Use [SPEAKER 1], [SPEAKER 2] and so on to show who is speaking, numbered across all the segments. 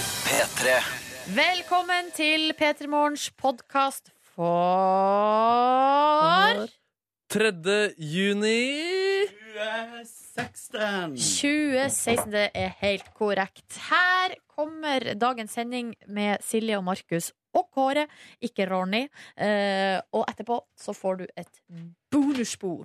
[SPEAKER 1] P3.
[SPEAKER 2] Velkommen til P3 Morgens podkast for
[SPEAKER 3] 3. juni
[SPEAKER 4] 16.
[SPEAKER 2] 2016. Det er helt korrekt. Her kommer dagens sending med Silje og Markus og Kåre, ikke Ronny. Eh, og etterpå så får du et bonusspor.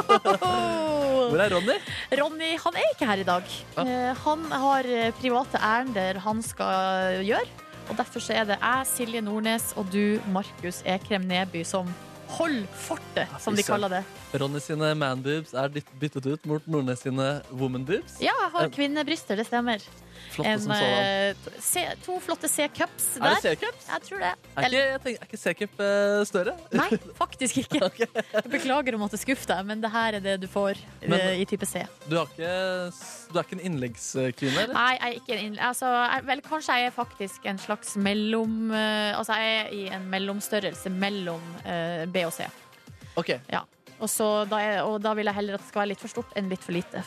[SPEAKER 2] Oh!
[SPEAKER 3] Hvor er Ronny?
[SPEAKER 2] Ronny han er ikke her i dag.
[SPEAKER 3] Ja.
[SPEAKER 2] Eh, Han har eh, private ærender han skal gjøre. Og Derfor så er det jeg, Silje Nordnes, og du, Markus Ekrem Neby, som holder fortet, som de
[SPEAKER 3] fy søren.
[SPEAKER 2] kaller det.
[SPEAKER 3] Ronny sine manboobs er dytt- byttet ut mot Nordnes sine womanboobs.
[SPEAKER 2] Ja, jeg har
[SPEAKER 3] En-
[SPEAKER 2] kvinnebryster, det stemmer.
[SPEAKER 3] Flotte
[SPEAKER 2] En,
[SPEAKER 3] som sådan.
[SPEAKER 2] eh, to- C, to flotte C-cups
[SPEAKER 3] Er det
[SPEAKER 2] der.
[SPEAKER 3] C-cups?
[SPEAKER 2] Jeg tror det.
[SPEAKER 3] Er ikke, jeg tenker, er ikke C-cup eh, større?
[SPEAKER 2] Nei, faktisk ikke. Jeg beklager å måtte skuffe deg, men det her er det du får eh,
[SPEAKER 3] Men-
[SPEAKER 2] i type C.
[SPEAKER 3] Du, har ikke, s- du er ikke en innleggskvinne, eller?
[SPEAKER 2] Nei, jeg er ikke en innle- altså, jeg, Vel, kanskje jeg er faktisk en slags mellom eh, Altså, jeg er i en mellomstørrelse mellom eh, B og C. Ah.
[SPEAKER 3] Ok, eh,
[SPEAKER 2] Og, så, da er, og da vil jeg heller at det skal være litt for stort enn litt for lite.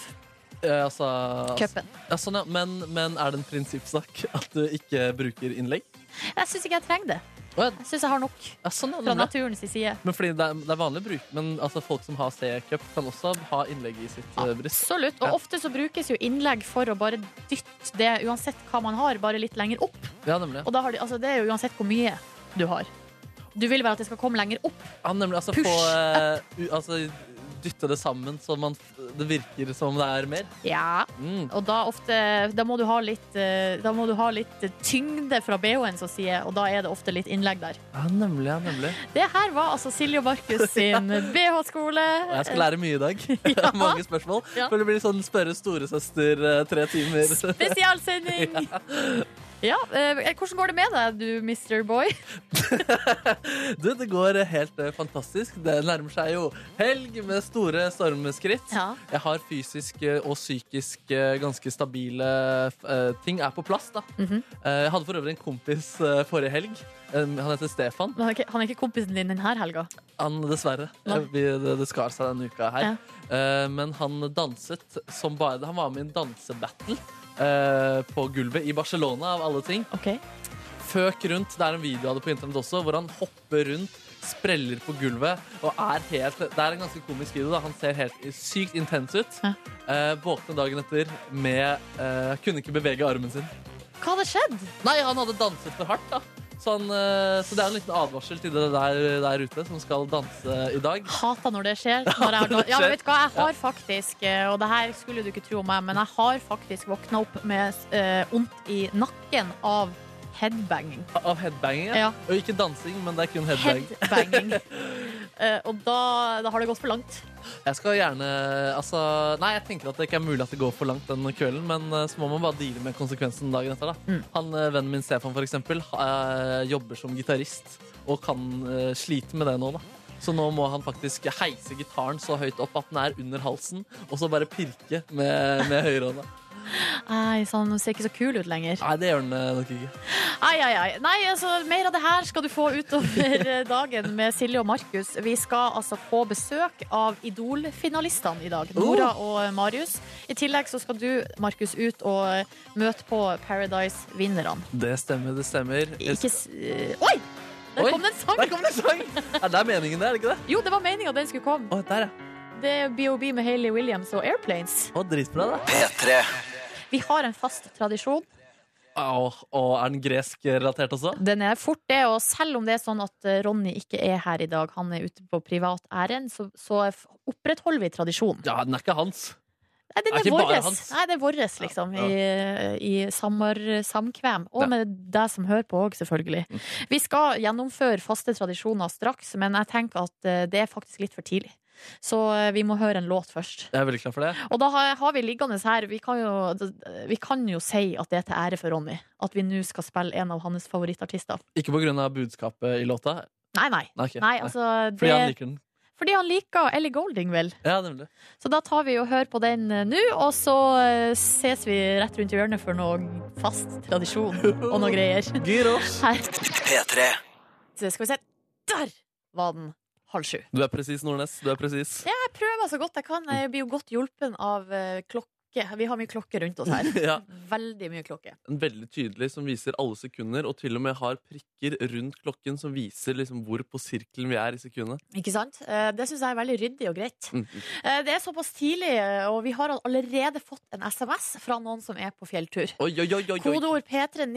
[SPEAKER 3] eh, altså
[SPEAKER 2] Cupen.
[SPEAKER 3] Ja, sånn, ja. Men, men er det en prinsippsak at du ikke bruker innlegg?
[SPEAKER 2] Jeg syns ikke jeg trenger det.
[SPEAKER 3] Å, ja.
[SPEAKER 2] Jeg syns jeg har nok
[SPEAKER 3] Ja, sånn, ja,
[SPEAKER 2] fra
[SPEAKER 3] nemlig.
[SPEAKER 2] naturens side.
[SPEAKER 3] men fordi det er, det er vanlig å bruke Men altså, folk som har C-cup, kan også ha innlegg i sitt
[SPEAKER 2] Ah.
[SPEAKER 3] eh, bryst.
[SPEAKER 2] Absolutt.
[SPEAKER 3] Ja.
[SPEAKER 2] Og ofte så brukes jo innlegg for å bare dytte det, uansett hva man har, bare litt lenger opp.
[SPEAKER 3] Ja, nemlig.
[SPEAKER 2] Og da har de, altså, det er jo uansett hvor mye du har. Du vil vel at det skal komme lenger opp.
[SPEAKER 3] Ja, nemlig altså,
[SPEAKER 2] Push
[SPEAKER 3] få, eh, u, altså, dytte det sammen så man, f- det virker som om det er mer.
[SPEAKER 2] Ja.
[SPEAKER 3] Mm.
[SPEAKER 2] Og da, ofte, da, må du ha litt, eh, da må du ha litt tyngde fra BH-en, så sier jeg, og da er det ofte litt innlegg der.
[SPEAKER 3] Ja, nemlig, ja, nemlig.
[SPEAKER 2] Det her var altså Silje og Markus sin BH-skole.
[SPEAKER 3] Og jeg skal
[SPEAKER 2] eh,
[SPEAKER 3] lære mye i dag.
[SPEAKER 2] Ja.
[SPEAKER 3] Mange spørsmål.
[SPEAKER 2] Ja.
[SPEAKER 3] For det blir sånn spørre storesøster eh, tre timer.
[SPEAKER 2] Spesialsending! Ja, eh, Hvordan går det med deg, du Mr. Boy?
[SPEAKER 3] Du, det går eh, helt eh, fantastisk. Det nærmer seg jo helg med store stormskritt.
[SPEAKER 2] Ja.
[SPEAKER 3] Jeg har fysisk eh, og psykisk eh, ganske stabile eh, ting er på plass, da.
[SPEAKER 2] Mhm.
[SPEAKER 3] Eh, Jeg hadde for øvrig en kompis eh, forrige helg. Eh, Han heter Stefan.
[SPEAKER 2] Han er ikke, han er ikke kompisen din denne helga.
[SPEAKER 3] Han, dessverre.
[SPEAKER 2] Nei.
[SPEAKER 3] Eh, Vi, det, det skar seg denne uka her. Eh, Men han danset som bare det. Han var med i en dansebattle. eh, på gulvet i Barcelona, av alle ting.
[SPEAKER 2] Ok.
[SPEAKER 3] Føk rundt. Det er en video av det på internett også, hvor han hopper rundt, spreller på gulvet og er helt Det er en ganske komisk video. da Han ser helt sykt intens ut.
[SPEAKER 2] Ja.
[SPEAKER 3] Eh, våkne dagen etter med eh, Kunne ikke bevege armen sin.
[SPEAKER 2] Hva hadde skjedd?
[SPEAKER 3] Nei, han hadde danset for hardt, da. Så, han, eh, så det er en liten advarsel til dere der, der ute som skal danse i dag.
[SPEAKER 2] Hata når det skjer. Når jeg, har- ja, men vet du hva, jeg har faktisk eh, Og det her skulle du ikke tro om meg, men jeg har faktisk våkna opp med eh, vondt i nakken av headbanging.
[SPEAKER 3] Av headbanging.
[SPEAKER 2] Ja.
[SPEAKER 3] Og ikke dansing, men det er kun headbang.
[SPEAKER 2] Headbanging. Eh, og da, da har det gått for langt.
[SPEAKER 3] Jeg skal gjerne Altså, nei, jeg tenker at det ikke er mulig at det går for langt den kvelden, men eh, så må man bare deale med konsekvensen dagen etter, da.
[SPEAKER 2] Mm.
[SPEAKER 3] Han eh, vennen min Stefan, for eksempel, ha- eh, jobber som gitarist og kan eh, slite med det nå, da. Så nå må han faktisk heise gitaren så høyt opp at den er under halsen, og så bare pirke med, med høyrehånda.
[SPEAKER 2] Nei, så han ser ikke så kul ut lenger.
[SPEAKER 3] Nei, det gjør den eh, nok ikke.
[SPEAKER 2] Ai, ai, ai. Nei, altså, mer av det her skal du få utover eh, dagen med Silje og Markus. Vi skal altså få besøk av Idol-finalistene i dag. Nora og Marius. I tillegg så skal du, Markus, ut og eh, møte på Paradise-vinnerne.
[SPEAKER 3] Det stemmer, det stemmer.
[SPEAKER 2] Ikke s... eh, Oi! Der
[SPEAKER 3] Oi!
[SPEAKER 2] kom det en sang!
[SPEAKER 3] Der kom det en sang! Ja, det er meningen, det, er det ikke det?
[SPEAKER 2] Jo, det var meninga den skulle komme.
[SPEAKER 3] Å, der, ja.
[SPEAKER 2] Det er BOB med Hayley Williams og Airplanes.
[SPEAKER 3] Å, dritbra, det.
[SPEAKER 1] P3.
[SPEAKER 2] Vi har en fast tradisjon.
[SPEAKER 3] Å, å, er den gresk-relatert også?
[SPEAKER 2] Den er fort det, og selv om det er sånn at eh, Ronny ikke er her i dag, han er ute på privat ærend, så, så f- opprettholder vi tradisjonen.
[SPEAKER 3] Ja, den er ikke hans.
[SPEAKER 2] Nei, den
[SPEAKER 3] Er
[SPEAKER 2] er
[SPEAKER 3] ikke bare
[SPEAKER 2] våres.
[SPEAKER 3] hans.
[SPEAKER 2] Nei, det er våres, liksom,
[SPEAKER 3] Ja,
[SPEAKER 2] i, i samar, samkvem. Og
[SPEAKER 3] Ja. Mm.
[SPEAKER 2] med deg som hører på òg, selvfølgelig. Vi skal gjennomføre faste tradisjoner straks, men jeg tenker at eh, det er faktisk litt for tidlig. Så eh, vi må høre en låt først.
[SPEAKER 3] Jeg er veldig klar for det.
[SPEAKER 2] Og da har, har vi liggende her vi kan, jo, vi kan jo si at det er til ære for Ronny at vi nå skal spille en av hans favorittartister.
[SPEAKER 3] Ikke på grunn av budskapet i låta.
[SPEAKER 2] Nei, nei.
[SPEAKER 3] Nei, ok.
[SPEAKER 2] Nei,
[SPEAKER 3] Nei.
[SPEAKER 2] altså det,
[SPEAKER 3] Fordi han liker den.
[SPEAKER 2] fordi han liker Ellie Golding, vel.
[SPEAKER 3] Ja, nemlig.
[SPEAKER 2] Så da tar vi og hører på den eh, nå, og så eh, ses vi rett rundt hjørnet for noe fast tradisjon og noe greier.
[SPEAKER 3] Gyros.
[SPEAKER 2] Her.
[SPEAKER 1] P3.
[SPEAKER 2] Så Skal vi se. Der var den! Halv sju.
[SPEAKER 3] Du er presis, Nordnes. Du er presis.
[SPEAKER 2] Jeg prøver så godt jeg kan. Jeg blir jo godt hjulpen av eh, klokka. klokke. Vi har mye klokke rundt oss her.
[SPEAKER 3] Ja,
[SPEAKER 2] Veldig mye klokke.
[SPEAKER 3] en veldig tydelig som viser alle sekunder, og til og med har prikker rundt klokken som viser liksom hvor på sirkelen vi er i sekundet.
[SPEAKER 2] Ikke sant? Eh, Det syns jeg er veldig ryddig og greit.
[SPEAKER 3] Mm.
[SPEAKER 2] Eh, Det er såpass tidlig, eh, og vi har allerede fått en SMS fra noen som er på fjelltur.
[SPEAKER 3] Oi, oi, oi, oi, oi.
[SPEAKER 2] Kodeord P3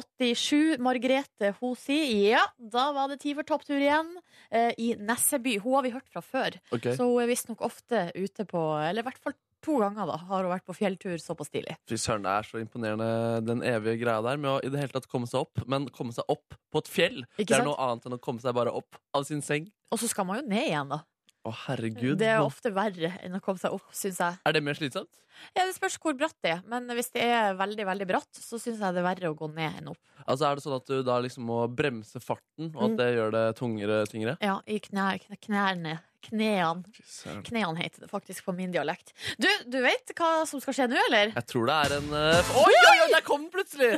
[SPEAKER 2] 1987. Margrethe hun sier ja, da var det tid for topptur igjen eh, i Nesseby. Hun har vi hørt fra før,
[SPEAKER 3] Ok,
[SPEAKER 2] så hun er visstnok ofte ute på Eller i hvert fall to ganger da, har hun vært på fjelltur såpass tidlig.
[SPEAKER 3] Fy søren, det er så imponerende den evige greia der med å i det hele tatt komme seg opp. Men komme seg opp på et fjell,
[SPEAKER 2] Ikke
[SPEAKER 3] det er
[SPEAKER 2] sant?
[SPEAKER 3] noe annet enn å komme seg bare opp av sin seng.
[SPEAKER 2] Og så skal man jo ned igjen, da.
[SPEAKER 3] Å, herregud.
[SPEAKER 2] Det er ofte verre enn å komme seg opp, syns jeg.
[SPEAKER 3] Er det mer slitsomt?
[SPEAKER 2] Ja, det spørs hvor bratt det er, men hvis det er veldig veldig bratt, så syns jeg det er verre å gå ned enn opp.
[SPEAKER 3] Altså Er det sånn at du da liksom må bremse farten, og at det gjør det tungere? tyngre?
[SPEAKER 2] Ja, i knær, kn- knærne. Knærne. Knærne heter det faktisk på min dialekt. Du, du vet hva som skal skje nå, eller?
[SPEAKER 3] Jeg tror det er en eh, Oi, oi, oi, der kom den plutselig!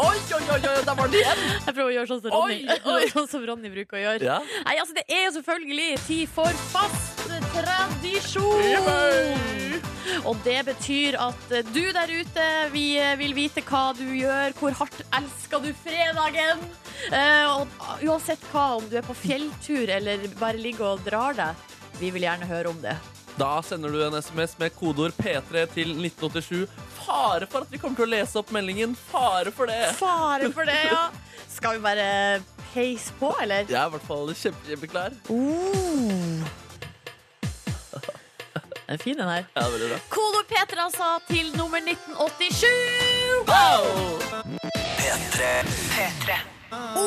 [SPEAKER 3] Oi, oi, oi, oi, der var den igjen!
[SPEAKER 2] Jeg prøver å gjøre sånn som Ronny,
[SPEAKER 3] Oi, oi.
[SPEAKER 2] sånn som Ronny bruker å gjøre.
[SPEAKER 3] Ja.
[SPEAKER 2] Nei, altså Det er jo selvfølgelig tid for fast tradisjon! Og det betyr at eh, du der ute, vi eh, vil vite hva du gjør, hvor hardt elsker du fredagen? Eh, og uansett hva, om du er på fjelltur eller bare ligger og drar deg, vi vil gjerne høre om det.
[SPEAKER 3] Da sender du en SMS med kodeord P3 til 1987. Fare for at vi kommer til å lese opp meldingen! Fare for det!
[SPEAKER 2] Fare for det, ja! Skal vi bare peise på, eller?
[SPEAKER 3] Jeg er i hvert fall kjempe, kjempeklar.
[SPEAKER 2] Uh. Den er fin, den her.
[SPEAKER 3] Ja, veldig bra.
[SPEAKER 2] Kolor Peter, altså, til nummer 1987!
[SPEAKER 3] Wow!
[SPEAKER 2] Å,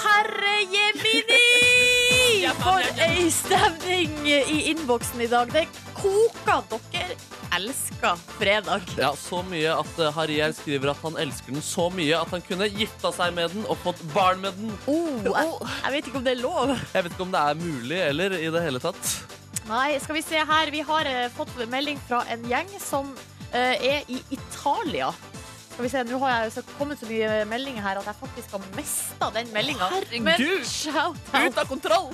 [SPEAKER 2] herre jemini! For ei stemning i innboksen i dag. Det koker. Dere elsker fredag.
[SPEAKER 3] Ja, Så mye at eh, Harry her skriver at han elsker den så mye at han kunne gifta seg med den og fått barn med den.
[SPEAKER 2] Oh, jeg, jeg vet ikke om det er lov.
[SPEAKER 3] Jeg vet ikke om det er mulig eller i det hele tatt.
[SPEAKER 2] Nei, skal vi se her. Vi har eh, fått melding fra en gjeng som eh, er i Italia. Skal vi se, Nå har jeg så kommet så mye meldinger her at jeg faktisk har mista den meldinga. Men
[SPEAKER 3] Herregud!
[SPEAKER 2] shout-out
[SPEAKER 3] Ut av kontroll!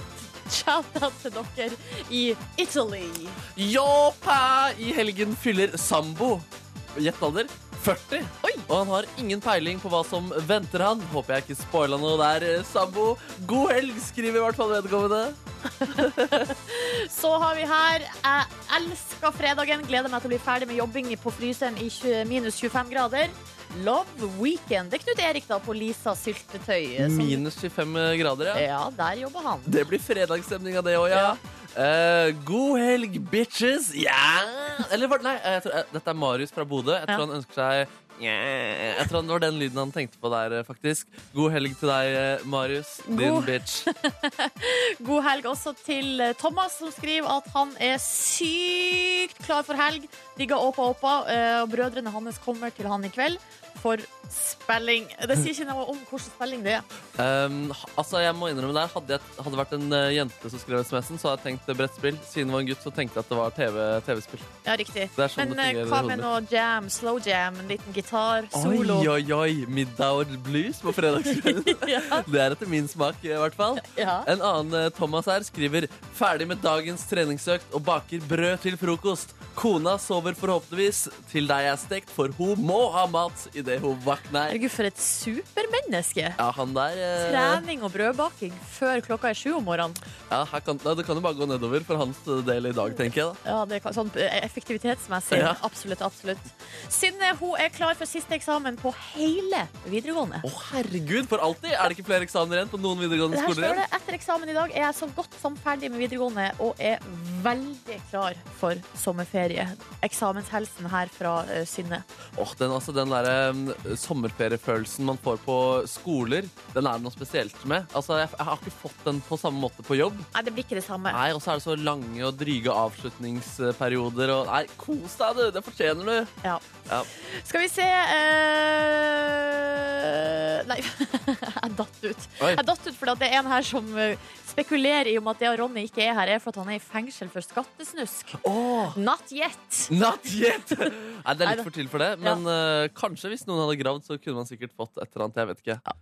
[SPEAKER 2] shout out til dere i Italy.
[SPEAKER 3] Joppa! I helgen fyller Sambo Gjett alder 40. Og han har ingen peiling på hva som venter han. Håper jeg ikke spoila noe der, eh, Sambo. God helg, skriver i hvert fall vedkommende.
[SPEAKER 2] Så har vi her Jeg elsker fredagen. Gleder meg til å bli ferdig med jobbing på fryseren i 20, minus 25 grader. Love weekend. Det er Knut Erik da på Lisa syltetøy. som-
[SPEAKER 3] Minus 25 grader, ja.
[SPEAKER 2] Ja, der jobber han.
[SPEAKER 3] Det blir fredagsstemning av det òg, ja. Eh, god helg, bitches! Ja! Eller var det- nei, jeg tror, eh, dette er Marius fra Bodø. Jeg tror
[SPEAKER 2] Ja.
[SPEAKER 3] han ønsker seg ja. Jeg tror det var den lyden han tenkte på der, eh, faktisk. God helg til deg, eh, Marius. Din
[SPEAKER 2] God-
[SPEAKER 3] bitch.
[SPEAKER 2] God helg også til eh, Thomas, som skriver at han er sykt klar for helg. Digga Åpa Åpa, eh, og brødrene hans kommer til han i kveld for spelling. Det sier ikke noe om hvordan spelling det er.
[SPEAKER 3] Um, ha- altså jeg må innrømme der Hadde jeg hadde det vært en eh, jente som skrev SMS-en, så hadde jeg tenkt eh, brettspill. Siden det var en gutt, så tenkte jeg at det var TV TV-spill.
[SPEAKER 2] Ja, riktig.
[SPEAKER 3] Det er
[SPEAKER 2] Men
[SPEAKER 3] sånn det
[SPEAKER 2] eh,
[SPEAKER 3] fungerer i
[SPEAKER 2] hva
[SPEAKER 3] hodet
[SPEAKER 2] med
[SPEAKER 3] mitt.
[SPEAKER 2] noe jam, slow jam, en liten gitar, solo?
[SPEAKER 3] Oi, oi, oi! Middag og blues på fredagskvelden.
[SPEAKER 2] Ja.
[SPEAKER 3] det er etter min smak, i hvert fall.
[SPEAKER 2] Ja.
[SPEAKER 3] En annen eh, Thomas her skriver Ferdig med dagens treningsøkt og baker brød til frokost. Kona sover forhåpentligvis til deg er stekt, for hun må ha mat idet hun våkner.
[SPEAKER 2] Herregud, for et supermenneske.
[SPEAKER 3] Ja, han der eh,
[SPEAKER 2] Trening og brødbaking før klokka er sju om morgenen.
[SPEAKER 3] ja, her kan, nei, Det kan jo bare gå nedover for hans eh, del i dag, tenker jeg. da
[SPEAKER 2] Ja, det kan, sånn eh, effektivitetsmessig.
[SPEAKER 3] Ja.
[SPEAKER 2] Absolutt, absolutt. Synne hun er klar for siste eksamen på hele videregående.
[SPEAKER 3] Å, herregud, for alltid! Er det ikke flere eksamener igjen på noen videregående
[SPEAKER 2] Det her
[SPEAKER 3] skoler?
[SPEAKER 2] står det
[SPEAKER 3] igjen?
[SPEAKER 2] etter eksamen i dag er jeg så godt som ferdig med videregående og er veldig klar for sommerferie. Eksamenshelsen her fra eh, Synne.
[SPEAKER 3] Åh, den, altså, den der, um, sommerferiefølelsen man får på skoler, den er det noe spesielt med. Altså, jeg, jeg har ikke fått den på samme måte på jobb.
[SPEAKER 2] Nei, det blir ikke det samme.
[SPEAKER 3] Nei, Og så er det så lange og dryge avslutningsperioder. Og, nei, kos deg, du! Det fortjener du!
[SPEAKER 2] Ja.
[SPEAKER 3] Ja.
[SPEAKER 2] Skal vi se eh, Nei, jeg datt ut.
[SPEAKER 3] Oi.
[SPEAKER 2] Jeg datt ut fordi at det er en her som eh, spekulerer i om at det at Ronny ikke er her, er for at han er i fengsel for skattesnusk.
[SPEAKER 3] Åh,
[SPEAKER 2] Not yet.
[SPEAKER 3] Not yet! Nei, Det er litt for til for det, men eh, kanskje hvis noen hadde gravd, så kunne man sikkert fått et eller annet. jeg vet ikke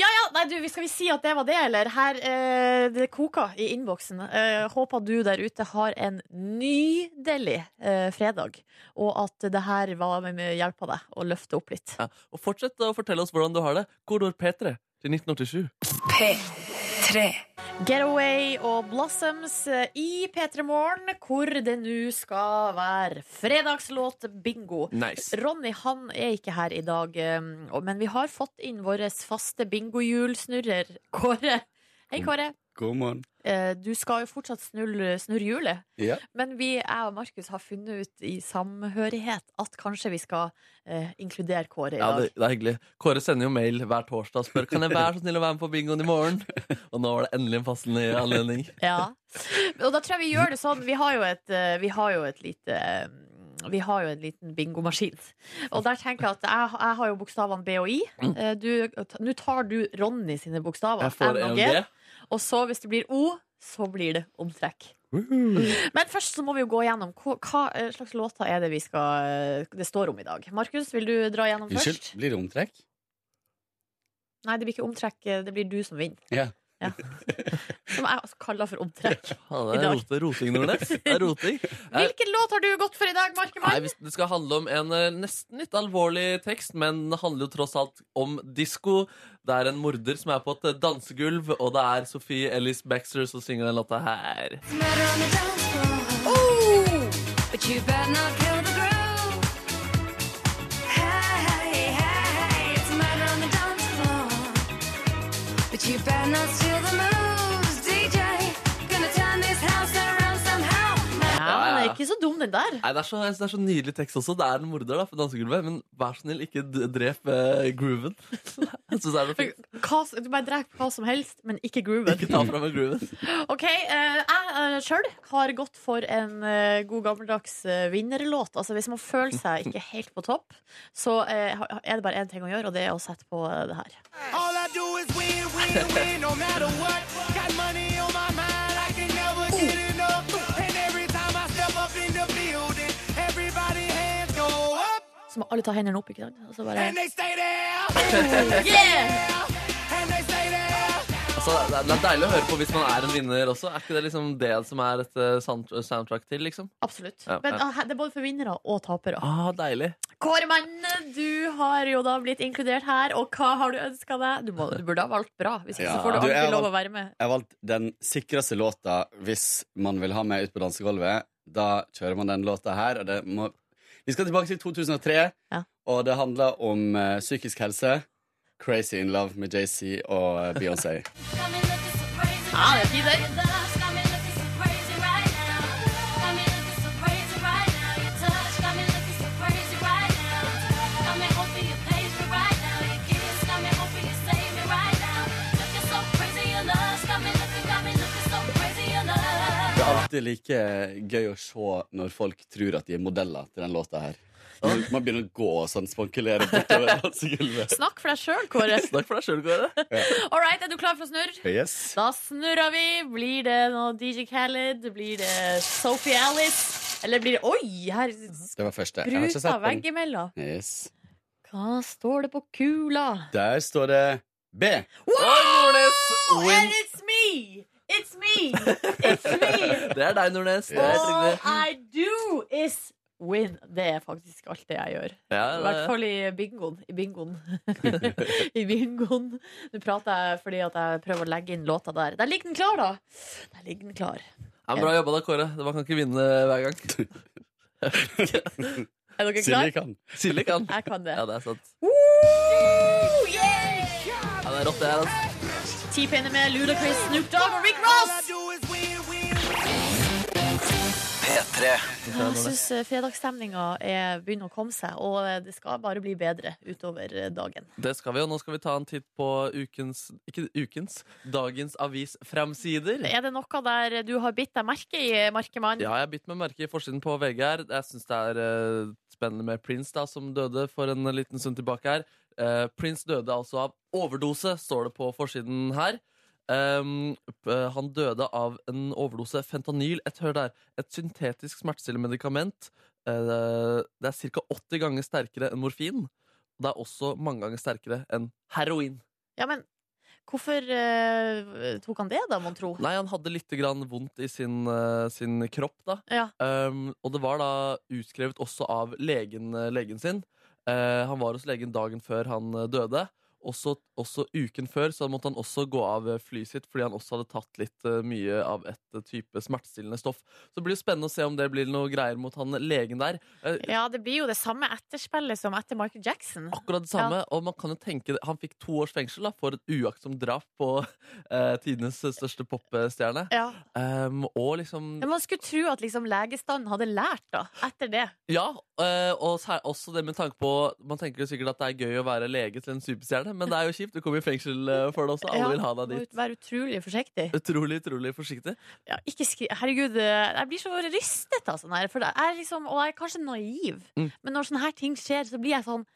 [SPEAKER 2] Ja ja, nei, du, skal vi si at det var det, eller? Her, eh, det koker i innboksen. Eh, håper du der ute har en nydelig eh, fredag, og at det her var med, med hjelp av deg å løfte opp litt.
[SPEAKER 3] Ja. Og fortsett å fortelle oss hvordan du har det. Kodord P3 til 1987.
[SPEAKER 1] P3.
[SPEAKER 2] Getaway og Blossoms eh, i P3 Morgen, hvor det nå skal være fredagslåt-bingo.
[SPEAKER 3] Nice.
[SPEAKER 2] Ronny han er ikke her i dag, eh, og- men vi har fått inn vår faste bingohjulsnurrer, Kåre. Hei, Kåre.
[SPEAKER 4] God morgen.
[SPEAKER 2] Eh, Du skal jo fortsatt snulle- snurre hjulet,
[SPEAKER 4] Ja.
[SPEAKER 2] men vi, jeg og Markus har funnet ut i samhørighet at kanskje vi skal eh, inkludere Kåre i
[SPEAKER 3] Ja,
[SPEAKER 2] dag.
[SPEAKER 3] det, det er hyggelig. Kåre sender jo mail hver torsdag og spør Kan jeg være så snill å være med på bingoen i morgen. Og nå var det endelig en passende anledning.
[SPEAKER 2] Ja. Og da tror jeg vi gjør det sånn Vi har jo et, eh, vi har jo et lite eh, vi har jo en liten bingomaskin. Og der tenker jeg at jeg, jeg har jo bokstavene B og I. Eh, du- Nå tar du Ronny sine bokstaver.
[SPEAKER 3] Jeg
[SPEAKER 2] N
[SPEAKER 3] får
[SPEAKER 2] og
[SPEAKER 3] en
[SPEAKER 2] G.
[SPEAKER 3] G.
[SPEAKER 2] Og så, hvis det blir O, så blir det omtrekk. Men først så må vi jo gå gjennom hva, hva eh, slags låter er det vi skal, eh, det står om i dag. Markus, vil du dra gjennom
[SPEAKER 4] Unnskyld,
[SPEAKER 2] først?
[SPEAKER 4] blir det omtrekk?
[SPEAKER 2] Nei, det blir ikke omtrekk. eh, Det blir du som vinner.
[SPEAKER 4] Ja.
[SPEAKER 2] Som jeg altså kaller for omtrekk.
[SPEAKER 3] Ja,
[SPEAKER 2] I
[SPEAKER 3] det er
[SPEAKER 2] dag.
[SPEAKER 3] rote, roting, Nordnes. Det er roting. Eh,
[SPEAKER 2] Hvilken låt har du gått for i dag,
[SPEAKER 3] Nei,
[SPEAKER 2] Markemann?
[SPEAKER 3] hvis Det skal handle om en eh, nesten litt alvorlig tekst, men det handler jo tross alt om disko. Det er en morder som er på et eh, dansegulv, og det er Sophie Ellis Baxter som synger den låta her.
[SPEAKER 1] But you better not kill the groove. Hey, hey, hey, it's a murder on the dance floor. But you better not steal the moves, DJ. Gonna turn this house around somehow.
[SPEAKER 2] Ja, men det
[SPEAKER 3] ja,
[SPEAKER 2] er
[SPEAKER 3] ja.
[SPEAKER 2] ikke så dum, den der.
[SPEAKER 3] Nei, det er, så, jeg synes det er så nydelig tekst også. Det er en morder da, på dansegulvet, men vær så snill, ikke d- drep eh, grooven. Jeg synes det er så fint.
[SPEAKER 2] Hva, s- du bare dreper hva som helst, men ikke grooven.
[SPEAKER 3] Ikke ta fra meg grooven.
[SPEAKER 2] OK. eh, jeg uh, sjøl har gått for en eh, god gammeldags eh, vinnerlåt. Altså Hvis man føler seg ikke helt på topp, så eh, ha- er det bare én ting å gjøre, og det er å sette på eh, det her.
[SPEAKER 5] All I do is win, win, win, no matter what. Got money on my mind, I can never get enough. And every time I step up in the building, everybody hands go up.
[SPEAKER 2] Så må alle ta hendene opp, ikke sant? Og så bare
[SPEAKER 5] And they stay there,
[SPEAKER 2] yeah!
[SPEAKER 5] and they stay there.
[SPEAKER 3] Altså, det er- det er deilig å høre på hvis man er en vinner også. Er ikke det liksom det som er et eh, sound- soundtrack til, liksom?
[SPEAKER 2] Absolutt.
[SPEAKER 3] Ja,
[SPEAKER 2] Men
[SPEAKER 3] ja.
[SPEAKER 2] ah, det er både for vinnere og tapere.
[SPEAKER 3] Ah, deilig.
[SPEAKER 2] Kåre Mannen, du har jo da blitt inkludert her, og hva har du ønska deg? Du, må, du burde ha valgt bra, hvis ikke
[SPEAKER 4] Ja.
[SPEAKER 2] så får du
[SPEAKER 4] Du, jeg
[SPEAKER 2] aldri
[SPEAKER 4] har
[SPEAKER 2] lov å
[SPEAKER 4] valgt-
[SPEAKER 2] være med.
[SPEAKER 4] Jeg har valgt den sikreste låta hvis man vil ha meg ut på dansegulvet. Da kjører man den låta her. Og det må... Vi skal tilbake til 2003,
[SPEAKER 2] Ja.
[SPEAKER 4] og det handler om eh, psykisk helse. Crazy in love med JC og eh, Beyoncé.
[SPEAKER 2] Ja, det er fint, det.
[SPEAKER 4] Det er alltid like gøy å se når folk tror at de er modeller til den låta her. Man, man begynner å gå og sånn spankulere bortover dansegulvet.
[SPEAKER 2] Snakk for deg sjøl, Kåre.
[SPEAKER 3] Snakk for deg sjøl, Kåre.
[SPEAKER 2] All right, er du klar for å snurre?
[SPEAKER 4] Yes.
[SPEAKER 2] Da snurrer vi. Blir det noe DJ Khaled? Blir det Sophie Alice? Eller blir det Oi, her
[SPEAKER 4] Det var første. Jeg har ikke
[SPEAKER 2] spruta
[SPEAKER 4] sett den.
[SPEAKER 2] veggimellom.
[SPEAKER 4] Yes.
[SPEAKER 2] Hva står det på kula?
[SPEAKER 4] Der står det B.
[SPEAKER 3] Og Nordnes
[SPEAKER 2] And
[SPEAKER 3] win.
[SPEAKER 2] it's me! It's me! It's me!
[SPEAKER 3] Det er deg, Nordnes. Det er
[SPEAKER 2] All
[SPEAKER 3] Trygve.
[SPEAKER 2] I do is win. Det er faktisk alt det jeg gjør.
[SPEAKER 3] Ja,
[SPEAKER 2] I
[SPEAKER 3] det
[SPEAKER 2] hvert
[SPEAKER 3] er-
[SPEAKER 2] fall i bingoen. I bingoen. I bingoen. Nå prater jeg fordi at jeg prøver å legge inn låta der. Der ligger den klar, da! Der ligger den klar.
[SPEAKER 3] ja, men bra jobba da, Kåre. Man kan ikke vinne hver gang.
[SPEAKER 2] Er dere
[SPEAKER 4] Silje
[SPEAKER 2] klare?
[SPEAKER 4] kan.
[SPEAKER 3] Silje kan.
[SPEAKER 2] Jeg kan det.
[SPEAKER 3] Ja, det er sant.
[SPEAKER 2] Woo! Yeah!
[SPEAKER 3] Ja, det er rått, det her. Altså.
[SPEAKER 2] T-pinner med Ludacris, Snoop Dogg og Rick Ross! Jeg syns fredagsstemninga er- begynner å komme seg, og eh, det skal bare bli bedre utover eh, dagen.
[SPEAKER 3] Det skal vi, og nå skal vi ta en titt på ukens Ikke ukens, dagens avisframsider.
[SPEAKER 2] Er det noe der du har bitt deg merke i, eh, Markemann?
[SPEAKER 3] Ja, jeg har bitt meg merke i forsiden på VG her. Jeg syns det er eh, spennende med Prince, da, som døde for en liten stund tilbake her. Eh, Prince døde altså av overdose, står det på forsiden her. Um, p- eh, han døde av en overdose fentanyl. Et, hør der, et syntetisk smertestillende medikament. Eh, det er ca. 80 ganger sterkere enn morfin. Og det er også mange ganger sterkere enn heroin.
[SPEAKER 2] Ja, men Hvorfor eh, tok han det, da, mon tro?
[SPEAKER 3] Nei, han hadde litt grann vondt i sin, eh, sin kropp, da.
[SPEAKER 2] Ja.
[SPEAKER 3] Um, og det var da utskrevet også av legen, eh, legen sin. Eh, han var hos legen dagen før han eh, døde. Også, også uken før så måtte han også gå av eh, flyet sitt fordi han også hadde tatt litt eh, mye av et eh, type smertestillende stoff. Så det blir jo spennende å se om det blir noe greier mot han legen der. Eh,
[SPEAKER 2] ja, det blir jo det samme etterspillet som etter Michael Jackson.
[SPEAKER 3] Akkurat det samme, og man kan jo tenke Han fikk to års fengsel da, for et uaktsomt drap på eh, tidenes største popstjerne.
[SPEAKER 2] Ja.
[SPEAKER 3] Um, og liksom
[SPEAKER 2] Men man skulle tro at liksom legestanden hadde lært da, etter det.
[SPEAKER 3] Ja, eh, og sær- også det med tanke på Man tenker jo sikkert at det er gøy å være lege til en superstjerne, men det er jo kjipt. Du kommer i fengsel eh, for det også. Alle
[SPEAKER 2] Ja,
[SPEAKER 3] vil ha deg
[SPEAKER 2] må
[SPEAKER 3] dit.
[SPEAKER 2] ut- Være utrolig forsiktig.
[SPEAKER 3] Utrolig, utrolig forsiktig.
[SPEAKER 2] Ja, ikke skri Herregud, eh, jeg blir så rystet av sånn her. For jeg er liksom, og jeg er kanskje naiv,
[SPEAKER 3] Mm.
[SPEAKER 2] men når sånne her ting skjer, så blir jeg sånn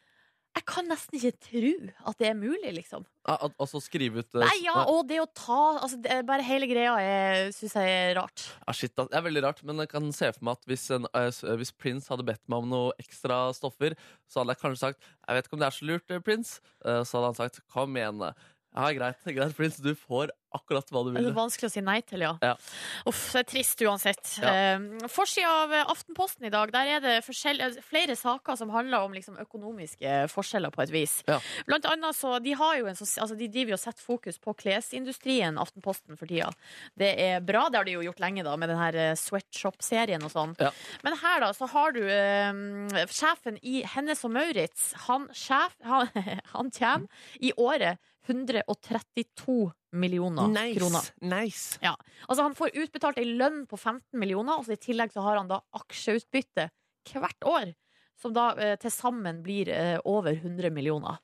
[SPEAKER 2] Jeg kan nesten ikke tro at det er mulig, liksom.
[SPEAKER 3] Ah, al- Altså skrive ut eh,
[SPEAKER 2] Nei, ja,
[SPEAKER 3] ah,
[SPEAKER 2] og det å ta altså, det, er Bare hele greia syns jeg er rart.
[SPEAKER 3] ah, shit, da. Det er veldig rart, men jeg kan se for meg at hvis, en, eh, s- eh, hvis Prince hadde bedt meg om noe ekstra stoffer, så hadde jeg kanskje sagt 'Jeg vet ikke om det er så lurt, eh, Prince'. Eh, Så hadde han sagt 'Kom igjen'. eh. Ja, greit, greit, Prince. Du får akkurat hva du
[SPEAKER 2] Det er
[SPEAKER 3] vil.
[SPEAKER 2] vanskelig å si nei til, ja.
[SPEAKER 3] Ja.
[SPEAKER 2] Uff, det er trist uansett.
[SPEAKER 3] Ja.
[SPEAKER 2] Eh, Forsida av eh, Aftenposten i dag, der er det forskjell- eh, flere saker som handler om liksom, økonomiske forskjeller på et vis.
[SPEAKER 3] Ja.
[SPEAKER 2] Blant annet så, de, har jo en, sånn- altså, de driver jo og setter fokus på klesindustrien, Aftenposten, for tida. Det er bra, det har de jo gjort lenge da, med den her eh, sweatshop-serien og sånn.
[SPEAKER 3] Ja.
[SPEAKER 2] Men her da, så har du eh, sjefen i Hennes og Maurits. Han, sjef, han, han kommer i året 132 millioner kroner.
[SPEAKER 3] nice.
[SPEAKER 2] Altså Han får utbetalt ei lønn på 15 millioner, og så i tillegg så har han da aksjeutbytte hvert år. Som da eh, til sammen blir eh, over 100 millioner.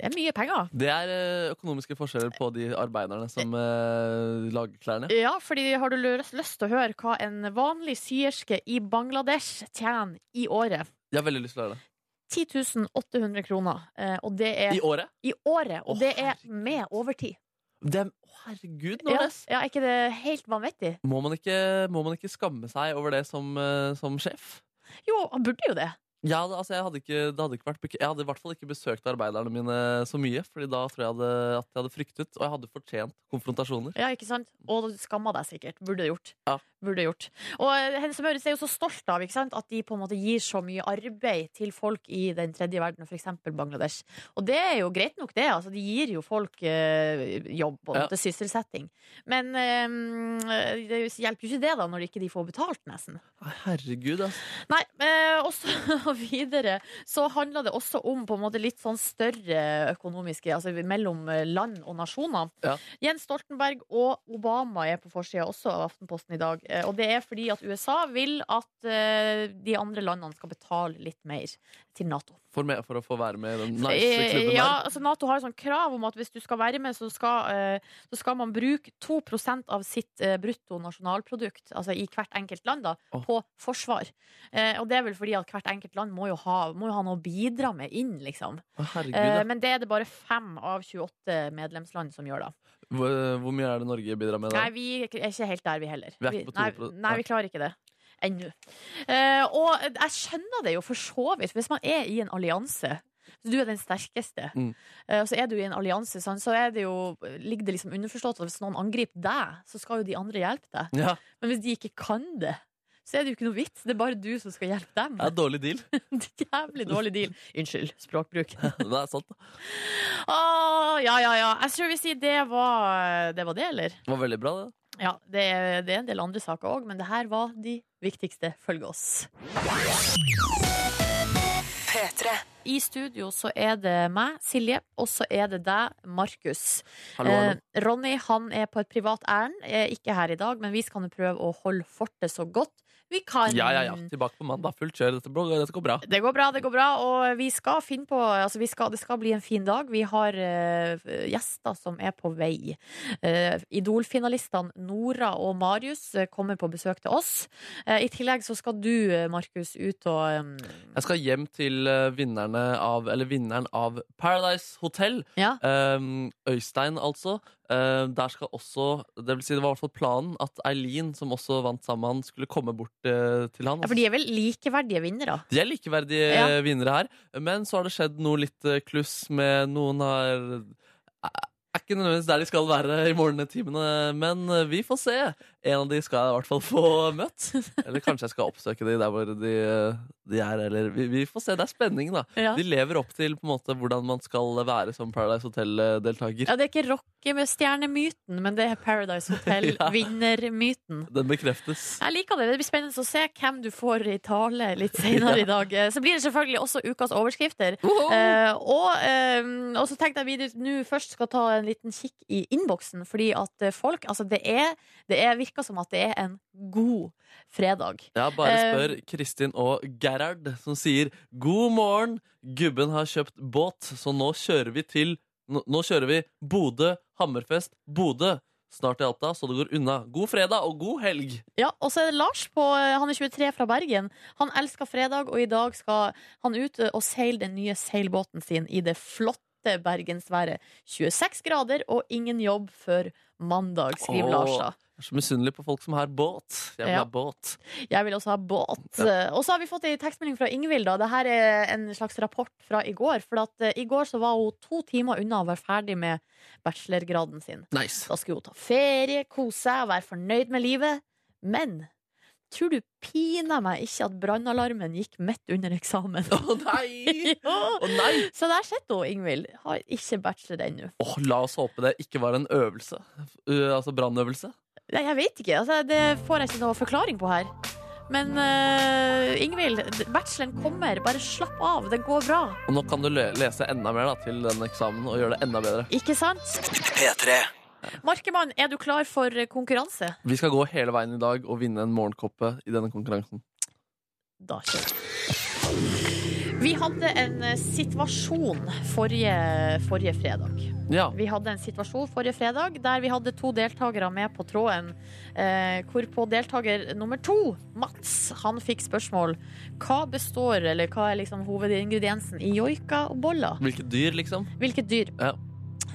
[SPEAKER 2] Det er mye penger.
[SPEAKER 3] Det er eh, økonomiske forskjeller på de arbeiderne som eh, lager klærne.
[SPEAKER 2] Ja, fordi har du lyst, lyst til å høre hva en vanlig syerske i Bangladesh tjener i året?
[SPEAKER 3] Jeg har veldig lyst til å gjøre det.
[SPEAKER 2] 10 800 kroner. Eh, og det er
[SPEAKER 3] I året?
[SPEAKER 2] i året, og
[SPEAKER 3] Å,
[SPEAKER 2] det er
[SPEAKER 3] herregud.
[SPEAKER 2] med overtid.
[SPEAKER 3] Det, å, herregud,
[SPEAKER 2] Ja,
[SPEAKER 3] Nordnes!
[SPEAKER 2] ja, er ikke det helt vanvittig?
[SPEAKER 3] Må, man ikke, må man ikke skamme seg over det som, eh, som sjef?
[SPEAKER 2] Jo, han burde jo det.
[SPEAKER 3] Jeg hadde, altså, jeg, hadde ikke, det hadde ikke vært, bek- jeg hadde i hvert fall ikke besøkt arbeiderne mine så mye, Fordi da tror jeg hadde, at jeg hadde fryktet, og jeg hadde fortjent konfrontasjoner.
[SPEAKER 2] Ja, ikke sant? Og du skamma deg sikkert. Burde gjort.
[SPEAKER 3] Ja.
[SPEAKER 2] Burde gjort. Og eh, Hennes og Mauritz er jo så stolt av ikke sant? at de på en måte gir så mye arbeid til folk i den tredje verden, f.eks. Bangladesh. Og det er jo greit nok, det. Altså, de gir jo folk eh, jobb og
[SPEAKER 3] Ja.
[SPEAKER 2] måte, sysselsetting. Men eh, det hjelper jo ikke det, da, når ikke de får betalt, nesten.
[SPEAKER 3] Nei, Herregud, altså.
[SPEAKER 2] Nei, eh, og så og videre så handler det også om på en måte litt sånn større økonomiske Altså mellom eh, land og nasjoner.
[SPEAKER 3] Ja.
[SPEAKER 2] Jens Stoltenberg og Obama er på forsida også av Aftenposten i dag. Eh, og det er fordi at USA vil at eh, de andre landene skal betale litt mer til Nato.
[SPEAKER 3] For, meg, for å få være med i den nice
[SPEAKER 2] Eh,
[SPEAKER 3] klubben
[SPEAKER 2] ja,
[SPEAKER 3] der.
[SPEAKER 2] altså Nato har jo sånn krav om at hvis du skal være med, så skal, eh, så skal man bruke 2 av sitt eh, brutto nasjonalprodukt, altså i hvert enkelt land, da,
[SPEAKER 3] Åh.
[SPEAKER 2] på forsvar. Eh, og det er vel fordi at hvert enkelt land må jo ha, må jo ha noe å bidra med inn, liksom.
[SPEAKER 3] Å, herregud,
[SPEAKER 2] Eh,
[SPEAKER 3] ja.
[SPEAKER 2] men det er det bare fem av 28 medlemsland som gjør, da.
[SPEAKER 3] hvor, hvor mye er det Norge bidrar med da?
[SPEAKER 2] Nei, vi er ikke helt der, vi heller.
[SPEAKER 3] Vi er ikke på
[SPEAKER 2] nei,
[SPEAKER 3] 2%.
[SPEAKER 2] nei, vi klarer ikke det. Ennå. Eh, og jeg skjønner det jo for så vidt, hvis man er i en allianse. Så du er den sterkeste,
[SPEAKER 3] Mm.
[SPEAKER 2] eh, og så er du i en allianse. sant, Så er det jo, ligger det liksom underforstått at hvis noen angriper deg, så skal jo de andre hjelpe deg.
[SPEAKER 3] Ja,
[SPEAKER 2] Men hvis de ikke kan det, så er det jo ikke noe vits. Det er bare du som skal hjelpe dem.
[SPEAKER 3] det er dårlig deal.
[SPEAKER 2] Det er Jævlig dårlig deal. Unnskyld språkbruk.
[SPEAKER 3] det er sant. da.
[SPEAKER 2] Åh, ja, ja, ja. Jeg tror vi sier det var det, var det eller?
[SPEAKER 3] Det var veldig bra, det.
[SPEAKER 2] Ja, det er, det er en del andre saker òg, men det her var de viktigste. Følg oss. I studio så er det meg, Silje, og så er det deg, Markus.
[SPEAKER 3] Hallo, hallo.
[SPEAKER 2] Eh, Ronny han er på et privat ærend, eh, ikke her i dag, men vi skal nå prøve å holde fortet så godt vi kan.
[SPEAKER 3] Ja, ja, ja. Tilbake på mandag. Fullt kjør. Dette, blir- dette går bra.
[SPEAKER 2] Det går bra, det går bra, og vi skal finne på altså vi skal, Det skal bli en fin dag. Vi har eh, gjester som er på vei. Uh, Idol-finalistene Nora og Marius eh, kommer på besøk til oss. Eh, I tillegg så skal du, eh, Markus, ut og eh,
[SPEAKER 3] Jeg skal hjem til eh, vinnerne av, eller vinneren av Paradise Hotel.
[SPEAKER 2] Ja.
[SPEAKER 3] Ehm, Øystein, altså. Ehm, der skal også Det vil si, det var i hvert fall planen at Eileen, som også vant sammen med han, skulle komme bort eh, til han.
[SPEAKER 2] ja, For de er vel likeverdige vinnere?
[SPEAKER 3] De er likeverdige
[SPEAKER 2] Ja.
[SPEAKER 3] eh, vinnere her, men så har det skjedd noe litt eh, kluss med noen har er ikke nødvendigvis der de skal være i morgentimene, men eh, vi får se. En av de skal jeg i hvert fall få møtt. Eller kanskje jeg skal oppsøke de der hvor de, eh, de er. Eller vi, vi får se. Det er spenning, da.
[SPEAKER 2] Ja.
[SPEAKER 3] De lever opp til på en måte hvordan man skal være som Paradise Hotel-deltaker.
[SPEAKER 2] Ja, det er ikke rockestjernemyten, men det er Paradise
[SPEAKER 3] Ja.
[SPEAKER 2] Hotel-vinnermyten.
[SPEAKER 3] Den bekreftes.
[SPEAKER 2] Jeg liker det. Det blir spennende å se hvem du får i tale litt senere i dag. Eh, Så blir det selvfølgelig også ukas overskrifter. Eh, og, eh, og så tenkte jeg vi du- nå først skal ta en liten kikk i innboksen, fordi at eh, folk Altså, det er Det er, virker som at det er en god fredag.
[SPEAKER 3] Ja, bare
[SPEAKER 2] Eh,
[SPEAKER 3] spør Kristin og Gerhard, som sier God morgen, gubben har kjøpt båt, så nå kjører vi til Nå, nå kjører vi Bodø, Hammerfest, Bodø. Snart i Alta, så det går unna. God fredag og god helg!
[SPEAKER 2] Ja, og så er det Lars på, eh, han er 23 fra Bergen. Han elsker fredag, og i dag skal han ut eh, og seile den nye seilbåten sin i det flotte bergensværet. 26 grader og ingen jobb før mandag, skriver
[SPEAKER 3] Åh.
[SPEAKER 2] Lars da.
[SPEAKER 3] Jeg er så misunnelig på folk som har båt. Jeg vil
[SPEAKER 2] Ja.
[SPEAKER 3] ha båt.
[SPEAKER 2] Jeg vil også ha båt. Og så har vi fått ei tekstmelding fra Ingvild. da. Dette er en slags rapport fra i går. For at eh, i går så var hun to timer unna å være ferdig med bachelorgraden sin.
[SPEAKER 3] Nice.
[SPEAKER 2] Da skulle hun ta ferie, kose seg, være fornøyd med livet. Men tror du pina meg ikke at brannalarmen gikk midt under eksamen?
[SPEAKER 3] Å nei!
[SPEAKER 2] Ja.
[SPEAKER 3] Å nei!
[SPEAKER 2] Så der sitter hun, Ingvild. Har ikke bachelor ennå.
[SPEAKER 3] Åh, la oss håpe det ikke var en øvelse. Uh, altså brannøvelse.
[SPEAKER 2] Nei, jeg vet ikke. Altså, det får jeg ikke noe forklaring på her. Men eh, Ingvild, bacheloren kommer. Bare slapp av. Det går bra.
[SPEAKER 3] Og nå kan du le lese enda mer da, til den eksamen og gjøre det enda bedre.
[SPEAKER 2] Ikke sant? Markemann, er du klar for konkurranse?
[SPEAKER 3] Vi skal gå hele veien i dag og vinne en morgenkoppe i denne konkurransen.
[SPEAKER 2] Da kjører vi. Vi hadde en eh, situasjon forrige, forrige fredag.
[SPEAKER 3] Ja.
[SPEAKER 2] Vi hadde en situasjon forrige fredag der vi hadde to deltakere med på tråden. Eh, hvorpå deltaker nummer to, Mats, han fikk spørsmål hva består, eller hva er liksom hovedingrediensen i joika og boller?
[SPEAKER 3] Hvilke dyr, liksom?
[SPEAKER 2] Hvilket dyr?
[SPEAKER 3] Ja.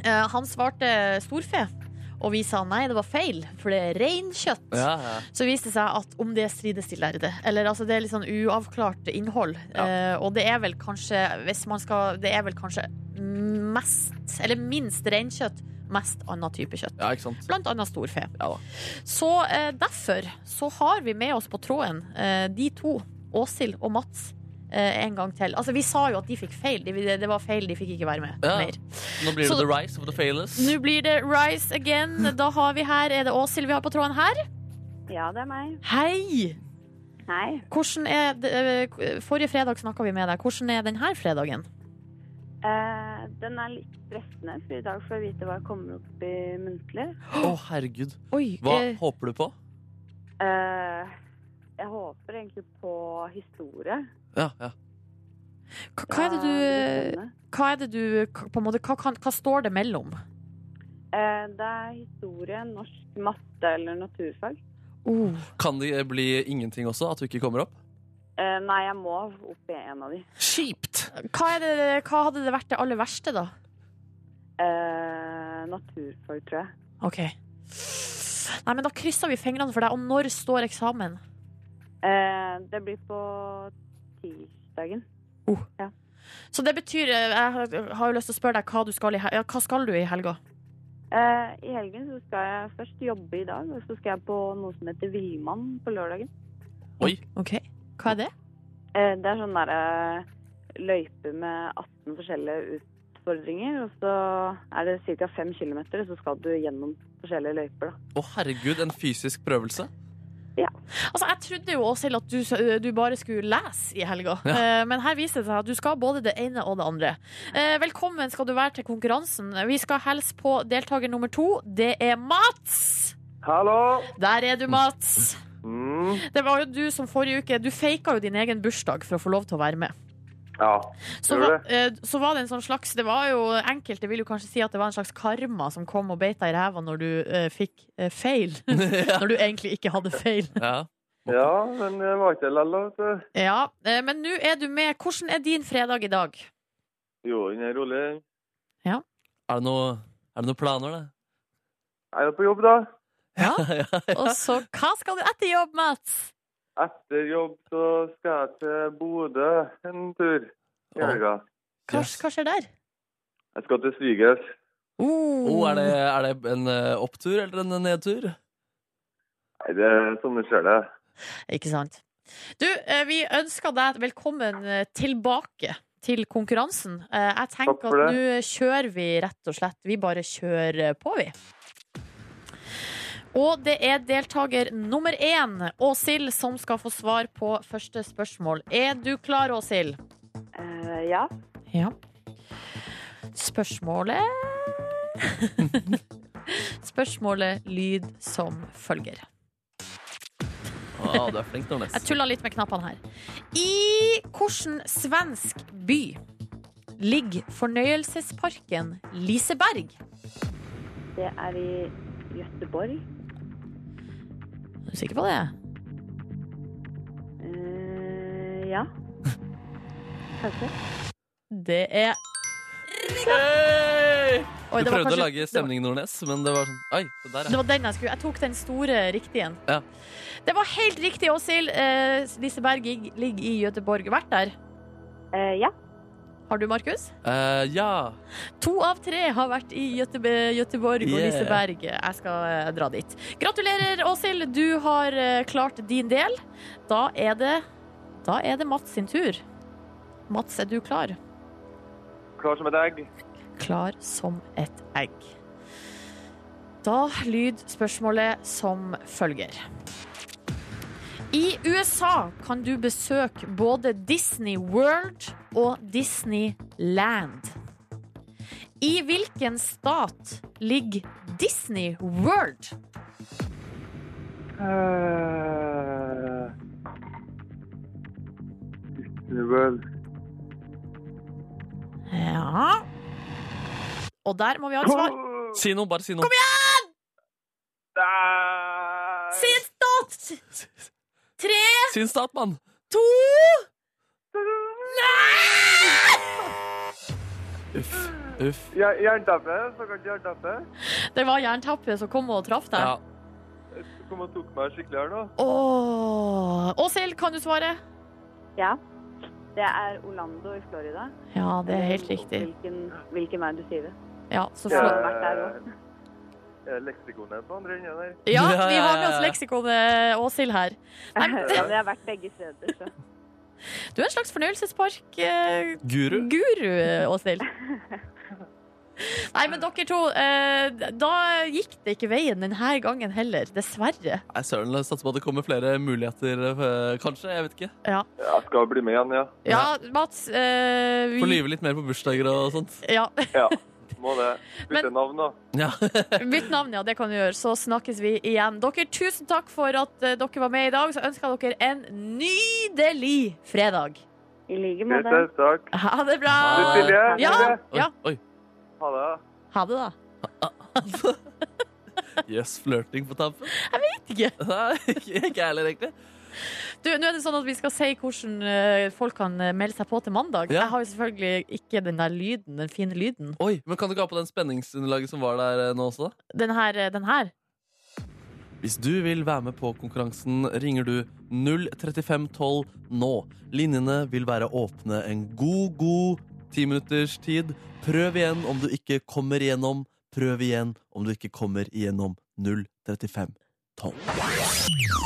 [SPEAKER 2] Eh, han svarte storfe, og vi sa nei, det var feil, for det er reinkjøtt.
[SPEAKER 3] Ja, ja.
[SPEAKER 2] Så viste det seg at om det strides de lærde. Eller altså, det er litt sånn uavklart innhold.
[SPEAKER 3] Ja.
[SPEAKER 2] Eh, og det er vel kanskje, hvis man skal Det er vel kanskje mest, eller minst reinkjøtt, mest annen type kjøtt.
[SPEAKER 3] ja, ikke sant?
[SPEAKER 2] Blant annet storfe.
[SPEAKER 3] Ja da.
[SPEAKER 2] Så eh, derfor så har vi med oss på tråden eh, de to, Åshild og Mats, eh, en gang til. Altså, vi sa jo at de fikk feil. De, det- det var feil, de fikk ikke være med
[SPEAKER 3] Ja.
[SPEAKER 2] mer.
[SPEAKER 3] Nå blir
[SPEAKER 2] Så-
[SPEAKER 3] det the rise of the failures.
[SPEAKER 2] Nå blir det Rise again. Da har vi her, er det Åshild vi har på tråden her?
[SPEAKER 6] Ja, det er meg.
[SPEAKER 2] Hei!
[SPEAKER 6] Hei.
[SPEAKER 2] Hvordan er det, eh, Forrige fredag snakka vi med deg. Hvordan er denne fredagen?
[SPEAKER 6] Eh, den er litt stressende, for i dag får jeg vite hva jeg kommer opp i muntlig.
[SPEAKER 3] Å, herregud.
[SPEAKER 2] Oi,
[SPEAKER 3] Hva
[SPEAKER 2] eh,
[SPEAKER 3] håper du på?
[SPEAKER 6] Eh, jeg håper egentlig på historie.
[SPEAKER 3] Ja, ja.
[SPEAKER 2] hva, hva er det du Hva er det du k- på en måte, hva, kan, hva står det mellom?
[SPEAKER 6] Eh, det er historie, norsk matte eller naturfag.
[SPEAKER 2] Oh,
[SPEAKER 3] Kan det bli ingenting også? At du ikke kommer opp?
[SPEAKER 6] Eh, nei, jeg må opp i en av de.
[SPEAKER 3] Kjipt!
[SPEAKER 2] hva, er det, hva hadde det vært det aller verste, da?
[SPEAKER 6] Eh, naturfag, tror jeg.
[SPEAKER 2] OK. Nei, men Da krysser vi fingrene for deg. Og når står eksamen?
[SPEAKER 6] Eh, det blir på tirsdagen.
[SPEAKER 2] Så det betyr eh, Jeg har- har jo lyst til å spørre deg hva du skal i, hel- ja, hva skal du i helga.
[SPEAKER 6] Eh, I helgen så skal jeg først jobbe i dag, og så skal jeg på noe som heter Villmann på lørdagen.
[SPEAKER 3] Oi.
[SPEAKER 2] OK. Hva er det?
[SPEAKER 6] Eh, Det er sånn derre løype med 18 forskjellige utfordringer, og så er det ca. 5 km, og så skal du gjennom forskjellige løyper, da.
[SPEAKER 3] Å, herregud, en fysisk prøvelse?
[SPEAKER 2] Altså, Jeg trodde jo Åshild at du, du bare skulle lese i helga, Eh, men her viser det seg at du skal både det ene og det andre. Eh, velkommen skal du være til konkurransen. Vi skal hilse på deltaker nummer to. Det er Mats!
[SPEAKER 7] Hallo!
[SPEAKER 2] Der er du, Mats.
[SPEAKER 7] Mm.
[SPEAKER 2] Det var jo du som forrige uke Du faka jo din egen bursdag for å få lov til å være med.
[SPEAKER 7] Ja.
[SPEAKER 2] Så,
[SPEAKER 7] Gjorde
[SPEAKER 2] var- eh, så var det en sånn slags Det var jo enkelte vil jo kanskje si at det var en slags karma som kom og beit deg i ræva når du eh, fikk eh, feil. når du egentlig ikke hadde feil.
[SPEAKER 3] Ja.
[SPEAKER 7] ja, men det var ikke lalla, vet du.
[SPEAKER 2] Ja, eh, men nå er du med. Hvordan er din fredag i dag?
[SPEAKER 7] Jo, den er rolig.
[SPEAKER 3] Er det noe- er det noen planer, det?
[SPEAKER 7] Jeg er på jobb, da.
[SPEAKER 2] Ja,
[SPEAKER 3] ja,
[SPEAKER 2] og så hva skal du etter jobb, Mats?
[SPEAKER 7] Etter jobb så skal jeg til Bodø en tur i helga.
[SPEAKER 2] Hva,
[SPEAKER 3] Yes.
[SPEAKER 2] hva skjer der?
[SPEAKER 7] Jeg skal til svigers.
[SPEAKER 8] Oh,
[SPEAKER 3] Oh, er, det, er det en eh, opptur eller en nedtur?
[SPEAKER 7] Nei, det er sånn det skjer, det.
[SPEAKER 8] Ikke sant?
[SPEAKER 2] Du, eh, vi ønsker deg velkommen eh, tilbake til konkurransen. Eh, Jeg
[SPEAKER 7] Takk
[SPEAKER 2] tenker
[SPEAKER 7] for
[SPEAKER 2] at
[SPEAKER 7] det.
[SPEAKER 2] nå kjører vi rett og slett. Vi bare kjører eh, på, vi. Og det er deltaker nummer én, Åshild, som skal få svar på første spørsmål. Er du klar, Åshild?
[SPEAKER 6] Eh, ja.
[SPEAKER 2] Ja. Spørsmålet Spørsmålet lyd som følger.
[SPEAKER 3] Ah, du er flink, Nordnes.
[SPEAKER 2] Jeg tulla litt med knappene her. I hvilken svensk by ligger fornøyelsesparken Liseberg?
[SPEAKER 6] Det er i Gøteborg.
[SPEAKER 2] Er du sikker på det?
[SPEAKER 6] Eh, ja. Kanskje.
[SPEAKER 2] Det er
[SPEAKER 3] Hey!
[SPEAKER 2] Oi,
[SPEAKER 3] Du
[SPEAKER 2] det var
[SPEAKER 3] prøvde
[SPEAKER 2] kanskje-
[SPEAKER 3] å lage stemning, Nordnes, men det var sånn Oi, det der,
[SPEAKER 2] Det
[SPEAKER 3] ja.
[SPEAKER 2] var den jeg skulle Jeg tok den store riktige.
[SPEAKER 3] Ja.
[SPEAKER 2] Det var helt riktig, Åshild. Eh, Liseberg lig- ligger i Göteborg. Vært der?
[SPEAKER 6] Eh, ja.
[SPEAKER 2] Har du, Markus?
[SPEAKER 3] Eh, ja.
[SPEAKER 2] To av tre har vært i Göteborg, Göteborg og
[SPEAKER 3] Yeah.
[SPEAKER 2] Liseberg. Jeg skal eh, dra dit. Gratulerer, Åshild. Du har eh, klart din del. Da er det da er det Mats sin tur. Mats, er du klar?
[SPEAKER 7] Klar som et egg.
[SPEAKER 2] Klar som et egg. Da lyd spørsmålet som følger. I USA kan du besøke både Disney World og Disneyland. I hvilken stat ligger Disney World?
[SPEAKER 7] Eh, Disney World.
[SPEAKER 2] Ja Og der må vi ha et svar.
[SPEAKER 3] Si noe, bare si noe. Kom igjen!
[SPEAKER 7] Nei.
[SPEAKER 2] Si en stat! Tre,
[SPEAKER 3] Si en stat, mann!
[SPEAKER 2] to
[SPEAKER 3] Uff. Uff.
[SPEAKER 7] Ja- Jernteppe. Såkalt jernteppe.
[SPEAKER 2] Det var jernteppet som kom og traff deg.
[SPEAKER 3] Ja.
[SPEAKER 7] Du kom og tok meg skikkelig her nå.
[SPEAKER 2] Åh. Åshild, kan du svare?
[SPEAKER 6] ja. Det er Orlando i Florida.
[SPEAKER 2] Ja, det er helt riktig.
[SPEAKER 6] Hvilken, hvilken vei du sier det.
[SPEAKER 2] Ja, så
[SPEAKER 6] Jeg
[SPEAKER 2] flott.
[SPEAKER 6] Sånn har vært der også.
[SPEAKER 7] Eh, Leksikonet på andre enden der.
[SPEAKER 2] ja vi har med oss leksikonet Åshild her. Nei, men
[SPEAKER 6] Ja, men jeg har vært begge steder, så.
[SPEAKER 2] du er en slags fornøyelsespark-guru,
[SPEAKER 3] Guru.
[SPEAKER 2] Åshild. Nei, men dere to, eh, da gikk det ikke veien denne gangen heller, dessverre.
[SPEAKER 3] Nei, søren, la oss satse på at det kommer flere muligheter, eh, kanskje. Jeg vet ikke.
[SPEAKER 7] Ja, skal bli med igjen, ja.
[SPEAKER 2] Ja, Mats, eh,
[SPEAKER 3] Få
[SPEAKER 2] vi
[SPEAKER 3] lyve litt mer på bursdager og sånt.
[SPEAKER 2] ja,
[SPEAKER 7] Ja, må det. Bytte
[SPEAKER 2] Men-
[SPEAKER 7] navn, da.
[SPEAKER 3] Ja.
[SPEAKER 2] Bytt navn, ja, det kan du gjøre. Så snakkes vi igjen. Dere, tusen takk for at eh, dere var med i dag. Så ønsker jeg dere en nydelig fredag.
[SPEAKER 6] I like
[SPEAKER 7] Vi
[SPEAKER 6] måte.
[SPEAKER 7] ses, takk.
[SPEAKER 2] Ha det bra!
[SPEAKER 7] Du, Silje.
[SPEAKER 2] Ja.
[SPEAKER 7] Silje,
[SPEAKER 3] Oi,
[SPEAKER 2] Ja.
[SPEAKER 3] oi.
[SPEAKER 7] Ha det. da.
[SPEAKER 2] Ha det, da.
[SPEAKER 3] Jøss, flørting på tampen.
[SPEAKER 2] vet
[SPEAKER 3] Nei, ikke ikke jeg heller, egentlig.
[SPEAKER 2] Du, nå er det sånn at Vi skal si hvordan eh, folk kan eh, melde seg på til mandag.
[SPEAKER 3] Ja.
[SPEAKER 2] Jeg har jo selvfølgelig ikke den der lyden, den fine lyden.
[SPEAKER 3] Oi, men Kan du ikke ha på den spenningsunderlaget som var der eh, nå også? da?
[SPEAKER 2] Den her. eh, Den her.
[SPEAKER 3] Hvis du vil være med på konkurransen, ringer du 03512 nå. Linjene vil være åpne en god, god ti minutters tid. Prøv igjen om du ikke kommer igjennom. Prøv igjen om du ikke kommer igjennom 03512.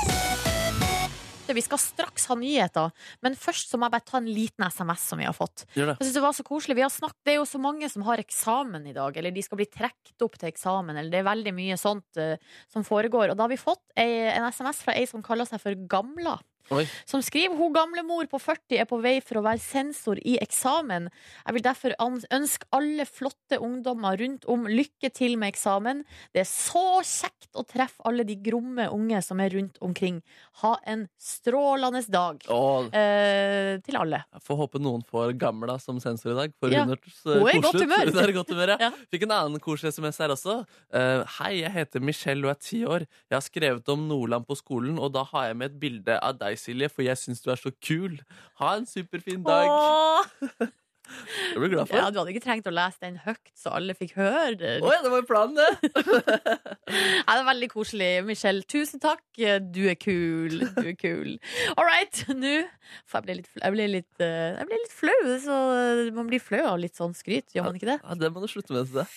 [SPEAKER 2] Vi skal straks ha nyheter, men først så må jeg bare ta en liten SMS som vi har fått.
[SPEAKER 3] Gjør det.
[SPEAKER 2] Jeg synes det var så koselig. Vi har snakket, det er jo så mange som har eksamen i dag, eller de skal bli trukket opp til eksamen, eller det er veldig mye sånt eh, som foregår. Og da har vi fått ei, en SMS fra ei som kaller seg for Gamla.
[SPEAKER 3] Oi.
[SPEAKER 2] Som skriver hun gamlemor på 40 er på vei for å være sensor i eksamen. Jeg vil derfor an- ønske alle flotte ungdommer rundt om lykke til med eksamen. Det er så kjekt å treffe alle de gromme unge som er rundt omkring. Ha en strålende dag.
[SPEAKER 3] Å,
[SPEAKER 2] Eh, til alle.
[SPEAKER 3] jeg får håpe noen får gamla som sensor i dag. For
[SPEAKER 2] Ja.
[SPEAKER 3] hun hørtes
[SPEAKER 2] Hun
[SPEAKER 3] eh,
[SPEAKER 2] er i godt
[SPEAKER 3] koselig ut.
[SPEAKER 2] humør.
[SPEAKER 3] Hun er i godt humør.
[SPEAKER 2] Ja.
[SPEAKER 3] Ja. Fikk en annen koselig SMS her også. Eh, Hei, jeg heter Michelle og er ti år. Jeg har skrevet om Nordland på skolen, og da har jeg med et bilde av deg, Silje, for jeg syns du er så kul. Ha en superfin dag.
[SPEAKER 2] Åh!
[SPEAKER 3] Det blir du glad for.
[SPEAKER 2] Ja, du hadde ikke trengt å lese den høyt, så alle fikk høre. det.
[SPEAKER 3] Å ja, det var jo planen, det!
[SPEAKER 2] Nei, det er veldig koselig, Michelle. Tusen takk. Du er kul. Du er kul. All right, nå For jeg ble litt, fl- jeg ble litt, eh, jeg ble litt flau. det er Så eh, man blir flau av litt sånn skryt, gjør man ikke det?
[SPEAKER 3] Ja, det må du slutte med. Det.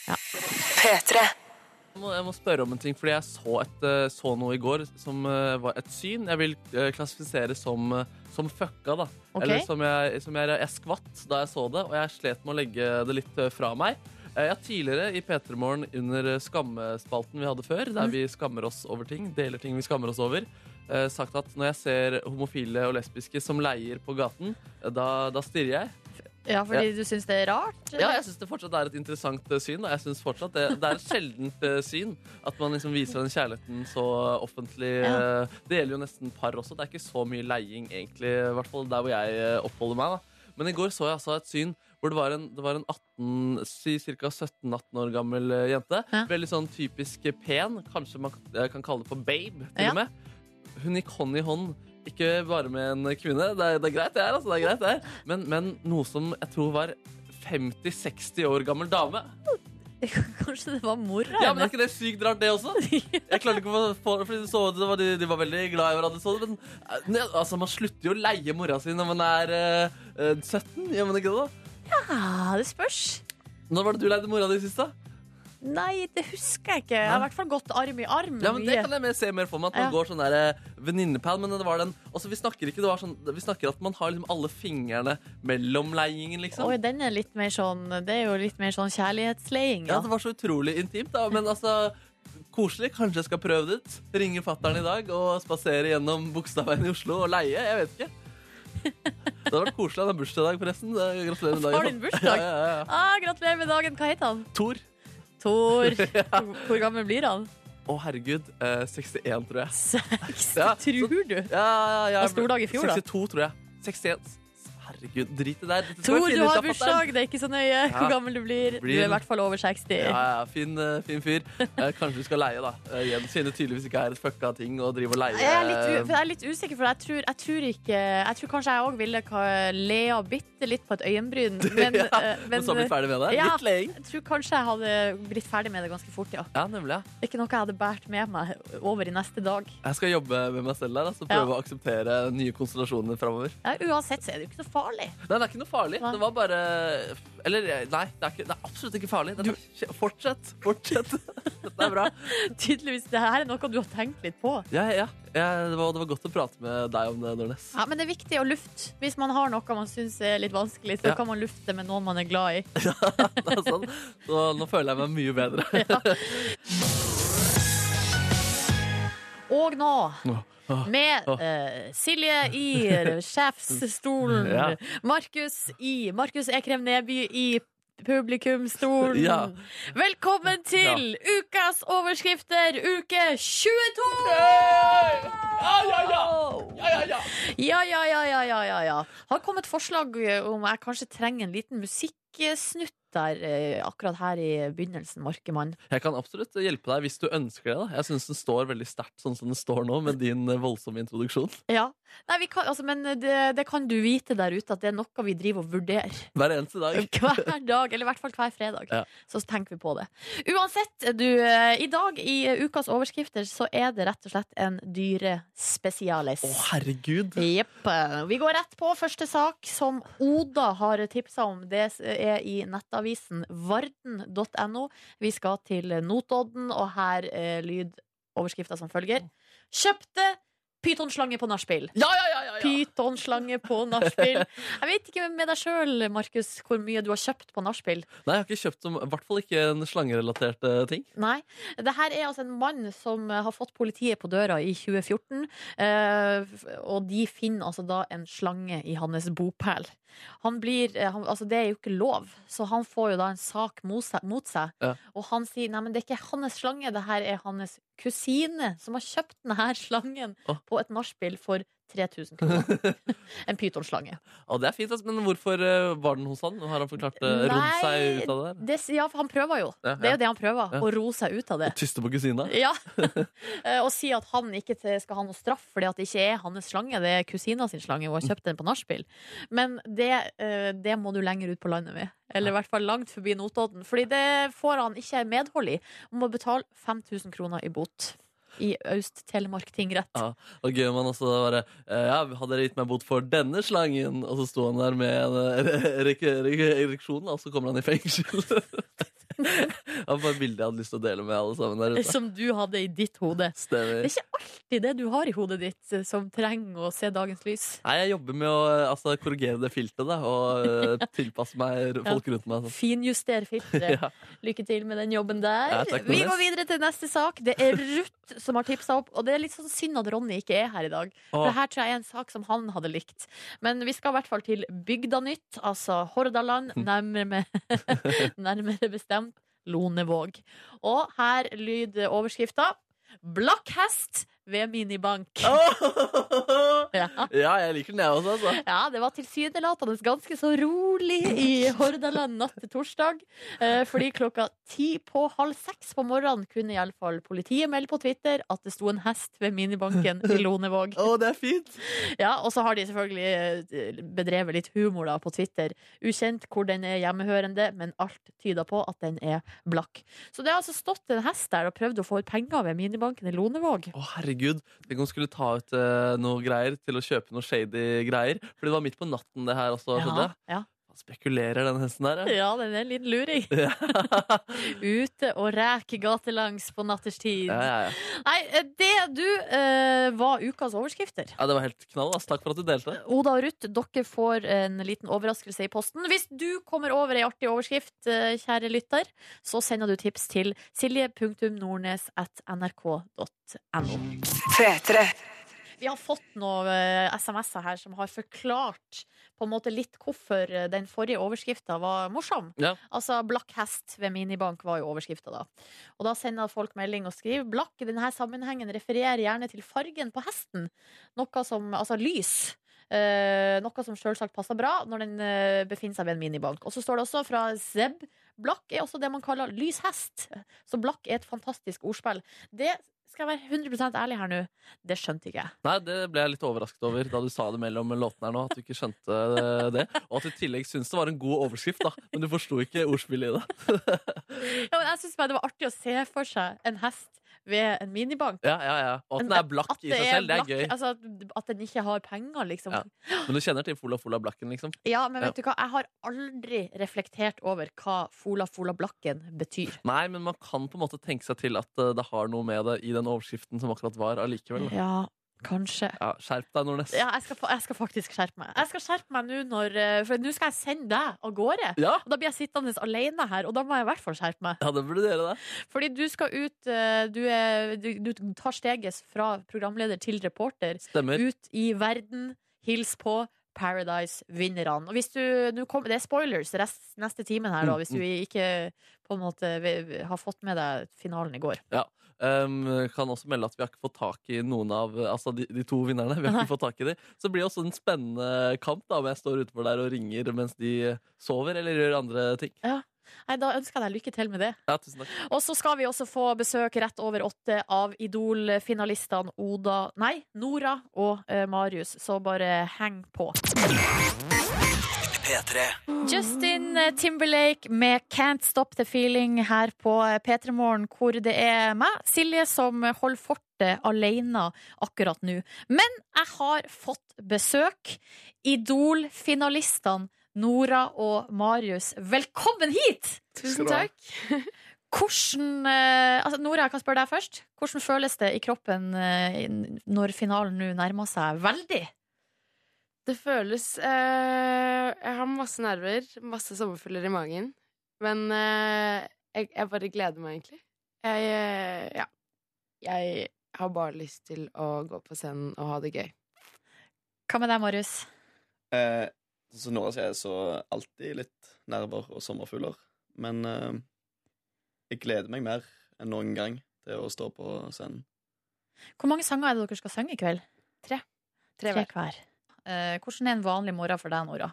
[SPEAKER 3] Jeg, må, jeg må spørre om en ting, fordi jeg så, et, eh, så noe i går som eh, var et syn jeg vil eh, klassifisere som, eh, som fucka. da.
[SPEAKER 2] Ok.
[SPEAKER 3] Eller som jeg, som jeg, jeg skvatt da jeg så det, og jeg slet med å legge det litt eh, fra meg. Eh, Jeg har tidligere i P3 Morgen under eh, skammespalten vi hadde før, der vi skammer oss over ting, deler ting vi skammer oss over, eh, sagt at når jeg ser homofile og lesbiske som leier på gaten, eh, da, da stirrer jeg.
[SPEAKER 2] Ja, fordi du syns det er rart?
[SPEAKER 3] Ja, jeg syns det fortsatt er et interessant eh, syn. Og jeg synes fortsatt det, det er et sjeldent eh, syn at man liksom viser den kjærligheten så offentlig.
[SPEAKER 2] Ja.
[SPEAKER 3] eh, Det gjelder jo nesten par også. Det er ikke så mye leiing, egentlig. I hvert fall der hvor jeg eh, oppholder meg. da Men i går så jeg altså et syn hvor det var en, det var en 18, si ca. 17-18 år gammel eh, jente.
[SPEAKER 2] Ja.
[SPEAKER 3] Veldig sånn typisk eh, pen. Kanskje man k- eh, kan kalle det for babe, til
[SPEAKER 2] Ja.
[SPEAKER 3] og med. Hun gikk hånd i hånd. Ikke bare med en kvinne. Det er, det er greit, det her. Altså, det er greit, det her. Men, men noe som jeg tror var 50-60 år gammel dame.
[SPEAKER 2] Kanskje det var mora
[SPEAKER 3] Ja, men Er
[SPEAKER 2] hennes?
[SPEAKER 3] ikke det sykt rart, det også? Jeg klarte ikke å få for de, så, det var, de, de var veldig glad i hverandre. Så, det, men eh, ne, altså, man slutter jo å leie mora si når man er eh, eh, 17. Gjør man ikke det? da?
[SPEAKER 2] Ja, Ah, det spørs.
[SPEAKER 3] Når var det du leide mora di sist, da?
[SPEAKER 2] Nei, det husker jeg ikke. Jeg har i hvert fall gått arm i arm.
[SPEAKER 3] Ja, men Det
[SPEAKER 2] mye.
[SPEAKER 3] kan jeg mer se mer for meg. At man
[SPEAKER 2] Ja.
[SPEAKER 3] går sånn der eh, venninnepal. Men det var den Også, Vi snakker ikke det var sånn Vi snakker at man har liksom alle fingrene mellom leiingen, liksom.
[SPEAKER 2] Oi, den er litt mer sånn Det er jo litt mer sånn kjærlighetsleiing.
[SPEAKER 3] Ja,
[SPEAKER 2] Ja.
[SPEAKER 3] det var så utrolig intimt, da. Men altså, koselig. Kanskje jeg skal prøve det ut. Ringe fattern i dag og spasere gjennom Bogstadveien i Oslo og leie. Jeg vet ikke. Det hadde vært koselig. Han har bursdag i dag, forresten. Det- Gratulerer med dagen.
[SPEAKER 2] Far din bursdag?
[SPEAKER 3] Ja, ja, ja.
[SPEAKER 2] Ah, gratulerer med dagen. Hva heter han?
[SPEAKER 3] Tor.
[SPEAKER 2] Tor. Hvor gammel blir han?
[SPEAKER 3] Å, herregud. Eh, 61, tror jeg.
[SPEAKER 2] Seks,
[SPEAKER 3] Ja, så-
[SPEAKER 2] tror du?
[SPEAKER 3] Ja, ja, ja.
[SPEAKER 2] Og stor dag i fjor, da.
[SPEAKER 3] 62, tror jeg. 61. Herregud, drit i det der. Dette skal
[SPEAKER 2] Tor,
[SPEAKER 3] jeg
[SPEAKER 2] du
[SPEAKER 3] finne ut
[SPEAKER 2] har
[SPEAKER 3] av, fatteren.
[SPEAKER 2] bursdag. Det er ikke så nøye hvor gammel du blir. Du
[SPEAKER 3] Blir-
[SPEAKER 2] er i hvert fall over 60.
[SPEAKER 3] Ja, ja, fin, eh, fin fyr. Eh, kanskje du skal leie, da. Eh, igjen, siden det tydeligvis ikke er et fucka ting å drive og leie. eh,
[SPEAKER 2] Jeg er, litt u for jeg er litt usikker, for jeg tror, jeg tror ikke Jeg tror kanskje jeg òg ville ka- le av bitte litt på et øyenbryn, men,
[SPEAKER 3] Ja,
[SPEAKER 2] eh,
[SPEAKER 3] Men så blir vi ferdig med det.
[SPEAKER 2] Ja.
[SPEAKER 3] Litt leing.
[SPEAKER 2] jeg tror kanskje jeg hadde blitt ferdig med det ganske fort, ja.
[SPEAKER 3] Ja, nemlig. ja.
[SPEAKER 2] Det er ikke noe jeg hadde båret med meg over i neste dag.
[SPEAKER 3] Jeg skal jobbe med meg selv der, altså prøve å akseptere nye konstellasjoner framover.
[SPEAKER 2] Ja, uansett så er det jo ikke så farlig.
[SPEAKER 3] Nei, det er ikke noe farlig.
[SPEAKER 2] Nei.
[SPEAKER 3] Det var bare Eller nei, det er, ikke, det er absolutt ikke farlig. Det er, kje- Fortsett. Fortsett. Dette er bra.
[SPEAKER 2] Tydeligvis, det her er noe du har tenkt litt på.
[SPEAKER 3] Ja, ja. ja, det, var, det var godt å prate med deg om det, Nordnes.
[SPEAKER 2] Ja, Men det er viktig å lufte. Hvis man har noe man syns er litt vanskelig, så
[SPEAKER 3] Ja.
[SPEAKER 2] kan man lufte det med noen man er glad i.
[SPEAKER 3] Det er sånn. Så nå føler jeg meg mye bedre.
[SPEAKER 2] Og nå,
[SPEAKER 3] Åh.
[SPEAKER 2] med
[SPEAKER 3] Åh.
[SPEAKER 2] eh, Silje i eh, sjefsstolen,
[SPEAKER 3] Ja.
[SPEAKER 2] Markus i Markus Ekrem Neby i publikumsstolen.
[SPEAKER 3] Ja.
[SPEAKER 2] Velkommen til ukas overskrifter, uke 22! Ja, ja, ja, ja, ja, ja, ja. Har kommet forslag om jeg kanskje trenger en liten musikksnutt der, eh, akkurat her i begynnelsen, Markemann.
[SPEAKER 3] Jeg kan absolutt hjelpe deg hvis du ønsker det. da Jeg syns den står veldig sterkt sånn som den står nå, med din eh, voldsomme introduksjon.
[SPEAKER 2] Ja. Nei, vi kan, altså, men det, det kan du vite der ute, at det er noe vi driver og vurderer.
[SPEAKER 3] Hver eneste dag.
[SPEAKER 2] Hver dag, eller i hvert fall hver fredag.
[SPEAKER 3] Ja.
[SPEAKER 2] Så tenker vi på det. Uansett, du, eh, i dag i eh, ukas overskrifter så er det rett og slett en dyrespesialis.
[SPEAKER 3] Å, herregud.
[SPEAKER 2] Jepp. eh, Vi går rett på første sak som Oda har tipsa om. Det er i nettavisen varden.no. Vi skal til Notodden, og her er lydoverskrifta som følger. Kjøpte pytonslange på nachspiel.
[SPEAKER 3] Ja, ja, ja, ja, ja.
[SPEAKER 2] Pytonslange på nachspiel. Jeg vet ikke med deg sjøl, Markus, hvor mye du har kjøpt på nachspiel.
[SPEAKER 3] Nei, jeg har ikke kjøpt som, i hvert fall ikke en slangerelatert eh, ting.
[SPEAKER 2] Nei. Det her er altså en mann som eh, har fått politiet på døra i 2014. eh, f- Og de finner altså da en slange i hans bopel. Han blir, eh, han, altså det er jo ikke lov, så han får jo da en sak mot seg. Mot seg.
[SPEAKER 3] Ja.
[SPEAKER 2] Og han sier nei, men det er ikke hans slange, det her er hans kusine som har kjøpt denne slangen
[SPEAKER 3] Å.
[SPEAKER 2] på et nachspiel for 3000 kroner. En pytonslange.
[SPEAKER 3] Og det er fint, altså, men hvorfor eh, var den hos han? Har han forklart det? Rodd seg ut av det? der?
[SPEAKER 2] det s- ja, for han prøver jo.
[SPEAKER 3] Ja,
[SPEAKER 2] Det er
[SPEAKER 3] ja.
[SPEAKER 2] jo det han prøver.
[SPEAKER 3] Ja.
[SPEAKER 2] Å roe seg ut av det.
[SPEAKER 3] Tyste på kusina?
[SPEAKER 2] Ja. Eh, Og si at han ikke til- skal ha noe straff fordi at det ikke er hans slange, det er kusina sin slange. Hun har kjøpt den på nachspiel. Men det, eh, det må du lenger ut på landet med. Eller i hvert fall langt forbi Notodden. Fordi det får han ikke medhold i. Han må betale 5000 kroner i bot. I Aust-Telemark tingrett.
[SPEAKER 3] Ja. Og gøy om han også bare eh, Ja, hadde dere gitt meg bot for denne slangen? Og så sto han der med en eh, erek- erek- ereksjon, og så kommer han i fengsel. Han får et bilde jeg hadde lyst til å dele med alle sammen der ute.
[SPEAKER 2] Som du hadde i ditt hode. Det er
[SPEAKER 3] Stemmer.
[SPEAKER 2] ikke alltid det du har i hodet ditt eh, som trenger å se dagens lys.
[SPEAKER 3] Nei, jeg jobber med å eh, altså, korrigere det filtet da, og eh, tilpasse meg r- folk rundt meg. altså.
[SPEAKER 2] Finjuster filteret.
[SPEAKER 3] Ja.
[SPEAKER 2] Lykke til med den jobben der.
[SPEAKER 3] Ja, takk for
[SPEAKER 2] Vi
[SPEAKER 3] det.
[SPEAKER 2] går videre til neste sak. Det er Ruth som har tipsa opp. Og det er litt sånn synd at Ronny ikke er her i dag. For det
[SPEAKER 3] Åh,
[SPEAKER 2] her tror jeg er en sak som han hadde likt. Men vi skal i hvert fall til Bygdanytt, altså Hordaland,
[SPEAKER 3] Hm.
[SPEAKER 2] nærmere, med, nærmere bestemt Lonevåg. Og her lyder overskrifta Blakkhest ved minibank. Ja.
[SPEAKER 3] ja, jeg liker den jeg også, altså.
[SPEAKER 2] Ja, det var tilsynelatende ganske så rolig i Hordaland natt til torsdag. Eh, fordi klokka ti på halv seks på morgenen kunne iallfall politiet melde på Twitter at det sto en hest ved minibanken i Lonevåg.
[SPEAKER 3] Å, det er fint!
[SPEAKER 2] Ja, og så har de selvfølgelig eh, bedrevet litt humor da på Twitter. Ukjent hvor den er hjemmehørende, men alt tyder på at den er blakk. Så det har altså stått en hest der og prøvd å få ut penger ved minibanken i Lonevåg.
[SPEAKER 3] Å, herregud. Tenk om hun skulle ta ut eh, noe greier til å kjøpe noe shady greier. Fordi det var midt på natten, det her også. skjønte
[SPEAKER 2] Ja,
[SPEAKER 3] jeg.
[SPEAKER 2] ja.
[SPEAKER 3] Han spekulerer, den hesten der. ja.
[SPEAKER 2] ja, den er en liten luring.
[SPEAKER 3] Ja.
[SPEAKER 2] Ute og reker gatelangs på natterstid.
[SPEAKER 3] ja, ja, ja.
[SPEAKER 2] Nei, det du eh, var ukas overskrifter.
[SPEAKER 3] ja, det var helt knall. Ass. Takk for at du delte.
[SPEAKER 2] Oda og Ruth, dere får en liten overraskelse i posten. Hvis du kommer over ei artig overskrift, eh, kjære lytter, så sender du tips til silje.nordnes.nrk.no. Vi har fått noen eh, SMS-er her som har forklart på en måte litt hvorfor eh, den forrige overskrifta var morsom.
[SPEAKER 3] Ja.
[SPEAKER 2] Altså 'Blakk hest ved minibank' var jo overskrifta da. Og da sender folk melding og skriver 'Blakk' i denne sammenhengen refererer gjerne til fargen på hesten. Noe som, altså lys. Eh, noe som selvsagt passer bra når den eh, befinner seg ved en minibank. Og så står det også fra Zeb Blakk er også det man kaller lys hest. Så blakk er et fantastisk ordspill. Det skal jeg være 100 ærlig her nå. Det skjønte ikke jeg.
[SPEAKER 3] Nei, Det ble jeg litt overrasket over da du sa det mellom låtene her nå. At du ikke skjønte eh, det. Og at du i tillegg syntes det var en god overskrift, da. Men du forsto ikke ordspillet i det.
[SPEAKER 2] Ja, men jeg synes bare det var artig å se for seg en hest ved en minibank.
[SPEAKER 3] Ja, ja, ja. Og at den er blakk i seg selv. Det er gøy.
[SPEAKER 2] Altså, at- at den ikke har penger, liksom. Ja,
[SPEAKER 3] Ja. Men du kjenner til Fola Fola Blakken, liksom.
[SPEAKER 2] men vet du hva? Jeg har aldri reflektert over hva Fola Fola Blakken betyr.
[SPEAKER 3] Nei, men man kan på en måte tenke seg til at eh, det har noe med det i den overskriften som akkurat var, allikevel. da.
[SPEAKER 2] Ja, kanskje.
[SPEAKER 3] Ja, skjerp deg, Nordnes.
[SPEAKER 2] Ja, jeg skal, fa- jeg skal faktisk skjerpe meg. Jeg skal skjerpe meg nå når eh, For nå skal jeg sende deg av gårde.
[SPEAKER 3] Ja,
[SPEAKER 2] Og Da blir jeg sittende alene her, og da må jeg i hvert fall skjerpe meg.
[SPEAKER 3] ja det burde dere det.
[SPEAKER 2] Fordi du skal ut eh, Du, er, du, du tar steget fra programleder til reporter.
[SPEAKER 3] Stemmer.
[SPEAKER 2] Ut i verden, hils på Paradise-vinnerne. Og hvis du, nå kom, Det er spoilers rest, neste timen her, da, hvis du ikke på en måte vi- har fått med deg finalen i går.
[SPEAKER 3] Um, kan også melde at vi har ikke fått tak i noen av Altså de, de to vinnerne. Vi har ikke fått tak i de. Så det blir også en spennende kamp da om jeg står utenfor der og ringer mens de sover eller gjør andre ting.
[SPEAKER 2] Nei, Da ønsker jeg deg lykke til med det.
[SPEAKER 3] Ja, tusen takk.
[SPEAKER 2] Og så skal vi også få besøk rett over åtte av Idol-finalistene Oda Nei, Nora og eh, Marius, så bare heng på. Justin eh, Timberlake med Can't Stop The Feeling her på P3 Morgen, hvor det er meg, Silje, som holder fortet alene akkurat nå. Men jeg har fått besøk. Idol-finalistene Nora og Marius, velkommen hit!
[SPEAKER 8] Tusen takk.
[SPEAKER 2] Hvordan, eh, altså Nora, jeg kan spørre deg først. Hvordan føles det i kroppen eh, når finalen nå nærmer seg veldig?
[SPEAKER 8] Det føles eh, Jeg har masse nerver, masse sommerfugler i magen. Men eh, jeg, jeg bare gleder meg, egentlig. Jeg eh, Ja. Jeg har bare lyst til å gå på scenen og ha det gøy.
[SPEAKER 2] Hva med deg, Marius?
[SPEAKER 9] Eh, så Nora sier jeg så alltid litt nerver og sommerfugler. Men eh, jeg gleder meg mer enn noen gang til å stå på scenen.
[SPEAKER 2] Hvor mange sanger er det dere skal synge i kveld?
[SPEAKER 8] Tre.
[SPEAKER 1] Tre
[SPEAKER 2] Tre
[SPEAKER 1] hver.
[SPEAKER 2] hver. Eh, hvordan er en vanlig morgen for deg, Nora?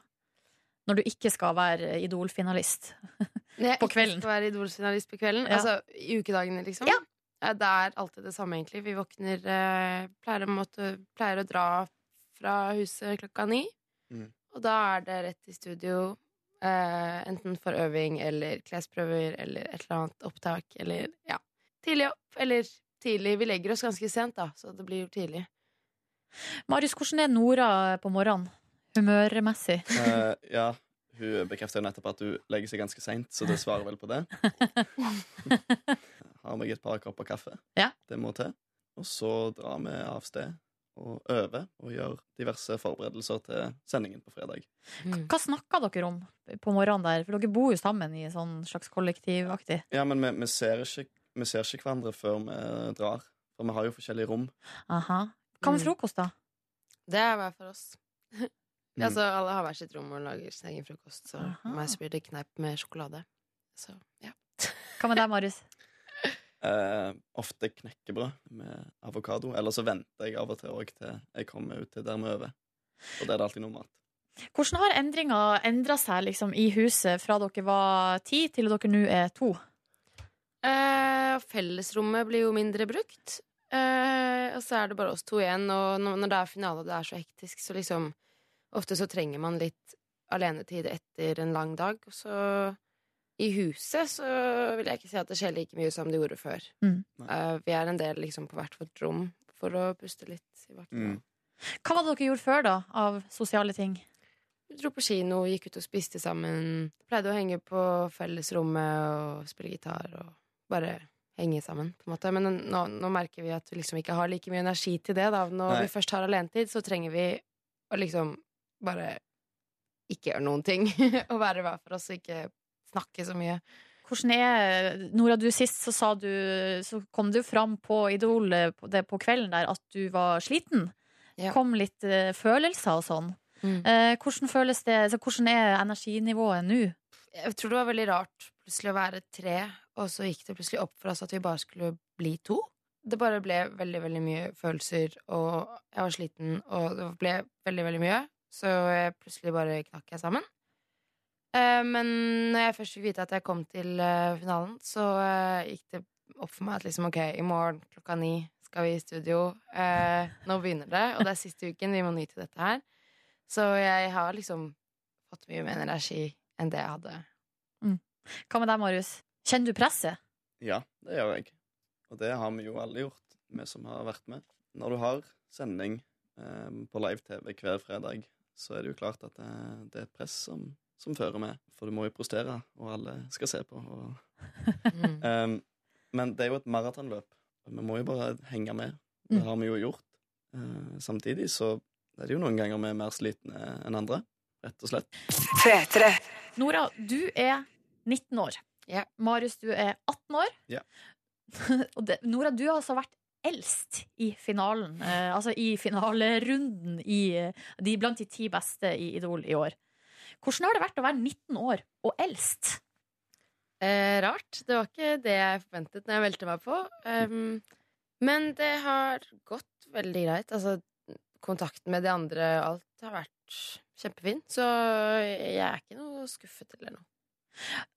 [SPEAKER 2] Når du ikke skal være Idol-finalist?
[SPEAKER 1] Når jeg
[SPEAKER 2] På
[SPEAKER 1] ikke
[SPEAKER 2] kvelden.
[SPEAKER 1] skal være Idol-finalist på kvelden.
[SPEAKER 2] Ja.
[SPEAKER 1] Altså i ukedagene, liksom. Eh, Det er alltid det samme, egentlig. Vi våkner eh, pleier, å måtte, pleier å dra fra huset klokka ni.
[SPEAKER 4] Mm.
[SPEAKER 1] Og da er det rett i studio. Eh, enten for øving eller klesprøver eller et eller annet opptak eller ja. Tidlig opp eller tidlig. Vi legger oss ganske sent, da, så det blir jo tidlig.
[SPEAKER 2] Marius, hvordan er Nora på morgenen? Humørmessig?
[SPEAKER 4] Eh, ja, hun bekrefter jo nettopp at hun legger seg ganske seint, så det svarer vel på det. Har meg et par kopper kaffe.
[SPEAKER 2] Ja.
[SPEAKER 4] Det må til. Og så drar vi av sted og øver og gjør diverse forberedelser til sendingen på fredag.
[SPEAKER 1] Mm.
[SPEAKER 2] Hva snakker dere om på morgenen der? For dere bor jo sammen i sånn slags kollektivaktig.
[SPEAKER 4] Ja, men vi, vi, ser ikke, vi ser ikke hverandre før vi drar. For vi har jo forskjellige rom.
[SPEAKER 2] Aha. Hva med
[SPEAKER 1] Mm.
[SPEAKER 2] frokost, da?
[SPEAKER 1] Det er hver for oss.
[SPEAKER 4] Mm.
[SPEAKER 1] altså, alle har hver sitt rom og lager sin egen frokost. Så
[SPEAKER 2] Aha.
[SPEAKER 1] for meg så blir det kneip med sjokolade. Så, ja.
[SPEAKER 2] Hva med deg, Marius?
[SPEAKER 4] Eh, ofte knekkebrød med avokado. Eller så venter jeg av og til òg til jeg kommer ut til der vi øver. Og der er det alltid noe mat.
[SPEAKER 2] Hvordan har endringa endra seg liksom, i huset fra dere var ti til dere nå er to?
[SPEAKER 1] Eh, og fellesrommet blir jo mindre brukt. Eh, og så er det bare oss to igjen. Og når, når det er finale og det er så hektisk, så liksom Ofte så trenger man litt alenetid etter en lang dag. Og så i huset så vil jeg ikke si at det skjer like mye som det gjorde før.
[SPEAKER 2] Mm.
[SPEAKER 1] Eh, vi er en del liksom på hvert vårt rom for å puste litt i bakken.
[SPEAKER 4] Mm.
[SPEAKER 2] Hva var det dere gjorde før, da, av sosiale ting?
[SPEAKER 1] Vi dro på kino, gikk ut og spiste sammen. Pleide å henge på fellesrommet og spille gitar og bare henge sammen. på en måte. Men nå, nå merker vi at vi liksom ikke har like mye energi til det. da. Når
[SPEAKER 4] Nei.
[SPEAKER 1] vi først har alenetid, så trenger vi å liksom bare ikke gjøre noen ting. og være hver for oss og ikke snakke så mye.
[SPEAKER 2] Hvordan er Nora, du sist så sa du Så kom du fram på Idol eh, på- det på kvelden der at du var sliten.
[SPEAKER 1] Ja.
[SPEAKER 2] Kom litt eh, følelser og sånn.
[SPEAKER 1] Mm.
[SPEAKER 2] Eh, hvordan føles det altså, Hvordan er energinivået nå?
[SPEAKER 1] Jeg tror det var veldig rart plutselig å være tre, og så gikk det plutselig opp for oss at vi bare skulle bli to. Det bare ble veldig, veldig mye følelser, og jeg var sliten, og det ble veldig, veldig mye. Så jeg plutselig bare knakk jeg sammen. Eh, Men når jeg først fikk vite at jeg kom til eh, finalen, så eh, gikk det opp for meg at liksom, ok, i morgen klokka ni skal vi i studio. Eh, nå begynner det, og det er siste uken, vi må nyte dette her. Så jeg har liksom fått mye mer energi enn det jeg hadde
[SPEAKER 2] Hva med deg, Marius? Kjenner du presset?
[SPEAKER 4] Ja, det gjør jeg. Og det har vi jo alle gjort, vi som har vært med. Når du har sending eh, på live-TV hver fredag, så er det jo klart at det, det er et press som, som fører med. For du må jo prestere, og alle skal se på. Og,
[SPEAKER 1] Mm.
[SPEAKER 4] Ehm, men det er jo et maratonløp. Vi må jo bare henge med. Det
[SPEAKER 2] Mm.
[SPEAKER 4] har vi jo gjort. Eh, samtidig så er det jo noen ganger vi er mer slitne enn andre. Rett og slett.
[SPEAKER 2] Nora, du er 19 år.
[SPEAKER 1] Ja.
[SPEAKER 2] Marius, du er 18 år.
[SPEAKER 4] Ja.
[SPEAKER 2] og det, Nora, du har altså vært eldst i finalen. Eh, altså i finalerunden i, eh, de, blant de ti beste i Idol i år. Hvordan har det vært å være 19 år og eldst?
[SPEAKER 1] Eh, rart. Det var ikke det jeg forventet når jeg meldte meg på. Um, men det har gått veldig greit. Altså, kontakten med de andre og alt har vært kjempefin. Så jeg er ikke noe skuffet eller noe.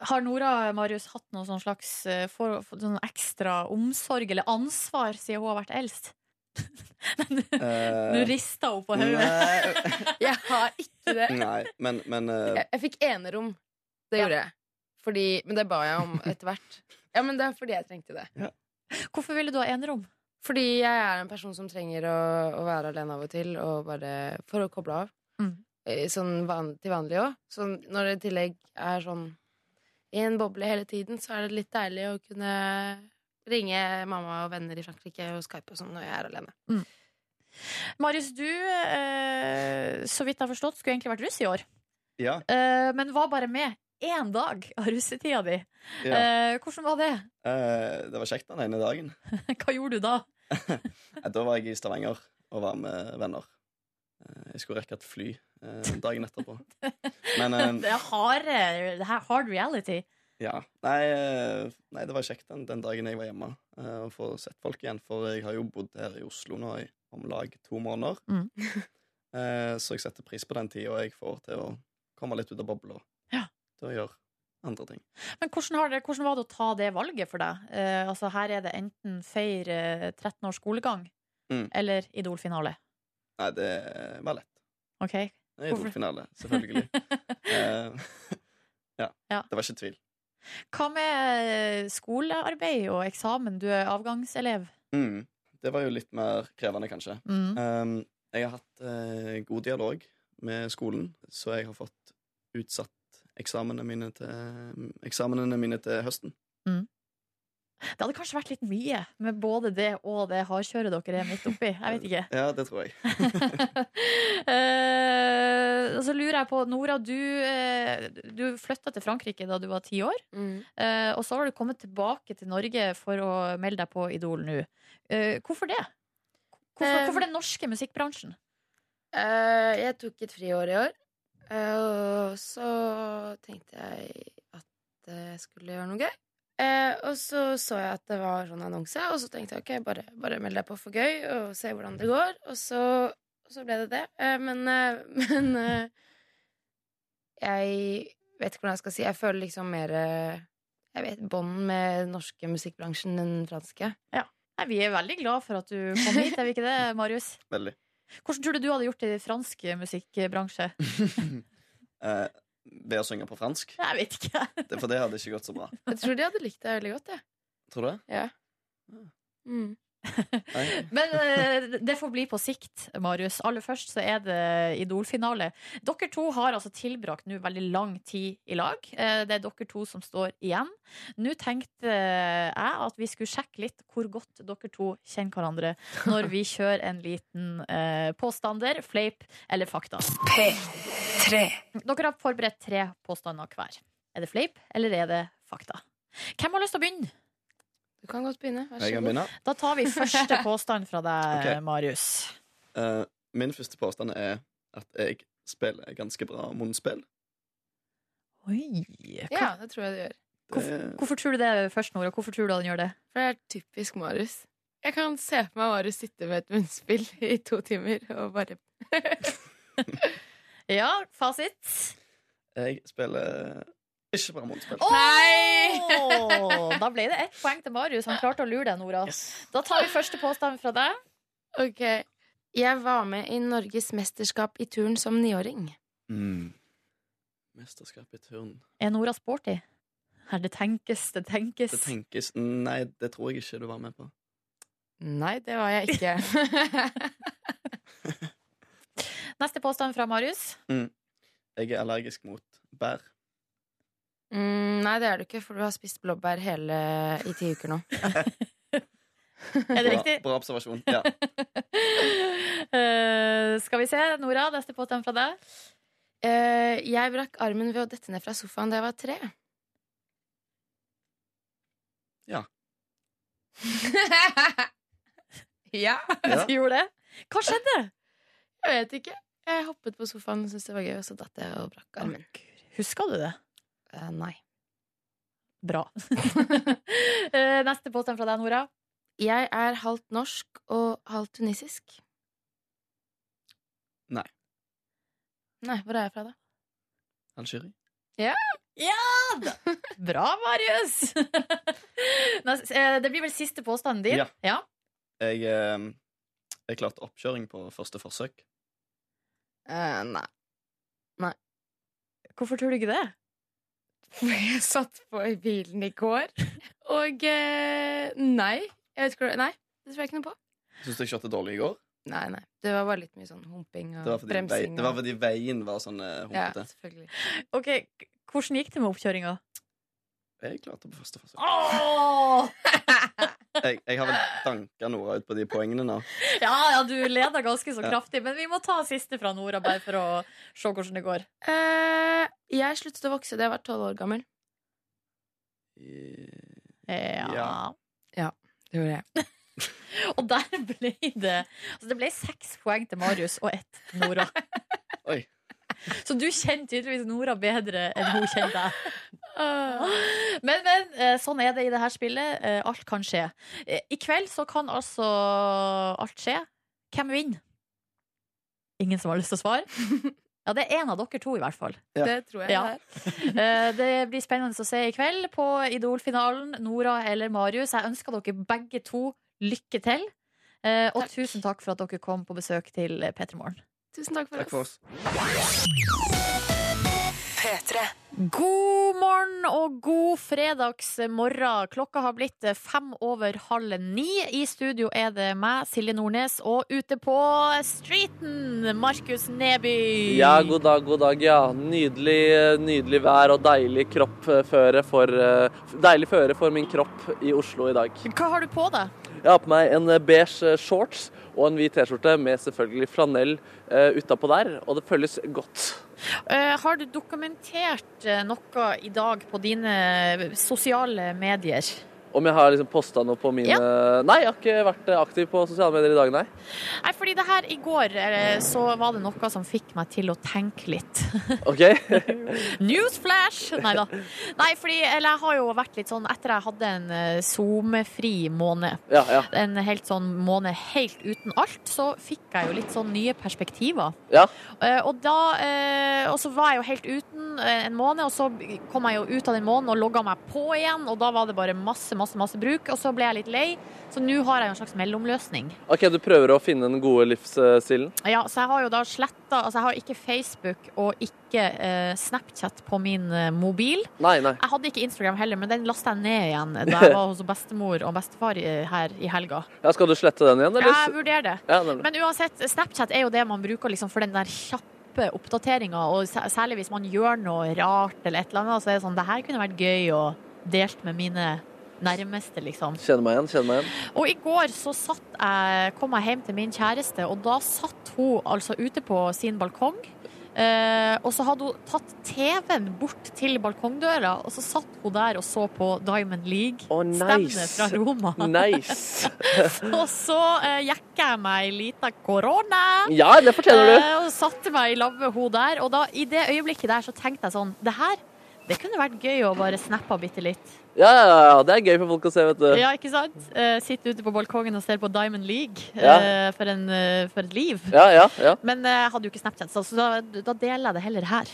[SPEAKER 2] Har Nora Marius hatt noe sånn slags eh, for, for, sånn ekstra omsorg eller ansvar siden hun har vært eldst? Nå
[SPEAKER 4] Eh,
[SPEAKER 2] rister hun på hodet.
[SPEAKER 4] nei,
[SPEAKER 1] Jeg har ikke det.
[SPEAKER 4] nei, men, men eh,
[SPEAKER 1] Jeg, jeg fikk enerom. Det
[SPEAKER 2] Ja.
[SPEAKER 1] gjorde jeg. Fordi, men det ba jeg om etter hvert. Ja, men det er fordi jeg trengte det.
[SPEAKER 2] Hvorfor ville du ha enerom?
[SPEAKER 1] Fordi jeg er en person som trenger å, å være alene av og til, og bare for å koble av.
[SPEAKER 2] Mm.
[SPEAKER 1] Eh, Sånn van, til vanlig òg. Så når det i tillegg er sånn i en boble hele tiden, så er det litt deilig å kunne ringe mamma og venner i Frankrike og Skype og sånn når jeg er alene.
[SPEAKER 2] Marius, du, eh, så vidt jeg har forstått, skulle egentlig vært russ i år.
[SPEAKER 4] ja,
[SPEAKER 2] Eh, men var bare med én dag av russetida di.
[SPEAKER 4] ja.
[SPEAKER 2] Eh, hvordan var det?
[SPEAKER 4] Eh, det var kjekt den ene dagen.
[SPEAKER 2] Hva gjorde du da?
[SPEAKER 4] Eh, Da var jeg i Stavanger og var med venner. Eh, Jeg skulle rekke et fly eh, dagen etterpå. Men eh,
[SPEAKER 2] Det er harde, det her er hard reality.
[SPEAKER 4] ja. Nei, eh, nei, det var kjekt den, den dagen jeg var hjemme, eh, å få sett folk igjen. For jeg har jo bodd her i Oslo nå i om lag to måneder.
[SPEAKER 2] Mm.
[SPEAKER 4] Eh, så jeg setter pris på den tida jeg får til å komme litt ut av bobla.
[SPEAKER 2] Ja.
[SPEAKER 4] Til å gjøre andre ting.
[SPEAKER 2] Men hvordan, har det, hvordan var det å ta det valget for deg? Eh, altså Her er det enten feir eh, 13 års skolegang
[SPEAKER 4] Mm.
[SPEAKER 2] eller Idol-finale.
[SPEAKER 4] Nei, det var lett.
[SPEAKER 2] OK?
[SPEAKER 4] Det er
[SPEAKER 2] Hvorfor?
[SPEAKER 4] Idol-finale, selvfølgelig. eh, ja.
[SPEAKER 2] Ja.
[SPEAKER 4] Det var ikke tvil.
[SPEAKER 2] Hva med eh, skolearbeid og eksamen? Du er avgangselev.
[SPEAKER 4] Mm. Det var jo litt mer krevende, kanskje.
[SPEAKER 2] Mm.
[SPEAKER 4] Um, jeg har hatt eh, god dialog med skolen, så jeg har fått utsatt eksamene mine til, eksamene mine til høsten.
[SPEAKER 2] Det hadde kanskje vært litt mye med både det og det hardkjøret dere er midt oppi. Jeg vet ikke.
[SPEAKER 4] Ja, det tror jeg.
[SPEAKER 2] Eh, og så lurer jeg på, Nora, du, eh, du flytta til Frankrike da du var ti år.
[SPEAKER 8] Mm.
[SPEAKER 2] eh, og så har du kommet tilbake til Norge for å melde deg på Idol nå. Eh, hvorfor det? Hvorfor,
[SPEAKER 8] Eh,
[SPEAKER 2] hvorfor den norske musikkbransjen?
[SPEAKER 8] Eh, jeg tok et friår i år. eh, og så tenkte jeg at eh, jeg skulle gjøre noe gøy. Eh, og så så jeg at det var sånn annonse, og så tenkte jeg ok, bare, bare meld deg på for gøy og se hvordan det går. Og så, og så ble det det. Eh, men eh, men eh, jeg vet ikke hvordan jeg skal si. Jeg føler liksom mer eh, jeg vet, bånd med den norske musikkbransjen enn den franske.
[SPEAKER 2] Nei, vi er veldig glad for at du kom hit, er vi ikke det, Marius?
[SPEAKER 4] Veldig.
[SPEAKER 2] Hvordan tror du du hadde gjort det i fransk musikkbransje?
[SPEAKER 4] Eh, ved å synge på fransk.
[SPEAKER 2] Jeg vet ikke.
[SPEAKER 4] Det, for det hadde ikke gått så bra.
[SPEAKER 8] Jeg tror de hadde likt deg veldig godt, jeg.
[SPEAKER 4] Tror du det? Ah.
[SPEAKER 8] Ja. Mm.
[SPEAKER 4] Nei.
[SPEAKER 2] Men eh, det får bli på sikt, Marius. Aller først så er det Idol-finale. Dere to har altså tilbrakt nå veldig lang tid i lag. Eh, det er dere to som står igjen. Nå tenkte eh, jeg at vi skulle sjekke litt hvor godt dere to kjenner hverandre når vi kjører en liten eh, påstander, fleip eller fakta. Dere har forberedt tre påstander hver. Er det fleip, eller er det fakta? Hvem har lyst til å begynne?
[SPEAKER 8] Du kan godt begynne. Vær
[SPEAKER 4] Jeg
[SPEAKER 8] så
[SPEAKER 4] kan
[SPEAKER 8] god.
[SPEAKER 4] begynne.
[SPEAKER 2] Da tar vi første påstand fra deg,
[SPEAKER 4] Ok.
[SPEAKER 2] Marius.
[SPEAKER 4] Eh, min første påstand er at jeg spiller ganske bra munnspill.
[SPEAKER 2] Oi, hva
[SPEAKER 8] Ja, det tror jeg du gjør.
[SPEAKER 4] Det,
[SPEAKER 2] Hvorfor tror du det først, Nora? Hvorfor tror du han gjør det?
[SPEAKER 8] For det er typisk Marius. Jeg kan se for meg Marius sitte med et munnspill i to timer og bare
[SPEAKER 2] Ja, fasit.
[SPEAKER 4] jeg spiller ikke bra munnspill.
[SPEAKER 2] Nei! da ble det ett poeng til Marius. Han klarte å lure deg, Nora. Da tar vi første påstand fra deg.
[SPEAKER 8] Ok. Jeg var med i Norges mesterskap i turn som niåring.
[SPEAKER 4] Mm. Mesterskap i turn.
[SPEAKER 2] Er Nora sporty? Her, det tenkes, det tenkes.
[SPEAKER 4] Det tenkes Nei, det tror jeg ikke du var med på.
[SPEAKER 8] Nei, det var jeg ikke.
[SPEAKER 2] Neste påstand fra Marius.
[SPEAKER 4] Jeg er allergisk mot bær.
[SPEAKER 8] mm, nei, det er du ikke, for du har spist blåbær hele i ti uker nå.
[SPEAKER 2] Er det
[SPEAKER 4] Bra,
[SPEAKER 2] riktig?
[SPEAKER 4] bra observasjon. Ja.
[SPEAKER 2] Eh, skal vi se. Nora, neste påstand fra deg.
[SPEAKER 8] Eh, jeg brakk armen ved å dette ned fra sofaen da jeg var tre.
[SPEAKER 4] Ja.
[SPEAKER 8] ja.
[SPEAKER 4] Ja.
[SPEAKER 2] Du gjorde det. Hva skjedde?
[SPEAKER 8] Jeg vet ikke. Jeg hoppet på sofaen og syntes det var gøy, og så datt jeg og brakk armen.
[SPEAKER 2] Huska du det?
[SPEAKER 8] Eh, nei.
[SPEAKER 2] Bra. Eh, neste påstand fra deg, Nora.
[SPEAKER 8] Jeg er halvt norsk og halvt tunisisk.
[SPEAKER 4] Nei.
[SPEAKER 8] Nei, hvor er jeg fra, da?
[SPEAKER 4] Algerie.
[SPEAKER 2] Bra, Marius! Nest- eh, Det blir vel siste påstanden din?
[SPEAKER 4] Ja. Jeg, eh, jeg klarte oppkjøring på første forsøk.
[SPEAKER 8] Eh, nei.
[SPEAKER 2] Hvorfor tror du ikke det?
[SPEAKER 8] For jeg satt på i bilen i går, og eh, nei. Jeg vet ikke hvor Nei, det tror jeg ikke noe på.
[SPEAKER 4] Syns du jeg kjørte dårlig i går?
[SPEAKER 8] Nei, nei. Det var bare litt mye sånn humping og
[SPEAKER 4] Det var fordi, vei,
[SPEAKER 8] bremsing.
[SPEAKER 4] det var
[SPEAKER 8] og-
[SPEAKER 4] fordi veien var sånn eh,
[SPEAKER 8] ja,
[SPEAKER 4] humpete.
[SPEAKER 8] selvfølgelig.
[SPEAKER 2] Ok, k- Hvordan gikk det med oppkjøringa?
[SPEAKER 4] Jeg klarte på første forsøk.
[SPEAKER 2] Oh!
[SPEAKER 4] Jeg, jeg har vel danka Nora ut på de poengene nå.
[SPEAKER 2] Ja, ja, du leder ganske så
[SPEAKER 4] Ja.
[SPEAKER 2] kraftig, men vi må ta siste fra Nora, bare for å se hvordan det går.
[SPEAKER 8] Eh, jeg sluttet å vokse da jeg var tolv år gammel.
[SPEAKER 4] Eh,
[SPEAKER 2] Ja.
[SPEAKER 4] Ja.
[SPEAKER 8] Det gjorde jeg.
[SPEAKER 2] Og der ble det altså Det ble seks poeng til Marius og ett til Nora.
[SPEAKER 4] Oi.
[SPEAKER 2] Så du kjenner tydeligvis Nora bedre enn hun kjenner deg. Men, men, eh, sånn er det i det her spillet. Eh, Alt kan skje. Eh, I kveld så kan altså alt skje. Hvem vinner? Ingen som har lyst til å svare? Ja, det er en av dere to, i hvert fall.
[SPEAKER 9] Ja.
[SPEAKER 8] Det tror jeg
[SPEAKER 2] Ja.
[SPEAKER 8] det er.
[SPEAKER 2] Eh, Det blir spennende å se i kveld på Idol-finalen. Nora eller Marius, jeg ønsker dere begge to lykke til. Eh, Og tusen takk for at dere kom på besøk til P3 Morgen.
[SPEAKER 8] Tusen takk for
[SPEAKER 9] Takk for
[SPEAKER 8] oss.
[SPEAKER 9] oss.
[SPEAKER 2] God morgen og god fredagsmorgen. Klokka har blitt fem over halv ni. I studio er det meg, Silje Nordnes, og ute på streeten, Markus Neby.
[SPEAKER 3] Ja, god dag, god dag, ja. Nydelig, nydelig vær og deilig kroppføre for, eh, deilig føre for min kropp i Oslo i dag.
[SPEAKER 2] Hva har du på deg?
[SPEAKER 3] Jeg har på meg en eh, beige eh, shorts og en hvit T-skjorte med selvfølgelig flanell eh, utapå der, og det føles godt.
[SPEAKER 2] Eh, har du dokumentert eh, noe i dag på dine sosiale medier?
[SPEAKER 3] Om jeg har liksom posta noe på mine Nei, jeg har ikke vært eh, aktiv på sosiale medier i dag, nei.
[SPEAKER 2] Nei, fordi det her i går eh, så var det noe som fikk meg til å tenke litt.
[SPEAKER 3] OK?
[SPEAKER 2] Newsflash! Nei da. Nei, fordi eller jeg har jo vært litt sånn etter jeg hadde en eh, SoMe-fri måned.
[SPEAKER 3] Ja, ja.
[SPEAKER 2] en helt sånn måned helt uten alt, så fikk jeg jo litt sånn nye perspektiver.
[SPEAKER 3] Ja.
[SPEAKER 2] Eh, og da eh, Og så var jeg jo helt uten eh, en måned, og så kom jeg jo ut av den måneden og logga meg på igjen, og da var det bare masse, masse, masse bruk, og så ble jeg litt lei, så nå har jeg jo en slags mellomløsning.
[SPEAKER 3] OK, du prøver å finne den gode livsstilen?
[SPEAKER 2] Ja, så jeg har jo da sletta Altså, jeg har ikke Facebook og ikke eh, Snapchat på min eh, mobil.
[SPEAKER 3] Nei, nei.
[SPEAKER 2] Jeg hadde ikke Instagram heller, men den lasta jeg ned igjen da jeg var hos bestemor og bestefar i- her i helga.
[SPEAKER 3] Ja, skal du slette den igjen, eller?
[SPEAKER 2] Jeg vurderer det.
[SPEAKER 3] Ja, nemlig.
[SPEAKER 2] Men uansett, Snapchat er jo det man bruker liksom for den der kjappe oppdateringa, og sæ- særlig hvis man gjør noe rart eller et eller annet, så er det sånn Det her kunne vært gøy å delt med mine nærmeste, liksom.
[SPEAKER 3] Kjenner meg igjen, kjenner meg igjen.
[SPEAKER 2] Og i går så satt jeg, kom jeg hjem til min kjæreste, og da satt hun altså ute på sin balkong. Eh, og så hadde hun tatt TV-en bort til balkongdøra, og så satt hun der og så på Diamond League.
[SPEAKER 3] Å,
[SPEAKER 2] Stevnet fra
[SPEAKER 3] nice.
[SPEAKER 2] Roma.
[SPEAKER 3] Nice.
[SPEAKER 2] Og så eh, jekka jeg meg ei lita korona.
[SPEAKER 3] Ja, det fortjener du.
[SPEAKER 2] Eh, og satte meg i lag med hun der. Og da, i det øyeblikket der så tenkte jeg sånn Det her det kunne vært gøy å bare snappe bitte litt.
[SPEAKER 3] Ja, ja, ja, det er gøy for folk å se, vet du.
[SPEAKER 2] Ja, ikke sant? Eh, sitte ute på balkongen og se på Diamond League.
[SPEAKER 3] Ja.
[SPEAKER 2] eh, for, en, eh, for et liv.
[SPEAKER 3] Ja, ja, ja.
[SPEAKER 2] Men eh, jeg hadde jo ikke Snapchat, så så da, da deler jeg det heller her.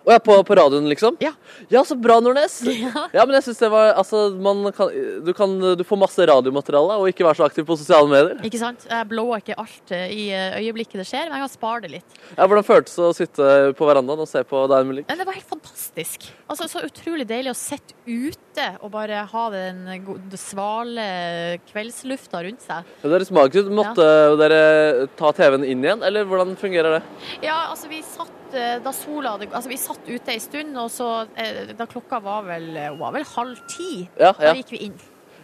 [SPEAKER 3] Og jeg er på, på radioen, liksom?
[SPEAKER 2] Ja.
[SPEAKER 3] Ja, så bra, Nordnes. Ja, men jeg synes det var Altså, man kan du, kan du får masse radiomateriale, og ikke være så aktiv på sosiale medier.
[SPEAKER 2] Ikke sant? Jeg blåer ikke alt eh, i eh, øyeblikket det skjer, men jeg kan spare det litt.
[SPEAKER 3] Ja, Hvordan føltes det å sitte på verandaen og se på Diamond League?
[SPEAKER 2] Men det var helt fantastisk. Altså, Så utrolig deilig å sitte ute og bare ha den gode, svale kveldslufta rundt seg.
[SPEAKER 3] Ja, Det høres magisk ut. Måtte dere ta TV-en inn igjen, eller hvordan fungerer det?
[SPEAKER 2] Ja, altså vi satt eh, da sola hadde, altså vi satt ute en stund, og så eh, da klokka var vel, eh, hun var vel halv ti,
[SPEAKER 3] Ja,
[SPEAKER 2] da
[SPEAKER 3] ja.
[SPEAKER 2] gikk vi inn.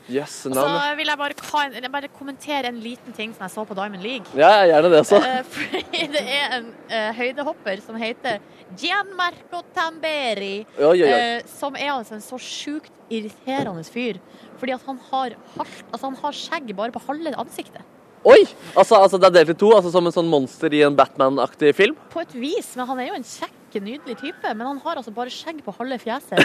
[SPEAKER 3] Yes,
[SPEAKER 2] Og så
[SPEAKER 3] navn.
[SPEAKER 2] vil jeg bare, ka- eller bare kommentere en liten ting som jeg så på Diamond League.
[SPEAKER 3] Ja, ja, gjerne det altså. også.
[SPEAKER 2] Eh, Fordi det er en eh, høydehopper som heter Gianmarco Tamberi,
[SPEAKER 3] Oi, oi, oi.
[SPEAKER 2] eh, som er altså en så sjukt irriterende fyr. Fordi at han har, halvt, altså han har skjegg bare på halve ansiktet.
[SPEAKER 3] Oi! Altså, altså, det er delt i to, altså som en sånn monster i en Batman-aktig film.
[SPEAKER 2] På et vis, men han er jo en kjekk, nydelig type. Men han har altså bare skjegg på halve fjeset.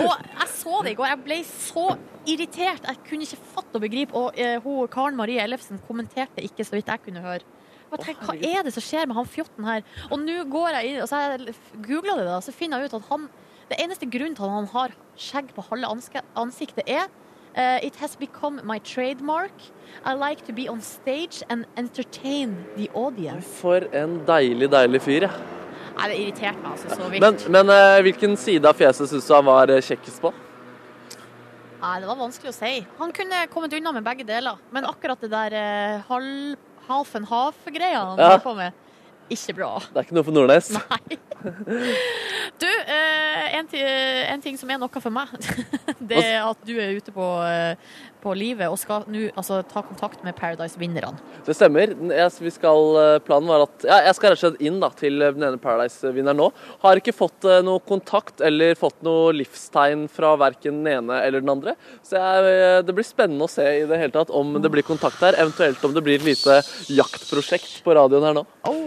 [SPEAKER 2] Og jeg så det i går. Jeg ble så irritert. Jeg kunne ikke fatte og begripe. Og eh, hun, Karen Marie Ellefsen kommenterte ikke så vidt jeg kunne høre. Jeg tenkte, Hva er det som skjer med han fjotten her? Og nå går jeg inn, og så har jeg googla det, da, så finner jeg ut at han Det eneste grunnen til at han har skjegg på halve anske- ansiktet, er eh, It has become my trademark. I like to be on stage and entertain the audience.
[SPEAKER 3] For en deilig, deilig fyr, ja.
[SPEAKER 2] Nei, det irriterte meg altså så vilt.
[SPEAKER 3] Men, men eh, hvilken side av fjeset syns du han var eh, kjekkest på?
[SPEAKER 2] Nei, det var vanskelig å si. Han kunne kommet unna med begge deler, men akkurat det der eh, halv, half and half-greia han
[SPEAKER 3] Ja.
[SPEAKER 2] holdt på med, ikke bra.
[SPEAKER 3] Det er ikke noe for Nordnes.
[SPEAKER 2] Nei. Du, eh, en, ti- eh, en ting som er noe for meg, det er at du er ute på, eh, på livet og skal nå altså, ta kontakt med Paradise-vinnerne.
[SPEAKER 3] Det stemmer. Jeg, vi skal, eh, planen var at ja, jeg skal rett og slett inn da, til eh, den ene Paradise-vinneren nå. Har ikke fått eh, noe kontakt eller fått noe livstegn fra verken den ene eller den andre. Så jeg, eh, det blir spennende å se i det hele tatt om det blir kontakt her. Eventuelt om det blir et lite jaktprosjekt på radioen her nå.
[SPEAKER 2] Oh.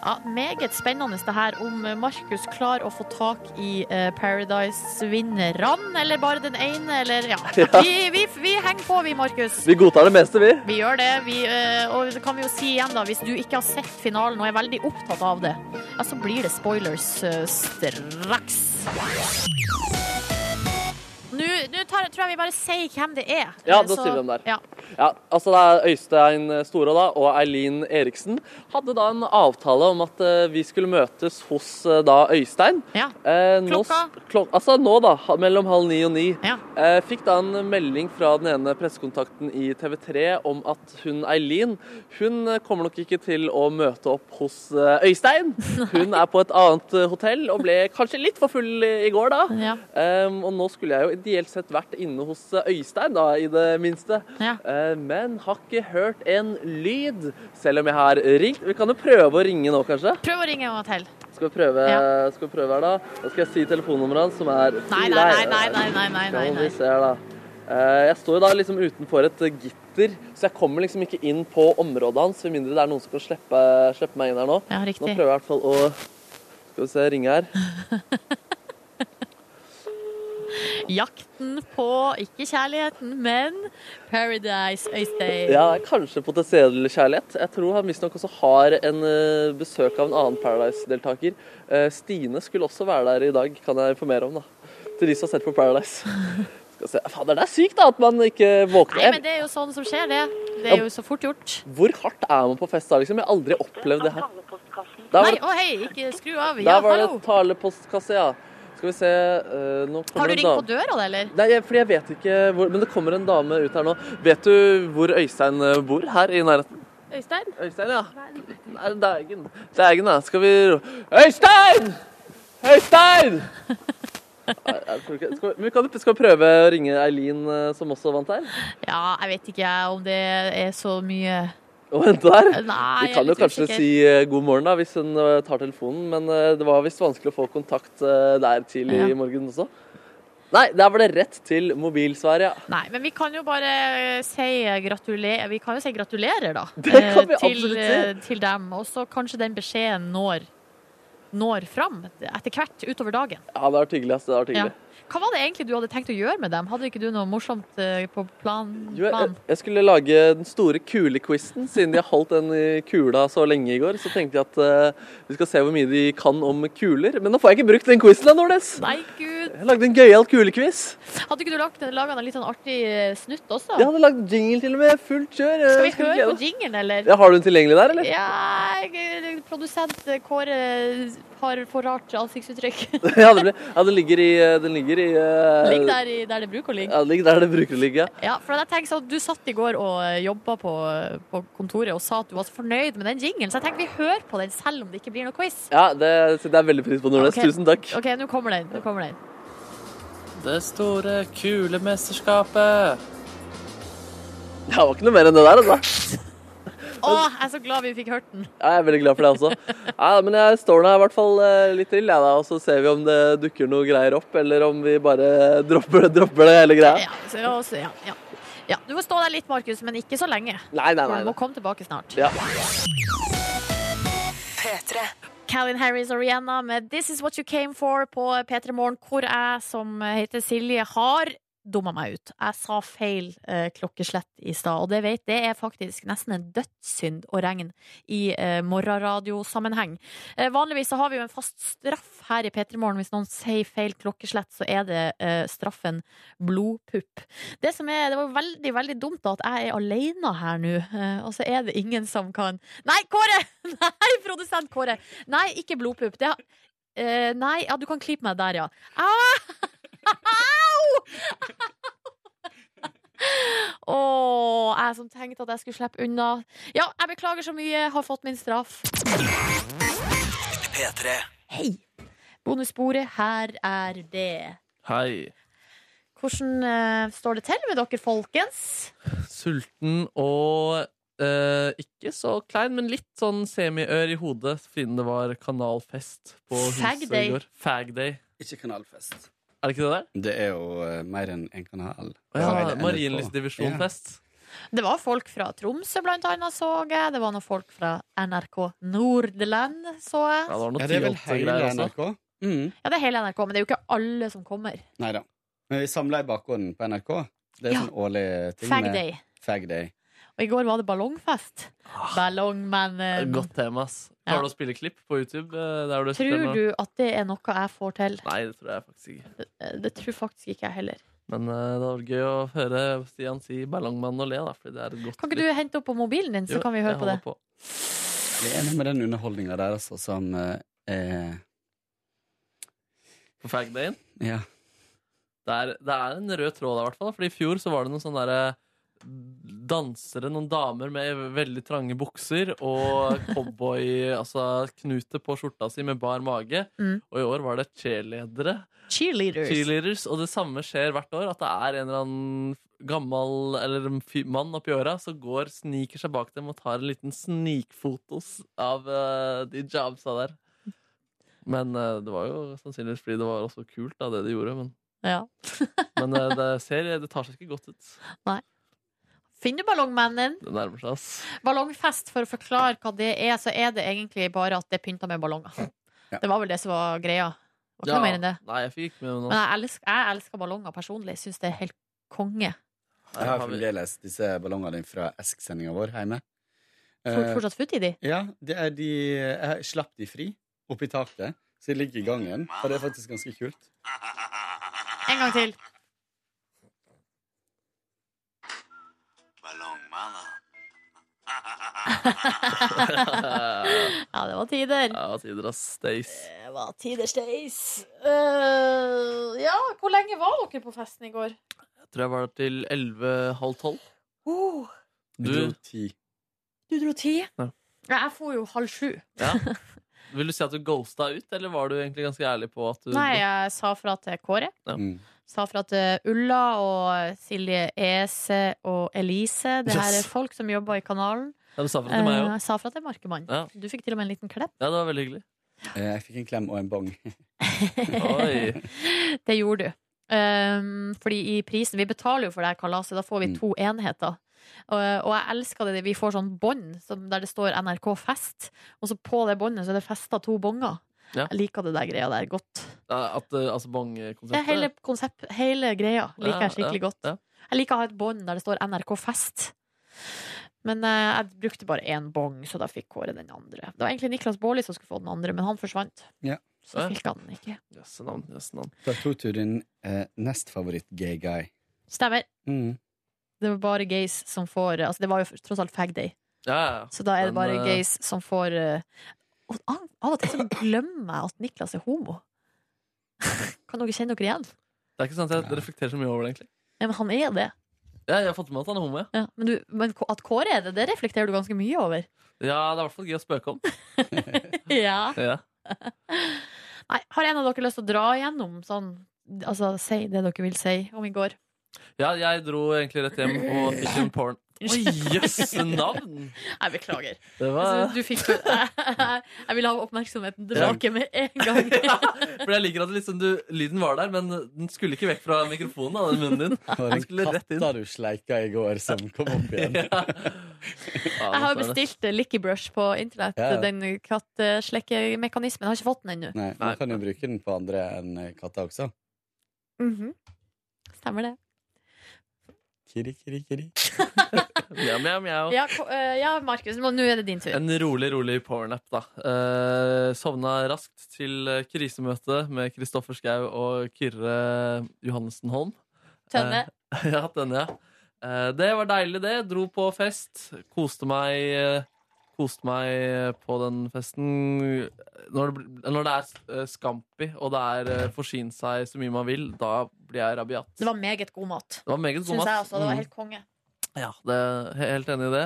[SPEAKER 2] Ja, meget spennende det her om Markus klarer å få tak i eh, Paradise-vinnerne, eller bare den ene, eller ja. Vi, vi, vi henger på, vi, Markus.
[SPEAKER 3] Vi godtar det meste, vi.
[SPEAKER 2] Vi gjør det. Vi, eh, og det kan vi jo si igjen, da, hvis du ikke har sett finalen og er veldig opptatt av det, ja, så blir det spoilers eh, straks. Nå, nå tar, tror jeg vi bare sier hvem det er.
[SPEAKER 3] Ja,
[SPEAKER 2] Eh,
[SPEAKER 3] da
[SPEAKER 2] så-
[SPEAKER 3] sier vi hvem det er.
[SPEAKER 2] Ja.
[SPEAKER 3] Ja, altså det er Øystein Storå da, og Eileen Eriksen hadde da en avtale om at eh, vi skulle møtes hos eh, da Øystein.
[SPEAKER 2] Ja.
[SPEAKER 3] Eh, nå,
[SPEAKER 2] Klokka?
[SPEAKER 3] sp- klok altså nå da, ha- mellom halv ni og ni.
[SPEAKER 2] Ja.
[SPEAKER 3] Eh, fikk da en melding fra den ene pressekontakten i TV3 om at hun Eileen, hun eh, kommer nok ikke til å møte opp hos eh, Øystein. Hun er på et annet eh, hotell og ble kanskje litt for full i i går da.
[SPEAKER 2] Ja.
[SPEAKER 3] Ehm, og nå skulle jeg jo ideelt sett vært inne hos eh, Øystein, da, i det minste.
[SPEAKER 2] Ja.
[SPEAKER 3] Eh, men har ikke hørt en lyd, selv om jeg har ringt. Vi kan jo prøve å ringe nå, kanskje?
[SPEAKER 2] Prøv å ringe en gang til.
[SPEAKER 3] Skal vi prøve,
[SPEAKER 2] Ja.
[SPEAKER 3] skal vi prøve her, da? Da skal jeg si telefonnummeret hans, som er
[SPEAKER 2] Nei, nei, nei, nei, nei, nei, nei, nei,
[SPEAKER 3] Skal vi
[SPEAKER 2] nei.
[SPEAKER 3] se her, da. Eh, jeg står jo da liksom utenfor et eh, gitter, så jeg kommer liksom ikke inn på området hans, med mindre det er noen som kan slippe, slippe meg inn her nå.
[SPEAKER 2] Ja,
[SPEAKER 3] Nå
[SPEAKER 2] riktig.
[SPEAKER 3] prøver jeg i hvert fall å Skal vi se, ringe her.
[SPEAKER 2] Jakten på, ikke kjærligheten, men Paradise Øystein.
[SPEAKER 3] Ja, kanskje potensiell kjærlighet. Jeg tror han visstnok også har en eh, besøk av en annen Paradise-deltaker. Eh, Stine skulle også være der i dag, kan jeg informere om, da. Til de som har sett på Paradise. Skal vi se. Fader, det er sykt da, at man ikke våkner.
[SPEAKER 2] Nei, men det er jo sånn som skjer, det. Det er jo så fort gjort.
[SPEAKER 3] Hvor hardt er man på fest da, liksom? Jeg har aldri opplevd det her. Der var
[SPEAKER 2] Nei,
[SPEAKER 3] det,
[SPEAKER 2] å hei, ikke skru av. Ja,
[SPEAKER 3] der var det
[SPEAKER 2] hallo.
[SPEAKER 3] talepostkasse, ja. Skal vi se eh, nå kommer
[SPEAKER 2] Har du
[SPEAKER 3] en
[SPEAKER 2] ringt
[SPEAKER 3] dame-
[SPEAKER 2] på døra, det, eller?
[SPEAKER 3] Nei, jeg- fordi jeg vet ikke hvor Men det kommer en dame ut her nå. Vet du hvor Øystein eh, bor? Her i nærheten?
[SPEAKER 10] Øystein?
[SPEAKER 3] Øystein, ja. Nei, det er Eggen. Det er Eggen, da. Skal vi ro- Øystein! Øystein! Nei, jeg tror ikke- Skal vi, men kan du- skal vi prøve å ringe Eileen, eh, som også vant her?
[SPEAKER 2] Ja, jeg vet ikke jeg om det er så mye
[SPEAKER 3] Og vente der?
[SPEAKER 2] Nei,
[SPEAKER 3] vi kan jo
[SPEAKER 2] jeg er litt
[SPEAKER 3] kanskje
[SPEAKER 2] usikker.
[SPEAKER 3] si eh, god morgen da, hvis hun eh, tar telefonen, men eh, det var visst vanskelig å få kontakt eh, der tidlig
[SPEAKER 2] Ja.
[SPEAKER 3] i morgen også. Nei, der var det rett til mobilsvar, ja.
[SPEAKER 2] Nei, men vi kan jo bare si gratulerer Vi kan jo si gratulerer, da.
[SPEAKER 3] Det kan vi
[SPEAKER 2] eh, til,
[SPEAKER 3] absolutt si.
[SPEAKER 2] eh, til dem. Og så kanskje den beskjeden når, når fram etter hvert utover dagen.
[SPEAKER 3] Ja, det har vært hyggelig, ass. Det har vært
[SPEAKER 2] Ja.
[SPEAKER 3] hyggelig.
[SPEAKER 2] Hva var det egentlig du hadde tenkt å gjøre med dem? Hadde ikke du noe morsomt eh, på plan?
[SPEAKER 3] Jo, jeg,
[SPEAKER 2] plan?
[SPEAKER 3] jeg skulle lage den store kulequizen, siden de har holdt den i kula så lenge i går. Så tenkte jeg at eh, vi skal se hvor mye de kan om kuler. Men nå får jeg ikke brukt den quizen, da, Nordnes.
[SPEAKER 2] Nei, gud.
[SPEAKER 3] Jeg lagde en gøyal kulequiz.
[SPEAKER 2] Hadde ikke du lagt, laget en litt sånn artig eh, snutt også?
[SPEAKER 3] Jeg hadde lagd jingle til og med. Fullt kjør.
[SPEAKER 2] Skal vi høre på jingelen, eller?
[SPEAKER 3] Ja, har du den tilgjengelig der, eller?
[SPEAKER 2] Ja, jeg- produsent Kåre har for rart ansiktsuttrykk.
[SPEAKER 3] Ja, det ble, ja den ligger i eh, Den ligger i eh,
[SPEAKER 2] Ligg der, i- der det bruker å ligge.
[SPEAKER 3] Ja, den ligger der det bruker å ligge.
[SPEAKER 2] Ja, for jeg tenker sånn, Du satt i går og jobba på, på kontoret og sa at du var så fornøyd med den jingelen, så jeg tenker vi hører på den selv om det ikke blir noe quiz.
[SPEAKER 3] Ja, det setter jeg veldig pris på, Nordnes.
[SPEAKER 2] Ok.
[SPEAKER 3] Tusen takk.
[SPEAKER 2] OK, nå kommer den. Nå kommer den.
[SPEAKER 11] Det store kulemesterskapet.
[SPEAKER 3] Det var ikke noe mer enn det der, altså.
[SPEAKER 2] Å, jeg er så glad vi fikk hørt den.
[SPEAKER 3] Jeg er veldig glad for det også. Ja, men jeg står nå i hvert fall eh, litt til, jeg da, og så ser vi om det dukker noe greier opp, eller om vi bare dropper, dropper det hele greia.
[SPEAKER 2] Ja, så, og så, ja, ja. ja, Du må stå der litt, Markus, men ikke så lenge.
[SPEAKER 3] Nei, nei,
[SPEAKER 2] For
[SPEAKER 3] nei.
[SPEAKER 2] du må
[SPEAKER 3] nei.
[SPEAKER 2] komme tilbake snart.
[SPEAKER 3] Ja.
[SPEAKER 2] Calvin Harris og Rihanna med 'This Is What You Came For' på P3 Morgen, hvor jeg, som heter Silje, har dumma meg ut. Jeg sa feil eh, klokkeslett i stad, og det vet det er faktisk nesten en dødssynd å regne i eh, morgenradiosammenheng. Eh, vanligvis så har vi jo en fast straff her i P3 Morgen. Hvis noen sier feil klokkeslett, så er det eh, straffen blodpupp. Det som er, det var veldig, veldig dumt da at jeg er alene her nå, eh, og så er det ingen som kan Nei, Kåre! Nei, produsent Kåre! Nei, ikke blodpupp. Det har Eh, nei, ja, du kan klype meg der, ja. Au! Au! Å, jeg som tenkte at jeg skulle slippe unna. Ja, jeg beklager så mye, har fått min straff. Hei! Bonussporet, her er det.
[SPEAKER 11] Hei.
[SPEAKER 2] Hvordan eh, står det til med dere, folkens?
[SPEAKER 11] Sulten og eh, ikke så klein, men litt sånn semiør i hodet siden det var kanalfest på
[SPEAKER 2] Fag
[SPEAKER 11] huset
[SPEAKER 2] day.
[SPEAKER 11] i går. Fag day.
[SPEAKER 4] Ikke kanalfest.
[SPEAKER 11] Er det ikke det der?
[SPEAKER 4] Det er jo eh, mer enn én kanal.
[SPEAKER 11] Å
[SPEAKER 4] Det har
[SPEAKER 11] ja,
[SPEAKER 4] hele NRK. Ja.
[SPEAKER 11] Marienlystdivisjonfest.
[SPEAKER 2] Det var folk fra Tromsø, blant annet, så jeg. Det var noen folk fra NRK Nordland, så jeg.
[SPEAKER 12] Ja, det var noe
[SPEAKER 4] Ja, det er vel
[SPEAKER 12] 10-8
[SPEAKER 4] hele
[SPEAKER 12] greier også.
[SPEAKER 4] NRK? Mm.
[SPEAKER 2] Ja, det er hele NRK, men det er jo ikke alle som kommer.
[SPEAKER 4] Nei da. Men vi samla i bakgården på NRK. Det er
[SPEAKER 2] Ja.
[SPEAKER 4] sånn årlig ting.
[SPEAKER 2] Fag
[SPEAKER 4] med-
[SPEAKER 2] Day.
[SPEAKER 4] Fag day.
[SPEAKER 2] Og i går var det ballongfest.
[SPEAKER 3] Ah.
[SPEAKER 2] eh,
[SPEAKER 3] Det er
[SPEAKER 2] Ballongmannen.
[SPEAKER 3] et Godt tema, ass.
[SPEAKER 2] Ja.
[SPEAKER 3] Har du å spille klipp på YouTube? eh, Der du
[SPEAKER 2] Tror du at det er noe jeg får til?
[SPEAKER 3] Nei, det tror jeg faktisk ikke.
[SPEAKER 2] Eh, Det tror faktisk ikke jeg heller.
[SPEAKER 3] Men eh, det hadde vært gøy å høre Stian si 'Ballongmann' og le, da. Fordi det er et godt
[SPEAKER 2] Kan ikke du hente opp på mobilen din, så kan vi høre på det?
[SPEAKER 4] Det er noe med den underholdninga der, altså, som eh, er
[SPEAKER 3] På Fag Dayen.
[SPEAKER 4] Ja.
[SPEAKER 3] Det er, det er en rød tråd der, i hvert fall. Fordi i fjor så var det noen sånne derre Dansere, noen damer med veldig trange bukser og cowboy Altså knute på skjorta si med bar mage.
[SPEAKER 2] Mm.
[SPEAKER 3] Og i år var det cheerledere.
[SPEAKER 2] Cheerleaders.
[SPEAKER 3] Cheerleaders, og det samme skjer hvert år. At det er en eller annen gammel eller en fy- mann oppi åra som går, sniker seg bak dem og tar en liten snikfotos av eh, de jobsa der. Men eh, det var jo sannsynligvis fordi det var også kult, da, det de gjorde. Men,
[SPEAKER 2] Ja.
[SPEAKER 3] men eh, det, ser, det tar seg ikke godt ut.
[SPEAKER 2] Finner ballongmannen.
[SPEAKER 3] Det nærmer seg, ass.
[SPEAKER 2] Ballongfest, for å forklare hva det er, så er det egentlig bare at det er pynta med ballonger.
[SPEAKER 4] Ja.
[SPEAKER 2] Det var vel det som var greia. Det var ikke noe mer enn det.
[SPEAKER 3] Nei, jeg fikk ikke med meg
[SPEAKER 2] Men
[SPEAKER 3] noe.
[SPEAKER 2] jeg elsker, jeg elsker ballonger personlig. Syns det er helt konge.
[SPEAKER 4] Jeg har
[SPEAKER 3] Har vi-
[SPEAKER 4] fremdeles disse ballongene dine fra Esk-sendinga vår hjemme.
[SPEAKER 2] Fort,
[SPEAKER 4] Eh,
[SPEAKER 2] fortsatt futt i de.
[SPEAKER 4] ja, det er de Jeg slapp de fri oppi taket, så de ligger i gangen. Og det er faktisk ganske kult.
[SPEAKER 2] En gang til. Ja, det var tider.
[SPEAKER 3] Ja, tider, ass. Stays.
[SPEAKER 2] Det var tider, Stace. Eh, ja, hvor lenge var dere på festen i går?
[SPEAKER 3] Jeg tror jeg var der til 11.30.
[SPEAKER 2] Oh,
[SPEAKER 4] Du
[SPEAKER 3] Du,
[SPEAKER 4] ti.
[SPEAKER 2] du dro ti?
[SPEAKER 3] Ja.
[SPEAKER 2] Ja, jeg for jo halv sju.
[SPEAKER 3] ja. Vil du si at du ghosta ut, eller var du egentlig ganske ærlig på at du
[SPEAKER 2] Nei, jeg sa fra til Kåre.
[SPEAKER 3] Ja.
[SPEAKER 4] Mm.
[SPEAKER 2] Sa fra til Ulla og Silje Ese og Elise. Det her er folk som jobber i kanalen.
[SPEAKER 3] Ja, du sa fra til meg
[SPEAKER 2] Eh,
[SPEAKER 3] òg.
[SPEAKER 2] jeg sa fra til Markemann.
[SPEAKER 3] Ja.
[SPEAKER 2] Du fikk til og med en liten klem.
[SPEAKER 3] Ja, det var veldig hyggelig.
[SPEAKER 4] Eh, Jeg fikk en klem og en bong.
[SPEAKER 3] Oi.
[SPEAKER 2] Det gjorde du. Um, fordi i prisen Vi betaler jo for det her kalaset, da får vi
[SPEAKER 4] Mm.
[SPEAKER 2] to enheter. Uh, og jeg elsker det. Vi får sånn bånd som- der det står NRK Fest, og så på det båndet så er det festa to bonger.
[SPEAKER 3] Ja.
[SPEAKER 2] Jeg liker det der greia der godt.
[SPEAKER 3] Ja, At, eh,
[SPEAKER 2] Det
[SPEAKER 3] altså
[SPEAKER 2] er
[SPEAKER 3] bongkonseptet?
[SPEAKER 2] hele, konsept, hele greia liker jeg skikkelig godt.
[SPEAKER 3] Ja.
[SPEAKER 2] Jeg liker å ha et bånd der det står NRK Fest. Men eh, jeg brukte bare én bong, så da fikk Kåre den andre. Det var egentlig Niklas Baarli som skulle få den andre, men han forsvant.
[SPEAKER 4] Ja.
[SPEAKER 2] Så fikk han den ikke.
[SPEAKER 3] Jøsse navn, jøsse navn.
[SPEAKER 4] Da tok du din eh, nest favoritt gay guy.
[SPEAKER 2] Stemmer.
[SPEAKER 4] Mm.
[SPEAKER 2] Det var bare gays som får Altså, det var jo tross alt fag day.
[SPEAKER 3] Ja, ja.
[SPEAKER 2] Så da er det
[SPEAKER 3] Men,
[SPEAKER 2] bare
[SPEAKER 3] eh,
[SPEAKER 2] gays som får eh, og Av av og til så glemmer jeg at Niklas er homo. Kan dere kjenne dere igjen?
[SPEAKER 3] Det er ikke sant, Jeg reflekterer så mye over det, egentlig.
[SPEAKER 2] Ja, men han er det.
[SPEAKER 3] Ja, jeg har fått med at han er homo. Ja,
[SPEAKER 2] Ja, men, du, men K- at Kåre er det, det reflekterer du ganske mye over.
[SPEAKER 3] ja Det er i hvert fall gøy å spøke om.
[SPEAKER 2] Ja.
[SPEAKER 3] Ja.
[SPEAKER 2] Nei, har en av dere lyst til å dra igjennom sånn Altså, si det dere vil si om i går.
[SPEAKER 3] ja, jeg dro egentlig rett hjem og fikk en porn. Oi, jøsse navn!
[SPEAKER 2] Nei, beklager.
[SPEAKER 3] Det
[SPEAKER 2] Altså,
[SPEAKER 3] var
[SPEAKER 2] du fikk Jeg vil ha oppmerksomheten tilbake med en gang.
[SPEAKER 3] For jeg liker at liksom du, lyden var der, men den skulle ikke vekk fra mikrofonen. Da, den munnen din
[SPEAKER 4] Det var
[SPEAKER 3] Den
[SPEAKER 4] den
[SPEAKER 3] skulle rett inn.
[SPEAKER 4] katta du sleika i går, som kom opp igjen.
[SPEAKER 3] Ja. Ja,
[SPEAKER 2] Jeg har
[SPEAKER 3] det er det.
[SPEAKER 2] bestilt eh, Licky Brush på internett.
[SPEAKER 4] Ja.
[SPEAKER 2] Den katteslekkemekanismen. Jeg Har ikke fått den ennå.
[SPEAKER 4] Nei,
[SPEAKER 3] Nei.
[SPEAKER 4] man kan jo bruke den på andre enn eh, katter også.
[SPEAKER 2] Mhm. Stemmer det.
[SPEAKER 4] Kiri, kiri, kiri.
[SPEAKER 3] Mjau, mjau, mjau.
[SPEAKER 2] Ja, ko- eh, ja Markus, nå nå er det din tur.
[SPEAKER 3] En rolig, rolig powernap, da. Eh, sovna raskt til eh, krisemøte med Kristoffer Schau og Kyrre Johannessen Holm.
[SPEAKER 2] Tønne.
[SPEAKER 3] Eh, ja, denne, ja. Eh, det var deilig, det. Dro på fest. Koste meg, eh, koste meg på den festen. Når det, bl- når det er eh, scampi, og det er eh, forsyne seg så mye man vil, da blir jeg rabiat.
[SPEAKER 2] Det var meget god mat.
[SPEAKER 3] det var meget god
[SPEAKER 2] Syns
[SPEAKER 3] mat.
[SPEAKER 2] jeg også. Det var
[SPEAKER 3] Mm.
[SPEAKER 2] helt konge.
[SPEAKER 3] Ja, det er he- helt enig i det.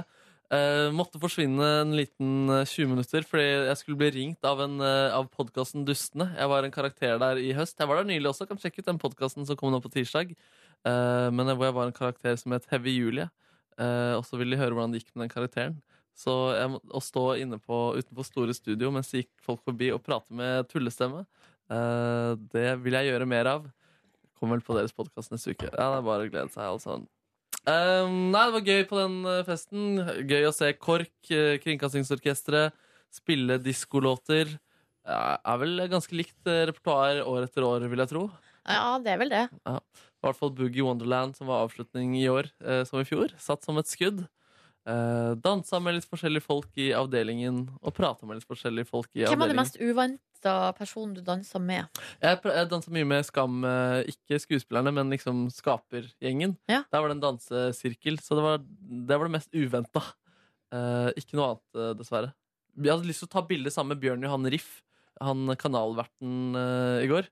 [SPEAKER 3] Eh, måtte forsvinne en liten eh, 20 minutter fordi jeg skulle bli ringt av, en, eh, av podkasten Dustene. Jeg var en karakter der i høst. Jeg var der nylig også. Kan sjekke ut den podkasten som kom nå på tirsdag. Eh, men hvor jeg var en karakter som het Heavy Julie. Eh, og så ville de høre hvordan det gikk med den karakteren. Så jeg må, å stå inne på, utenfor Store Studio mens det gikk folk forbi og prate med tullestemme, eh, det vil jeg gjøre mer av. Kommer vel på deres podkast neste uke. Ja, det er bare å glede seg, altså. Um, nei, det var gøy på den eh, festen. Gøy å se KORK, eh, Kringkastingsorkestret, spille diskolåter. Det er vel ganske likt eh, repertoar år etter år, vil jeg tro.
[SPEAKER 2] Ja, det er vel det.
[SPEAKER 3] Ja. I hvert fall Boogie Wonderland, som var avslutning i år eh, som i fjor. Satt som et skudd. Eh, dansa med litt forskjellige folk i avdelingen, og prata med litt forskjellige folk i
[SPEAKER 2] Hvem er den
[SPEAKER 3] avdelingen.
[SPEAKER 2] mest uvanta personen du danser med?
[SPEAKER 3] Jeg, pr- jeg dansa mye med Skam, eh, ikke skuespillerne, men liksom skapergjengen. Der var det en dansesirkel, så det var det, var det mest uventa. Eh, ikke noe annet, eh, dessverre. Jeg hadde lyst til å ta bilde sammen med Bjørn Johan Riff, han kanalverten eh, i går.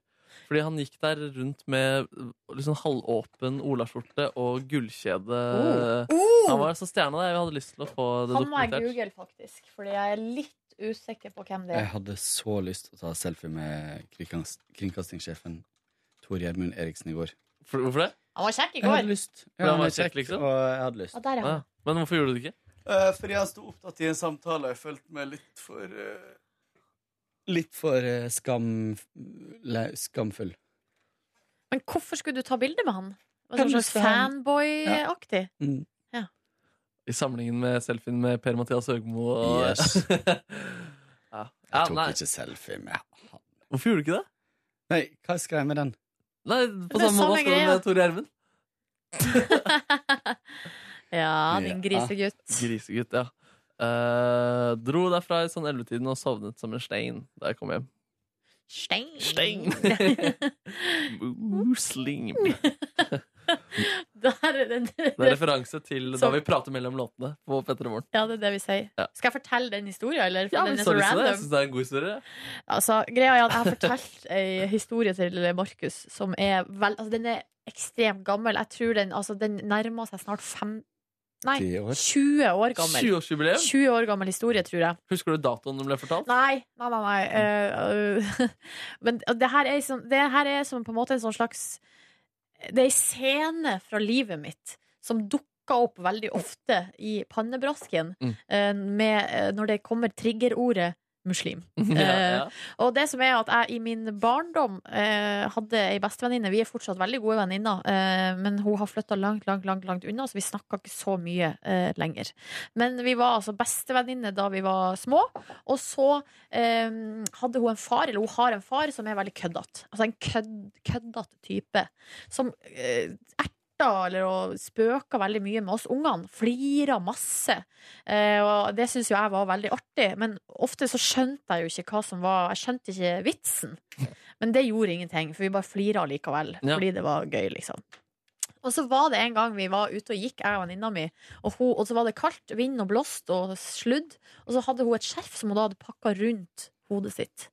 [SPEAKER 3] Fordi han gikk der rundt med eh, liksom halvåpen olaskjorte og gullkjede.
[SPEAKER 2] Oh. Oh.
[SPEAKER 3] Han var så stjerna der. Jeg hadde lyst til å få det
[SPEAKER 2] Han må jeg
[SPEAKER 3] dokumentert.
[SPEAKER 2] google, faktisk, fordi jeg er litt usikker på hvem det
[SPEAKER 4] Jeg
[SPEAKER 2] er.
[SPEAKER 4] hadde så lyst til å ta selfie med kringkast- kringkastingssjefen Tor Gjermund Eriksen i går.
[SPEAKER 3] Hvorfor det?
[SPEAKER 2] Han var kjekk i
[SPEAKER 4] Jeg hadde
[SPEAKER 2] går.
[SPEAKER 4] lyst.
[SPEAKER 3] Men han var
[SPEAKER 4] jeg
[SPEAKER 3] kjekk, liksom?
[SPEAKER 4] Og jeg hadde lyst.
[SPEAKER 2] Ja, der er han.
[SPEAKER 3] Men hvorfor gjorde du det ikke?
[SPEAKER 9] Eh, fordi jeg sto opptatt i en samtale jeg følte meg litt for eh,
[SPEAKER 4] Litt for eh, skam... Le, skamfull.
[SPEAKER 2] Men hvorfor skulle du ta bilde med han? Var det
[SPEAKER 4] Kanskje
[SPEAKER 2] Sånn slags
[SPEAKER 4] han-
[SPEAKER 2] fanboy-aktig?
[SPEAKER 4] Mm.
[SPEAKER 3] I samlingen med selfien med Per-Mathias Høgmo og
[SPEAKER 4] Yes.
[SPEAKER 3] ja. Ja,
[SPEAKER 4] Jeg tok
[SPEAKER 3] nei.
[SPEAKER 4] ikke selfie med
[SPEAKER 3] Hvorfor gjorde du ikke det?
[SPEAKER 4] Nei, hva skal jeg med den?
[SPEAKER 3] Nei,
[SPEAKER 2] Det
[SPEAKER 3] På
[SPEAKER 2] er
[SPEAKER 3] samme
[SPEAKER 2] samme
[SPEAKER 3] måte som
[SPEAKER 2] greia.
[SPEAKER 3] med Tore Gjermund.
[SPEAKER 2] Ja, din
[SPEAKER 4] Ja.
[SPEAKER 2] grisegutt.
[SPEAKER 3] Grisegutt, ja. Eh, dro derfra i sånn 11-tiden og sovnet som en stein da jeg kom hjem.
[SPEAKER 2] Stein.
[SPEAKER 3] Stein. Muslim.
[SPEAKER 2] Mm. Der er den.
[SPEAKER 3] Det er referanse til da
[SPEAKER 2] Som-
[SPEAKER 3] vi prater mellom låtene på Petter og Morgen.
[SPEAKER 2] Ja, det er det vi sier.
[SPEAKER 3] Ja.
[SPEAKER 2] Skal jeg fortelle den historien, eller? For
[SPEAKER 3] Ja,
[SPEAKER 2] den
[SPEAKER 3] men
[SPEAKER 2] er
[SPEAKER 3] sorry,
[SPEAKER 2] så
[SPEAKER 3] så det. Jeg
[SPEAKER 2] random.
[SPEAKER 3] syns det er en god historie.
[SPEAKER 2] Altså, greia er at jeg har fortalt ei historie til Markus som er vel Altså, den er ekstremt gammel. Jeg tror den, altså, den nærmer seg snart fem Nei,
[SPEAKER 4] Ti år?
[SPEAKER 2] 20 år gammel.
[SPEAKER 3] 20-årsjubileum.
[SPEAKER 2] 20 år gammel historie, tror jeg.
[SPEAKER 3] Husker du datoen den ble fortalt?
[SPEAKER 2] Nei, nei, nei. nei. eh, eh, men det her er, sånn, det her er som på en måte en sånn slags Det er ei scene fra livet mitt som dukker opp veldig ofte i pannebrasken
[SPEAKER 3] Mm.
[SPEAKER 2] eh, med, eh, når det kommer triggerordet muslim.
[SPEAKER 3] ja, ja.
[SPEAKER 2] Og det som er at jeg i min barndom eh, hadde ei bestevenninne Vi er fortsatt veldig gode venninner, eh, men hun har flytta langt, langt, langt langt unna, så vi snakka ikke så mye eh, lenger. Men vi var altså bestevenninner da vi var små, og så eh, hadde hun en far, eller hun har en far, som er veldig køddete. Altså en kødd, køddete type. Som eh, erta eller og spøka veldig mye med oss ungene. Flira masse. Eh, og det syns jo jeg var veldig artig, men ofte så skjønte jeg jo ikke hva som var Jeg skjønte ikke vitsen. Men det gjorde ingenting, for vi bare flira likevel.
[SPEAKER 3] Ja.
[SPEAKER 2] Fordi det var gøy, liksom. Og så var det en gang vi var ute og gikk, jeg og venninna mi, og, hun, og så var det kaldt, vind og blåst og sludd, og så hadde hun et skjerf som hun da hadde pakka rundt hodet sitt.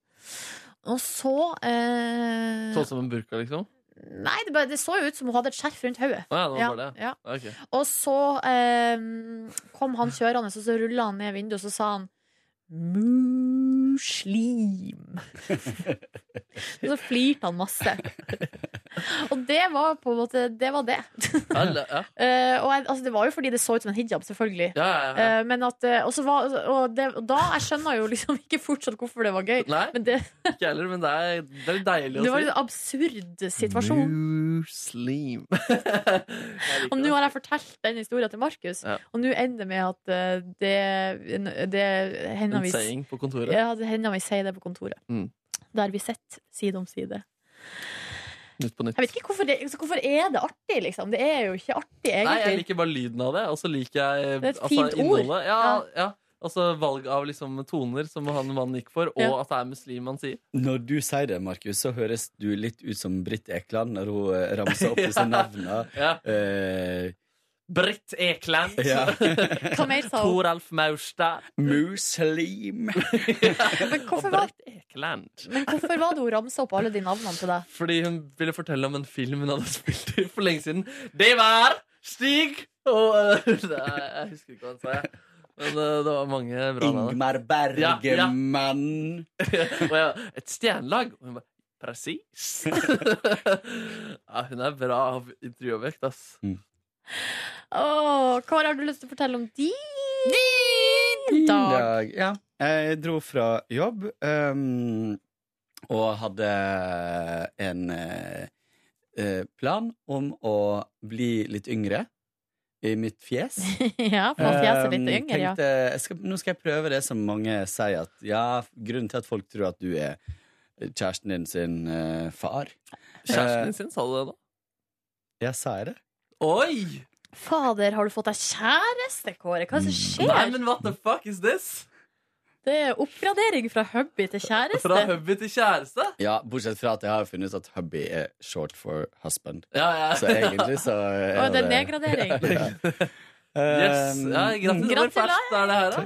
[SPEAKER 2] Og så eh,
[SPEAKER 3] Sånn som en burka, liksom?
[SPEAKER 2] Nei, det, bare, det så jo ut som hun hadde et skjerf rundt hodet.
[SPEAKER 3] Å ja, det var bare det.
[SPEAKER 2] Ja.
[SPEAKER 3] Ja, ok.
[SPEAKER 2] Og så eh, kom han kjørende, og så rulla han ned vinduet, og så sa han Muslim. og så flirte han masse. Og det var på en måte Det var det.
[SPEAKER 3] Ja, le- ja.
[SPEAKER 2] Eh, og jeg, altså, det var jo fordi det så ut som en hijab, selvfølgelig.
[SPEAKER 3] Ja, ja, ja.
[SPEAKER 2] Eh, men at, eh, og, så var, og, det, og da Jeg skjønner jo liksom ikke fortsatt hvorfor det var gøy.
[SPEAKER 3] Nei,
[SPEAKER 2] Men det,
[SPEAKER 3] ikke jeg heller, men det er, det er deilig å
[SPEAKER 2] det var
[SPEAKER 3] si.
[SPEAKER 2] en absurd situasjon.
[SPEAKER 3] Muslim. Jeg liker
[SPEAKER 2] Og nå
[SPEAKER 3] det.
[SPEAKER 2] har jeg fortalt den historien til Markus,
[SPEAKER 3] Ja.
[SPEAKER 2] og nå ender det med at eh, det, det hender
[SPEAKER 3] En
[SPEAKER 2] vi
[SPEAKER 3] saying på kontoret.
[SPEAKER 2] ja, det hender vi sier det på kontoret.
[SPEAKER 3] Mm.
[SPEAKER 2] Der vi sitter side om side.
[SPEAKER 3] Nytt på nytt.
[SPEAKER 2] Jeg vet ikke hvorfor, det, altså, hvorfor er det artig, liksom. Det er jo ikke artig,
[SPEAKER 3] Nei, jeg
[SPEAKER 2] egentlig.
[SPEAKER 3] liker bare lyden av det, og så liker jeg
[SPEAKER 2] Det er et
[SPEAKER 3] altså,
[SPEAKER 2] fint ord.
[SPEAKER 3] innholdet. Ja,
[SPEAKER 2] Ja.
[SPEAKER 3] ja. Altså valg av liksom toner, som han mannen gikk for, og
[SPEAKER 2] Ja.
[SPEAKER 3] at det er muslim man sier.
[SPEAKER 4] Når du sier det, Markus, så høres du litt ut som Britt Ekland når hun eh, ramser opp disse navnene.
[SPEAKER 3] Ja.
[SPEAKER 4] Eh,
[SPEAKER 3] Britt Ekland.
[SPEAKER 4] ja.
[SPEAKER 2] Hva mer sa hun?
[SPEAKER 3] Toralf Maurstad.
[SPEAKER 4] Muslim.
[SPEAKER 2] Men hvorfor,
[SPEAKER 3] Og
[SPEAKER 2] var,
[SPEAKER 3] Britt Ekland.
[SPEAKER 2] men hvorfor var det hun ramsa opp alle de navnene til deg?
[SPEAKER 3] Fordi hun ville fortelle om en film hun hadde spilt i for lenge siden. Det var Stig og eh, Nei, Jeg husker ikke hva han sa, jeg. Men eh, det var mange bra navn.
[SPEAKER 4] Ingmar Bergemann.
[SPEAKER 3] og jeg, et stjernelag. Og hun bare Presis! ja, hun er bra av intervjuobjekt, ass.
[SPEAKER 2] Åh, Kåre, har du lyst til å fortelle om din, dag?
[SPEAKER 4] dag. Ja. Jeg dro fra jobb ehm, og hadde en eh, eh, plan om å bli litt yngre. i mitt fjes.
[SPEAKER 2] ja, for man fjeser litt
[SPEAKER 3] Eh,
[SPEAKER 4] Um,
[SPEAKER 2] yngre, ja.
[SPEAKER 4] tenkte, jeg skal, nå skal jeg prøve det som mange sier at ja, grunnen til at folk tror at du er kjæresten din sin eh, far.
[SPEAKER 3] Kjæresten
[SPEAKER 4] Eh,
[SPEAKER 3] din sin, sa du det da?
[SPEAKER 4] Ja, sa jeg det?
[SPEAKER 3] Oi!
[SPEAKER 2] Fader, har du fått deg kjæreste, Kåre? Hva er det som skjer?
[SPEAKER 3] Mm. Nei, men what the fuck is this?
[SPEAKER 2] Det er oppgradering fra hubby til kjæreste.
[SPEAKER 3] Fra hubby til kjæreste?
[SPEAKER 4] Ja, bortsett fra at jeg har funnet ut at hubby er short for husband.
[SPEAKER 3] Ja, ja.
[SPEAKER 4] Så egentlig så eh, er
[SPEAKER 2] Å, det er nedgradering.
[SPEAKER 3] Yes. Ja,
[SPEAKER 4] Um,
[SPEAKER 3] gratis. Hvor ferskt er det her, da?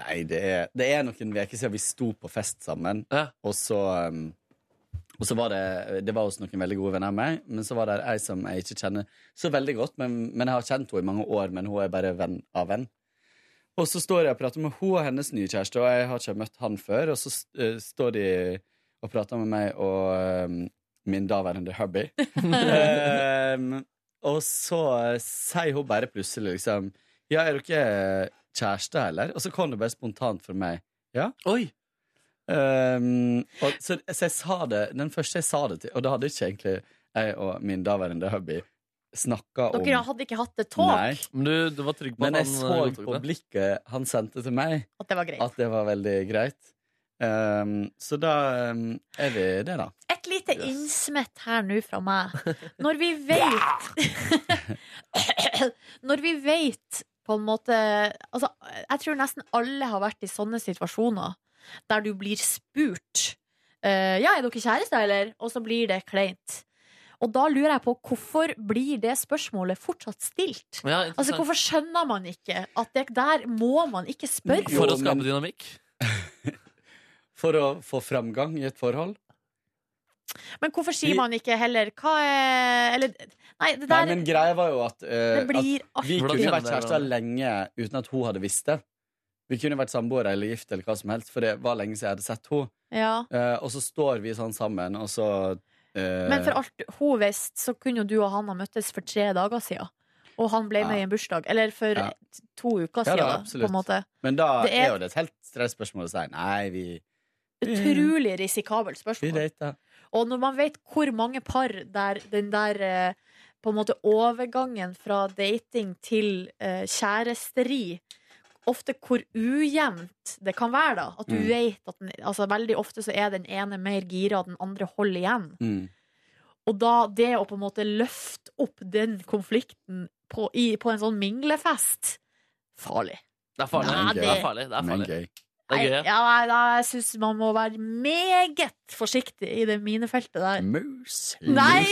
[SPEAKER 4] Nei, det er, det er noen uker siden vi sto på fest sammen. Og så um, og så var det Det var hos noen veldig gode venner av meg, men så var det ei som jeg ikke kjenner så veldig godt, men, men jeg har kjent henne i mange år, men hun er bare venn av venn. Og så står jeg og prater med hun og hennes nye kjæreste, og jeg har ikke møtt han før, og så eh, står de og prater med meg og eh, min daværende hubby. Ehm, og så eh, sier hun bare plutselig liksom Ja, er dere kjærester, eller? Og så kom det bare spontant for meg. Ja.
[SPEAKER 3] Oi!
[SPEAKER 4] og, så, så jeg sa det Den første jeg sa det til, og da hadde ikke egentlig jeg og min daværende hubby snakka om
[SPEAKER 2] Dere hadde ikke hatt det talk.
[SPEAKER 4] Men
[SPEAKER 3] du, var trygg
[SPEAKER 2] på at
[SPEAKER 4] Men jeg
[SPEAKER 2] han,
[SPEAKER 4] så
[SPEAKER 2] eh, godtok
[SPEAKER 4] på
[SPEAKER 2] det?
[SPEAKER 4] blikket han sendte til meg,
[SPEAKER 2] At det var greit.
[SPEAKER 4] at det var veldig greit. Ehm, så da ehm, er vi det, da.
[SPEAKER 2] Et lite innsmett her nå fra meg. Når vi vet Når vi vet på en måte Altså, jeg tror nesten alle har vært i sånne situasjoner der du blir spurt eh, Ja, er dere kjærester, eller? Og så blir det kleint. Og da lurer jeg på hvorfor blir det spørsmålet fortsatt stilt?
[SPEAKER 3] Ja, interessant.
[SPEAKER 2] altså, hvorfor skjønner man ikke at det der må man ikke spørre?
[SPEAKER 4] For å
[SPEAKER 2] om?
[SPEAKER 4] skape
[SPEAKER 3] dynamikk?
[SPEAKER 4] For å få framgang i et forhold?
[SPEAKER 2] Men hvorfor sier
[SPEAKER 4] Vi-
[SPEAKER 2] man ikke heller hva er Eller Nei, det
[SPEAKER 4] Nei,
[SPEAKER 2] der
[SPEAKER 4] men greia var jo at, eh,
[SPEAKER 2] Det blir
[SPEAKER 4] at vi
[SPEAKER 2] artig.
[SPEAKER 4] kunne
[SPEAKER 2] Hvordan
[SPEAKER 4] vært
[SPEAKER 2] kjenner dere
[SPEAKER 4] kjærester lenge uten at hun hadde visst det. Vi kunne vært samboere eller gift eller hva som helst, for det var lenge siden jeg hadde sett henne.
[SPEAKER 2] Ja.
[SPEAKER 4] Eh, og så står vi sånn sammen, og så eh,
[SPEAKER 2] Men for alt hun visste, så kunne jo du og han ha møttes for tre dager siden. Og han ble med i en bursdag. Eller for
[SPEAKER 4] Ja.
[SPEAKER 2] t- to uker
[SPEAKER 4] Ja,
[SPEAKER 2] siden,
[SPEAKER 4] da,
[SPEAKER 2] da, på en måte.
[SPEAKER 4] Men da
[SPEAKER 2] Det
[SPEAKER 4] er...
[SPEAKER 2] er-
[SPEAKER 4] jo det et helt stressspørsmål å si nei, vi,
[SPEAKER 2] Utrolig risikabelt
[SPEAKER 4] vi
[SPEAKER 2] spørsmål.
[SPEAKER 4] data.
[SPEAKER 2] Og når man vet hvor mange par der den der eh, på en måte overgangen fra dating til eh, kjæresteri Ofte hvor ujevnt det kan være, da. At du
[SPEAKER 13] Mm.
[SPEAKER 2] vet at den, altså, Veldig ofte så er den ene mer gira, den andre holder igjen.
[SPEAKER 4] Mm.
[SPEAKER 2] Og da det å på en måte løfte opp den konflikten på, i, på en sånn minglefest Farlig.
[SPEAKER 3] Det er farlig.
[SPEAKER 2] Nei,
[SPEAKER 3] det...
[SPEAKER 2] det-
[SPEAKER 3] er farlig. Det er farlig. Det
[SPEAKER 2] Nei,
[SPEAKER 3] er
[SPEAKER 2] ja,
[SPEAKER 3] gøy. ja.
[SPEAKER 2] nei, da, jeg syns man må være meget forsiktig i det minefeltet der.
[SPEAKER 4] Mm. Mus?
[SPEAKER 2] Nei!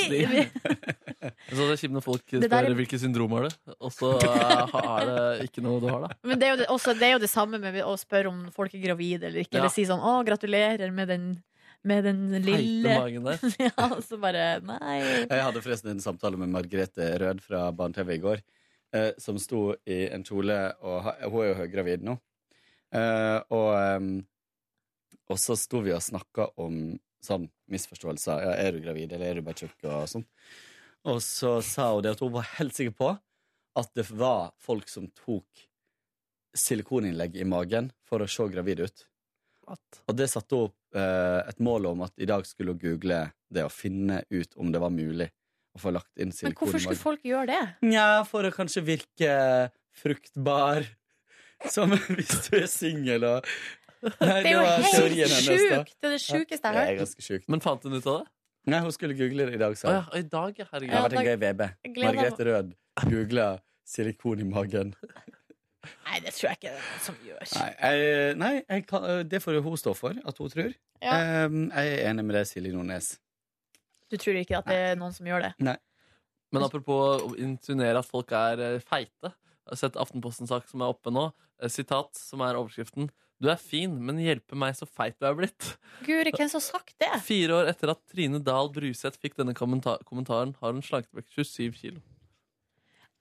[SPEAKER 3] Så det er kjipt når folk spør
[SPEAKER 2] Det der er-
[SPEAKER 3] hvilke syndromer er det og så eh, er det ikke noe du har, da.
[SPEAKER 2] Men det er, jo det, også, det er jo det samme med å spørre om folk er gravide eller ikke.
[SPEAKER 3] Ja.
[SPEAKER 2] Eller si sånn 'Å, gratulerer med den, med den lille'
[SPEAKER 4] magen der.
[SPEAKER 2] ja, og så bare Nei.
[SPEAKER 4] Jeg hadde forresten en samtale med Margrethe Rød fra Barne-TV i går, eh, som sto i en kjole, og ha- hun er jo høygravid nå. Eh, og, ehm, og så sto vi og snakka om sånn misforståelser. Ja, er du gravid, eller er du bare tjukk, og sånn. Og så sa hun det at hun var helt sikker på at det var folk som tok silikoninnlegg i magen for å se gravid ut. Og det satte hun opp eh, et mål om at i dag skulle hun google det og finne ut om det var mulig å få lagt inn
[SPEAKER 2] Men
[SPEAKER 4] silikon
[SPEAKER 2] hvorfor
[SPEAKER 4] i
[SPEAKER 2] skulle
[SPEAKER 4] magen.
[SPEAKER 2] folk gjøre det?
[SPEAKER 4] Nja, for å kanskje virke fruktbar. Som hvis du er singel og Nei,
[SPEAKER 2] Det er jo
[SPEAKER 4] var
[SPEAKER 2] helt
[SPEAKER 4] teorien hennes, da.
[SPEAKER 2] sjukt! Det er det sjukeste jeg
[SPEAKER 4] Det
[SPEAKER 2] har
[SPEAKER 4] er
[SPEAKER 2] hørt.
[SPEAKER 4] ganske sjukt.
[SPEAKER 3] Men fant hun ut av det?
[SPEAKER 4] Nei, hun skulle google det i dag, sa
[SPEAKER 3] Å
[SPEAKER 4] hun.
[SPEAKER 3] ja, og i dag, ja. herregud.
[SPEAKER 4] Det har vært en gøy VB.
[SPEAKER 2] Jeg gleder meg.
[SPEAKER 4] Margrethe Rød googla silikon i magen.
[SPEAKER 2] Nei, det tror jeg ikke det er noen som gjør.
[SPEAKER 4] Nei, jeg, nei jeg kan, eh, det får jo hun stå for, at hun tror.
[SPEAKER 2] Ja.
[SPEAKER 4] Ehm, jeg er enig med deg, Silje Nordnes.
[SPEAKER 2] Du tror ikke at det er noen som gjør det?
[SPEAKER 4] Nei.
[SPEAKER 3] Men apropos å insinuere at folk er eh, feite. Jeg har sett Aftenposten-sak som er oppe nå. Eh, Sitat, som er overskriften. Du er fin, men hjelpe meg så feit du er blitt.
[SPEAKER 2] Guri, hvem som har sagt det?
[SPEAKER 3] Fire år etter at Trine Dahl Bruseth fikk denne kommenta- kommentaren, har hun slanket vekk 27 kilo.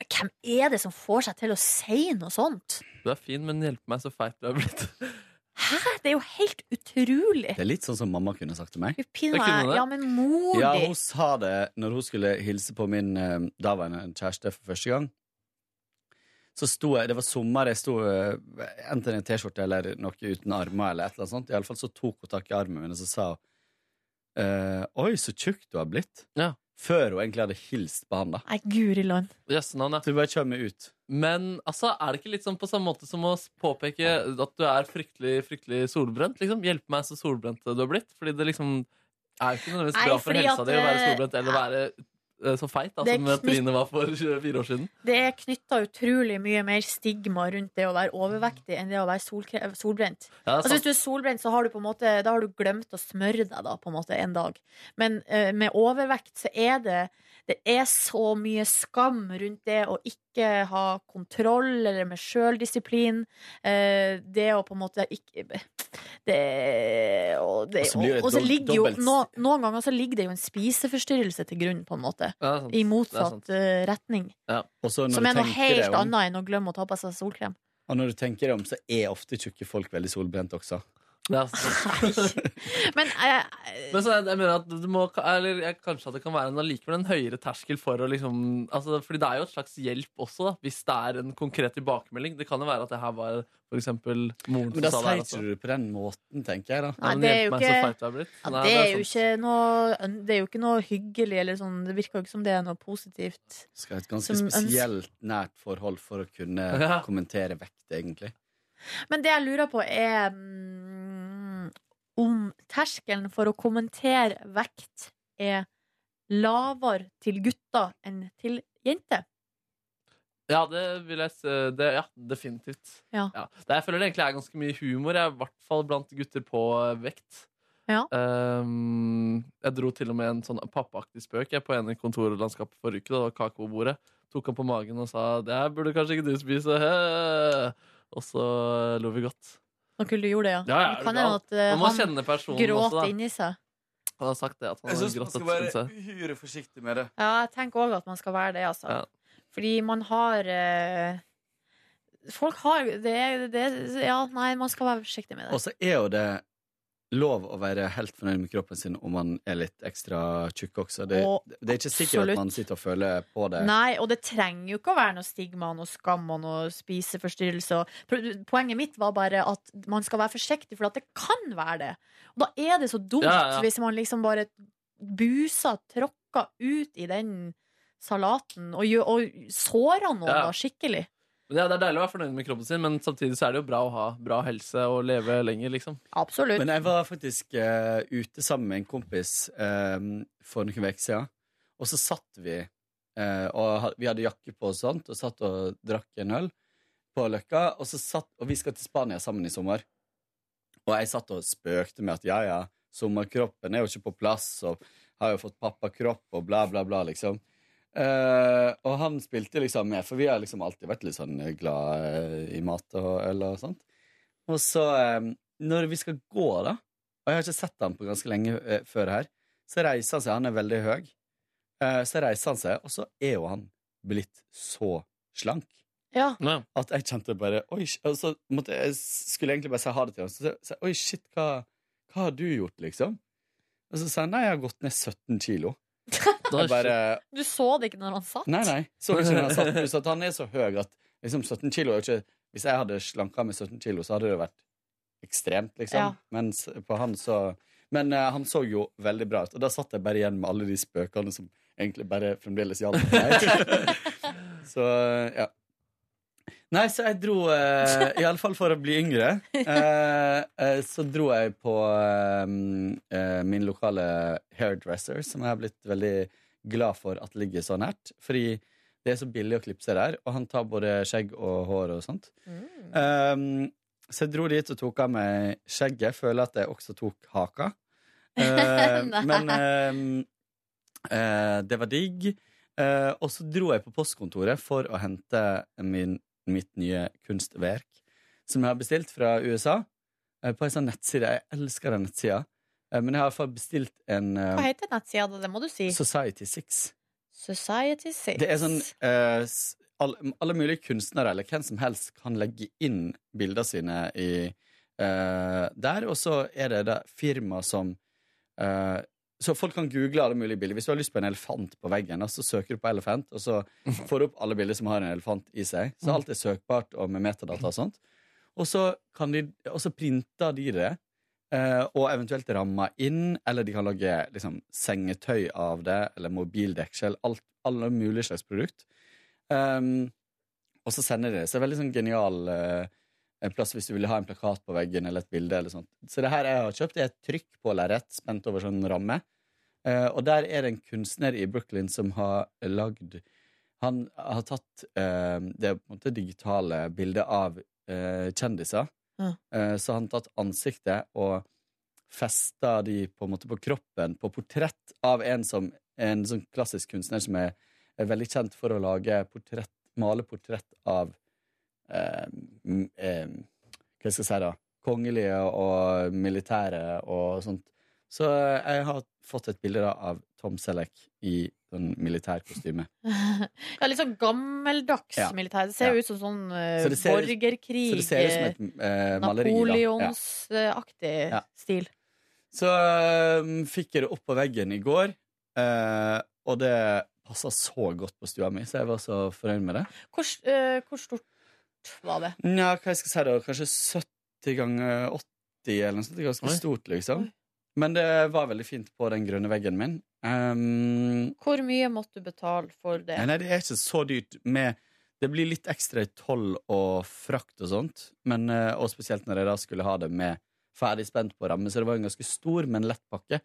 [SPEAKER 2] Hvem er det som får seg til å si noe sånt?
[SPEAKER 3] Du er fin, men hjelpe meg så feit du er blitt.
[SPEAKER 2] Hæ? Det er jo helt utrolig.
[SPEAKER 4] Det er litt sånn som mamma kunne sagt til meg.
[SPEAKER 2] Du pinner meg. Ja, men mor
[SPEAKER 4] Ja,
[SPEAKER 2] di
[SPEAKER 4] hun sa det når hun skulle hilse på min eh, daværende kjæreste for første gang. Så sto jeg, Det var sommer, jeg sto eh, enten i en T-skjorte eller noe uten armer. eller et eller annet sånt. I alle fall så tok hun tak i armen min og så sa hun eh, Oi, så tjukk du har blitt. Før hun egentlig hadde hilst på han, da.
[SPEAKER 2] Nei, guri land.
[SPEAKER 3] Jøssenavn, ja.
[SPEAKER 4] Så hun bare kommer ut.
[SPEAKER 3] Men altså, er det ikke litt sånn på samme måte som å påpeke at du er fryktelig fryktelig solbrent? liksom? Hjelpe meg så solbrent du har blitt. Fordi det liksom er jo ikke nødvendigvis
[SPEAKER 2] Nei,
[SPEAKER 3] bra for
[SPEAKER 2] fordi
[SPEAKER 3] helsa
[SPEAKER 2] at,
[SPEAKER 3] di å være
[SPEAKER 2] eh,
[SPEAKER 3] solbrent eller være eh, så feit da,
[SPEAKER 2] det er
[SPEAKER 3] som
[SPEAKER 2] knytt-
[SPEAKER 3] Trine var for 24 år siden.
[SPEAKER 2] Det er knytta utrolig mye mer stigma rundt det å være overvektig enn det å være solkre solbrent.
[SPEAKER 3] Ja,
[SPEAKER 2] Altså, hvis du er solbrent, så har du på en måte Da har du glemt å smøre deg da, på en måte, en dag. Men eh, med overvekt så er det Det er så mye skam rundt det å ikke ha kontroll eller med sjøldisiplin. Eh, det å på en måte ikke det, og, det,
[SPEAKER 4] Og så Altså, blir det
[SPEAKER 2] og, og så
[SPEAKER 4] dob-
[SPEAKER 2] ligger jo
[SPEAKER 4] dobbelt-
[SPEAKER 2] nå, Noen ganger så ligger det jo en spiseforstyrrelse til grunn, på en måte.
[SPEAKER 3] Ja,
[SPEAKER 2] I
[SPEAKER 3] det er sant. Det er sant.
[SPEAKER 2] motsatt eh, retning.
[SPEAKER 4] Og så
[SPEAKER 2] Som
[SPEAKER 4] når du
[SPEAKER 2] er noe
[SPEAKER 4] tenker
[SPEAKER 2] helt
[SPEAKER 4] deg om-
[SPEAKER 2] annet enn å glemme å ta på seg solkrem.
[SPEAKER 4] Og når du tenker deg om, så er ofte tjukke folk veldig solbrent også.
[SPEAKER 3] Det er sant.
[SPEAKER 2] Men eh,
[SPEAKER 3] Men så jeg, jeg mener at du må Eller jeg, kanskje at det kan være en allikevel en høyere terskel for å liksom altså, Fordi det er jo et slags hjelp også, da, hvis det er en konkret tilbakemelding. Det kan jo være at det her var for eksempel moren
[SPEAKER 4] Men da
[SPEAKER 3] som sa det her
[SPEAKER 4] sier
[SPEAKER 3] også.
[SPEAKER 4] ikke du det på den måten, tenker jeg, da.
[SPEAKER 2] Nei,
[SPEAKER 3] men
[SPEAKER 2] det er
[SPEAKER 3] hjelp
[SPEAKER 2] jo
[SPEAKER 3] meg,
[SPEAKER 2] ikke-
[SPEAKER 3] så feit du er blitt.
[SPEAKER 2] Ja,
[SPEAKER 3] Nei,
[SPEAKER 2] det,
[SPEAKER 3] det er
[SPEAKER 2] er jo
[SPEAKER 3] sant.
[SPEAKER 2] ikke noe, det er jo ikke noe hyggelig eller sånn. Det virker jo ikke som det er noe positivt.
[SPEAKER 4] Skal ha et ganske
[SPEAKER 2] Som ønsker-
[SPEAKER 4] spesielt nært forhold for å kunne
[SPEAKER 3] Ja.
[SPEAKER 4] kommentere vekt, egentlig.
[SPEAKER 2] Men det jeg lurer på, er mm, om terskelen for å kommentere vekt er lavere til gutter enn til jenter.
[SPEAKER 3] Ja, det vil jeg se. Det, ja, definitivt.
[SPEAKER 2] Ja.
[SPEAKER 3] Det, jeg føler det egentlig er ganske mye humor, jeg, i hvert fall blant gutter på eh, vekt.
[SPEAKER 2] Ja.
[SPEAKER 3] Ehm, jeg dro til og med en sånn pappaaktig spøk jeg, på en i kontorlandskapet forrige uke. Da det var kake på bordet. Tok han på magen og sa 'Det her burde kanskje ikke du spise'. Hæ? Og så eh, lo vi godt.
[SPEAKER 2] Når du gjorde det, ja.
[SPEAKER 3] Ja, ja,
[SPEAKER 2] det
[SPEAKER 3] er
[SPEAKER 2] kan
[SPEAKER 3] du
[SPEAKER 2] hende
[SPEAKER 3] gal?
[SPEAKER 2] at eh,
[SPEAKER 3] Man må kjenne personen
[SPEAKER 2] han gråter
[SPEAKER 3] også, da.
[SPEAKER 2] inni seg.
[SPEAKER 3] Han har sagt det at han har grått etter seg.
[SPEAKER 4] uhyre forsiktig med det.
[SPEAKER 2] Ja, jeg tenker òg at man skal være det, altså.
[SPEAKER 3] Ja.
[SPEAKER 2] Fordi man har eh, Folk har det, det Ja, nei, man skal være forsiktig med det.
[SPEAKER 4] Og så er jo det lov å være helt fornøyd med kroppen sin om man er litt ekstra tjukk også. Det,
[SPEAKER 2] Å,
[SPEAKER 4] det er ikke sikkert
[SPEAKER 2] absolutt.
[SPEAKER 4] at man sitter og føler på det.
[SPEAKER 2] Nei, og det trenger jo ikke å være noe stigma, noe skam og noe spiseforstyrrelse. og- Pro- Poenget mitt var bare at man skal være forsiktig, for at det kan være det. Og da er det så dumt
[SPEAKER 3] Ja, ja.
[SPEAKER 2] hvis man liksom bare buser, tråkker ut i den salaten og, gjør, og sårer noen
[SPEAKER 3] Ja.
[SPEAKER 2] da skikkelig.
[SPEAKER 3] Men ja, det er deilig å være fornøyd med kroppen sin, men samtidig så er det jo bra å ha bra helse og leve lenger, liksom.
[SPEAKER 2] Absolutt.
[SPEAKER 4] Men jeg var faktisk eh, ute sammen med en kompis eh, for noen uker siden. Og så satt vi eh, og ha- Vi hadde jakke på og sånt, og satt og drakk en øl på Løkka. Og, så satt, og vi skal til Spania sammen i sommer. Og jeg satt og spøkte med at ja, ja, sommerkroppen er jo ikke på plass, og har jo fått pappakropp og bla, bla, bla, liksom. Eh, og han spilte liksom med, for vi har liksom alltid vært litt sånn glad eh, i mat og øl og sånt. Og så, eh, når vi skal gå, da Og jeg har ikke sett han på ganske lenge eh, før her. Så reiser han seg. Han er veldig høy. Eh, så reiser han seg, og så er jo han blitt så slank
[SPEAKER 2] Ja.
[SPEAKER 3] Ja.
[SPEAKER 4] at jeg kjente bare Oi, sh-» og så måtte jeg, skulle jeg egentlig bare si ha det til ham. Så sa jeg oi, shit, hva, hva har du gjort, liksom? Og så sa han nei, jeg har gått ned 17 kilo.
[SPEAKER 3] Da
[SPEAKER 4] Jeg bare
[SPEAKER 2] Du så det ikke når han satt?
[SPEAKER 4] Nei, nei. Så ikke når han satt pluss at han er så høy at liksom 17 kilo er jo ikke Hvis jeg hadde slanka med 17 kilo, så hadde det vært ekstremt, liksom.
[SPEAKER 2] Ja.
[SPEAKER 4] Mens på han så Men eh, han så jo veldig bra ut, og da satt jeg bare igjen med alle de spøkene som egentlig bare fremdeles gjaldt meg. så ja. Nei, så jeg dro eh, i alle fall for å bli yngre. Eh, eh, så dro jeg på eh, eh, min lokale hairdresser, som jeg har blitt veldig glad for at ligger så nært. Fordi det er så billig å klippe seg der, og han tar både skjegg og hår og sånt. Um, så jeg dro dit og tok av meg skjegget. Føler at jeg også tok haka. Eh,
[SPEAKER 2] Nei.
[SPEAKER 4] men eh, eh, det var digg. Eh, og så dro jeg på postkontoret for å hente min, mitt nye kunstverk, som jeg har bestilt fra USA. eh, På en sånn nettside. Jeg elsker den nettsida. Eh, Men jeg har i hvert fall bestilt en
[SPEAKER 2] Hva
[SPEAKER 4] eh,
[SPEAKER 2] heter nettsida? da? Det må du si.
[SPEAKER 4] Society 6.
[SPEAKER 2] Society Six.
[SPEAKER 4] Det er sånn eh, s- all, Alle mulige kunstnere eller hvem som helst kan legge inn bildene sine i, eh, der, og så er det da firma som eh, Så folk kan google alle mulige bilder. Hvis du har lyst på en elefant på veggen, da, så søker du på elefant, og så får du opp alle bilder som har en elefant i seg. Så alt er søkbart og med metadata og sånt. Og så, kan de, og så printer de det eh, og eventuelt ramme inn, eller de kan lage liksom, sengetøy av det, eller mobildeksel, alt, alle mulige slags produkt. Ehm, og så sender de det. Så det er veldig sånn genial eh, en plass hvis du vil ha en plakat på veggen eller et bilde. eller sånt. Så det her jeg har kjøpt, er et trykk på lerret spent over sånn ramme. Eh, og der er det en kunstner i Brooklyn som har lagd Han har tatt eh, det på en måte digitale bildet av eh, kjendiser.
[SPEAKER 2] Ja.
[SPEAKER 4] Eh, så han har tatt ansiktet og festa de på en måte på kroppen på portrett av en, som, en sånn klassisk kunstner som er, er veldig kjent for å lage portrett, male portrett av eh, m- eh, Hva skal jeg si, da? Kongelige og militære og sånt. Så eh, jeg har fått et bilde da, av Tom Selleck i sånn militærkostyme.
[SPEAKER 2] Ja, litt sånn gammeldags
[SPEAKER 4] Ja.
[SPEAKER 2] militær. Det ser
[SPEAKER 4] Ja.
[SPEAKER 2] jo ut som sånn eh,
[SPEAKER 4] Så det ser ut-
[SPEAKER 2] borgerkrig.
[SPEAKER 4] så det ser ut som et eh, maleri, da. Ja.
[SPEAKER 2] Napoleonsaktig
[SPEAKER 4] Ja.
[SPEAKER 2] stil.
[SPEAKER 4] Så øhm, fikk jeg det opp på veggen i går, eh, og det passa så godt på stua mi, så jeg var så fornøyd med det.
[SPEAKER 2] Hvor, eh, hvor stort var det?
[SPEAKER 4] Nja, hva jeg skal si da, kanskje 70 ganger 80 eller noe sånt. Det er ganske
[SPEAKER 2] Oi.
[SPEAKER 4] stort, liksom. Men det var veldig fint på den grønne veggen min. Ehm,
[SPEAKER 2] Hvor mye måtte du betale for det?
[SPEAKER 4] Nei, det er ikke så dyrt med Det blir litt ekstra i toll og frakt og sånt, men, eh, og spesielt når jeg da skulle ha det med ferdig spent på ramme, så det var en ganske stor, men lett pakke.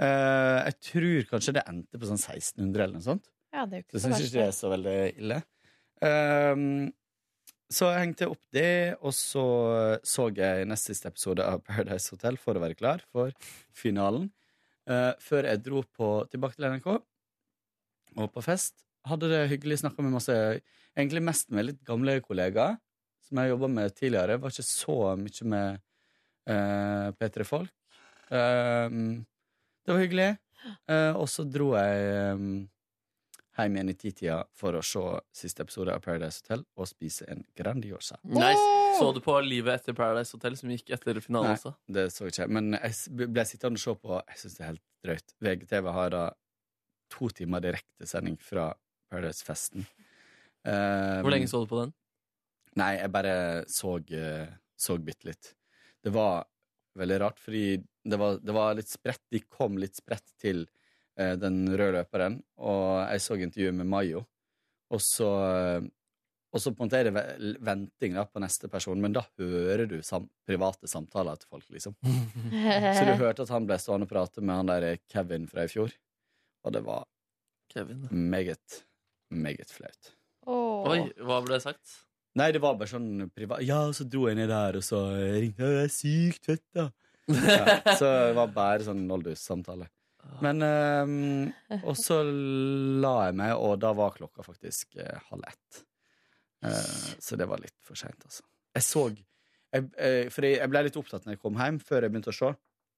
[SPEAKER 4] Eh, jeg tror kanskje det endte på sånn 1600 eller noe sånt.
[SPEAKER 2] Ja, det er jo ikke
[SPEAKER 4] Så jeg
[SPEAKER 2] så
[SPEAKER 4] syns
[SPEAKER 2] verst.
[SPEAKER 4] ikke det er så veldig ille. Ehm, så jeg hengte opp det, og så så jeg nest siste episode av Paradise Hotel for å være klar for finalen. Eh, før jeg dro på, tilbake til NRK og på fest. Hadde det hyggelig, snakka med masse Egentlig mest med litt gamle kollegaer som jeg jobba med tidligere. Var ikke så mye med eh, P3-folk. Ehm, det var hyggelig. Eh, og så dro jeg ehm, hjem igjen i titida for å se siste episode av Paradise Hotel og spise en Grandiosa.
[SPEAKER 12] Nice. Så du på Livet etter Paradise Hotel, som gikk etter finalen
[SPEAKER 4] Nei,
[SPEAKER 12] også?
[SPEAKER 4] det så jeg ikke. Men jeg s- ble sittende og se på Jeg syns det er helt drøyt. VGTV har da to timer direktesending fra Paradise-festen.
[SPEAKER 12] Hvor lenge så du på den?
[SPEAKER 4] Nei, jeg bare så, eh, så bitte litt. Det var veldig rart, fordi det var, det var litt spredt. De kom litt spredt til eh, den røde løperen, og jeg så intervjuet med Mayo. Og så, eh, og så på en måte er det ve- venting da, på neste person, men da hører du sam private samtaler til folk, liksom. Så du hørte at han ble stående og prate med han der eh, Kevin fra i fjor, og det var
[SPEAKER 12] Kevin.
[SPEAKER 4] meget, meget flaut.
[SPEAKER 2] Åh.
[SPEAKER 12] Oi, hva ble det sagt?
[SPEAKER 4] Nei, det var bare sånn privat Ja, og så dro jeg ned der, og så ringte jeg. Det er sykt fett, da. Ja, så det var bare sånn noldus-samtale. Men ehm, Og så la jeg meg, og da var klokka faktisk eh, halv ett. Eh, så det var litt for seint, altså. Jeg så jeg, eh, For jeg, jeg ble litt opptatt når jeg kom hjem, før jeg begynte å se.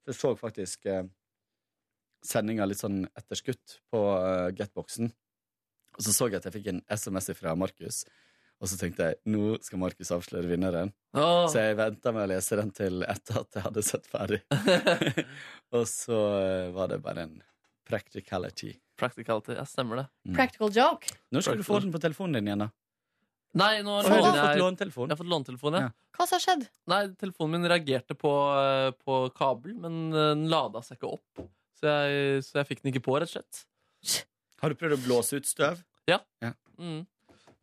[SPEAKER 4] Så jeg så faktisk uh, sendinga litt sånn etterskutt på eh, Getboxen. Og så så jeg at jeg fikk en SMS fra Markus, og så tenkte jeg nå skal Markus avsløre vinneren.
[SPEAKER 12] Åh.
[SPEAKER 4] Så jeg venta med å lese den til etter at jeg hadde sett ferdig. og så eh, var det bare en practicality.
[SPEAKER 12] Practicality. Ja, stemmer det.
[SPEAKER 2] Practical joke.
[SPEAKER 4] Nå skal du få den på telefonen din igjen, da.
[SPEAKER 12] Nei, nå
[SPEAKER 4] Å, har du
[SPEAKER 12] låner jeg-
[SPEAKER 4] fått låntelefon?
[SPEAKER 12] Jeg har fått låntelefon, ja.
[SPEAKER 2] Hva som har skjedd?
[SPEAKER 12] Nei, telefonen min reagerte på, eh, på kabel, men eh, den lada seg ikke opp. Så jeg, så jeg fikk den ikke på, rett og slett.
[SPEAKER 4] Har du prøvd å blåse ut støv?
[SPEAKER 12] Ja.
[SPEAKER 4] Ja.
[SPEAKER 12] Mm.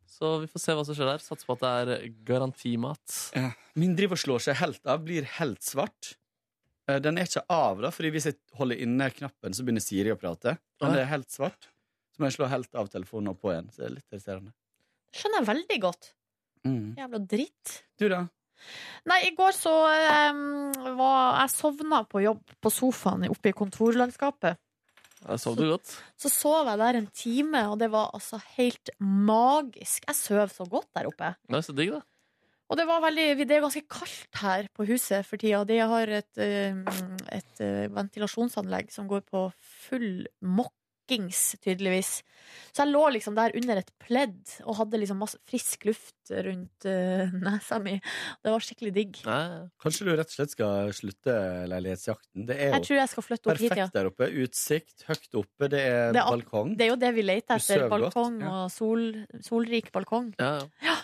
[SPEAKER 12] Så vi får se hva som skjer der. Satser på at det er garantimat.
[SPEAKER 4] Ja. Min driver slår seg helt av, blir helt svart. Eh, Den er ikke av, da, fordi hvis jeg holder inne knappen, så begynner Siri å prate. Men
[SPEAKER 2] Åh.
[SPEAKER 4] det er helt svart. Så må jeg slå helt av telefonen og på igjen. Så det er litt irriterende.
[SPEAKER 2] Skjønner jeg veldig godt.
[SPEAKER 4] Mm.
[SPEAKER 2] Jævla dritt.
[SPEAKER 4] Du, da?
[SPEAKER 2] Nei, i går så em, var Jeg sovna på jobb på sofaen oppe i kontorlandskapet.
[SPEAKER 12] Jeg sov du godt?
[SPEAKER 2] Så sov jeg der en time, og det var altså helt magisk. Jeg søv så godt der oppe.
[SPEAKER 12] Det er så digg, da.
[SPEAKER 2] Og det, var veldig, det er ganske kaldt her på huset for tida. De har et, eh, et eh, ventilasjonsanlegg som går på full mokkings, tydeligvis. Så jeg lå liksom der under et pledd og hadde liksom masse frisk luft rundt eh, nesa mi. Det var skikkelig digg.
[SPEAKER 4] Kanskje du rett og slett skal slutte leilighetsjakten? Det er jo
[SPEAKER 2] Jeg tror jeg skal flytte opp hit,
[SPEAKER 4] perfekt
[SPEAKER 2] ja.
[SPEAKER 4] der oppe. Utsikt, høyt oppe, det er,
[SPEAKER 2] Det er ak-
[SPEAKER 4] balkong.
[SPEAKER 2] Det er jo det vi leter
[SPEAKER 4] Du
[SPEAKER 2] etter.
[SPEAKER 4] søver godt,
[SPEAKER 2] Balkong
[SPEAKER 4] ja.
[SPEAKER 2] og sol, solrik balkong.
[SPEAKER 12] Ja, ja.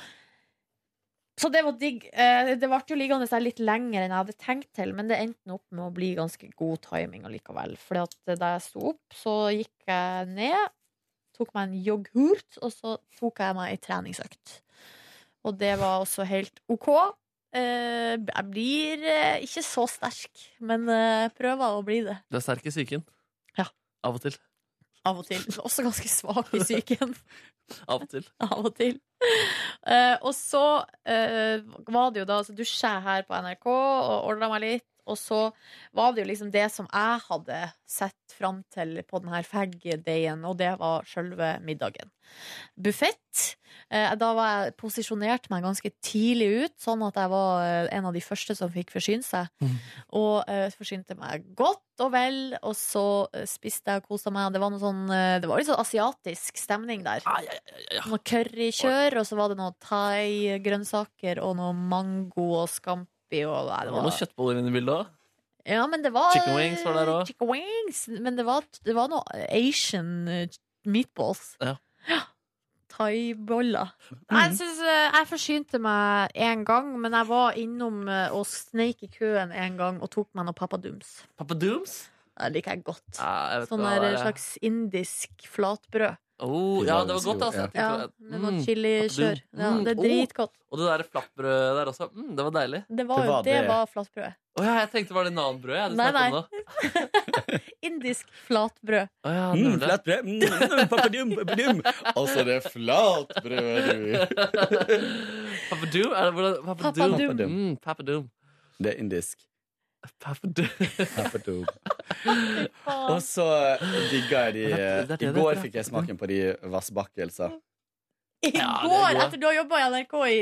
[SPEAKER 2] Så det var digg. Eh, Det ble jo liggende der litt lenger enn jeg hadde tenkt til, men det endte nå opp med å bli ganske god timing allikevel. Fordi at eh, da jeg sto opp, så gikk jeg ned, tok meg en yoghurt, og så tok jeg meg ei treningsøkt. Og det var også helt OK. Eh, Jeg blir eh, ikke så sterk, men eh, prøver å bli det.
[SPEAKER 3] Du er sterk i psyken.
[SPEAKER 2] Ja.
[SPEAKER 3] Av og til.
[SPEAKER 2] Av og til. Også ganske svak i psyken.
[SPEAKER 3] Av og til.
[SPEAKER 2] Av og til. Eh, og så eh, var det jo da altså, dusja jeg her på NRK og ordna meg litt. Og så var det jo liksom det som jeg hadde sett fram til på denne fag-dayen, og det var sjølve middagen. Buffett. Eh, da var jeg posisjonert meg ganske tidlig ut, sånn at jeg var eh, en av de første som fikk forsyne seg.
[SPEAKER 3] Mm.
[SPEAKER 2] Og eh, forsynte meg godt og vel, og så eh, spiste jeg og kosa meg. Det var noe sånn, eh, det var litt sånn asiatisk stemning der. Noe currykjør, og så var det noe thai-grønnsaker og noe mango og scampi og nei,
[SPEAKER 3] Det var noen kjøttboller inne i bildet òg.
[SPEAKER 2] ja, men det var
[SPEAKER 3] Chicken wings var der også.
[SPEAKER 2] Chicken wings, men det var, det var noe Asian eh, meatballs.
[SPEAKER 3] Ja. Mm.
[SPEAKER 2] Thaiboller. Nei, Jeg, synes, eh, jeg forsynte meg én gang, men jeg var innom eh, og sneik i køen en gang og tok meg noe pappadums.
[SPEAKER 3] Papa Dooms?
[SPEAKER 2] Det liker jeg godt.
[SPEAKER 3] Ja, jeg vet
[SPEAKER 2] Sånn
[SPEAKER 3] hva
[SPEAKER 2] der
[SPEAKER 3] det er.
[SPEAKER 2] slags indisk flatbrød.
[SPEAKER 3] Oh, ja, det var godt, altså. Jeg
[SPEAKER 2] Ja,
[SPEAKER 3] tenkte-
[SPEAKER 2] med noe
[SPEAKER 3] Mm,
[SPEAKER 2] chilikjør.
[SPEAKER 3] Papa Dooms.
[SPEAKER 2] Ja,
[SPEAKER 3] Mm,
[SPEAKER 2] det er
[SPEAKER 3] oh,
[SPEAKER 2] dritgodt.
[SPEAKER 3] Og det der flatbrødet der også. Mm, det var deilig.
[SPEAKER 2] Det var jo det var flatbrød.
[SPEAKER 3] Å ja, jeg tenkte var det nanbrød. Jeg,
[SPEAKER 2] Nei,
[SPEAKER 3] nei, nei.
[SPEAKER 2] nei. Indisk flatbrød.
[SPEAKER 3] Å, ja,
[SPEAKER 4] Mm,
[SPEAKER 3] nemlig.
[SPEAKER 4] flatbrød. Mm, mm, papadum, papadum. Altså, det er flatbrød, du.
[SPEAKER 3] Papa Doom? Er det, hvordan- Papa,
[SPEAKER 2] Papa
[SPEAKER 3] Doom.
[SPEAKER 2] Doom.
[SPEAKER 3] Mm, Papa Doom.
[SPEAKER 4] Det er indisk.
[SPEAKER 3] Papa Doom.
[SPEAKER 4] Papadum.
[SPEAKER 2] Faen.
[SPEAKER 4] Og så digga jeg de eh,
[SPEAKER 3] Det er det det
[SPEAKER 4] I går
[SPEAKER 3] heter,
[SPEAKER 4] fikk jeg smaken på de vassbakkelser.
[SPEAKER 2] I
[SPEAKER 3] Ja, det er
[SPEAKER 2] går,
[SPEAKER 3] gode.
[SPEAKER 2] etter du har jobba i NRK i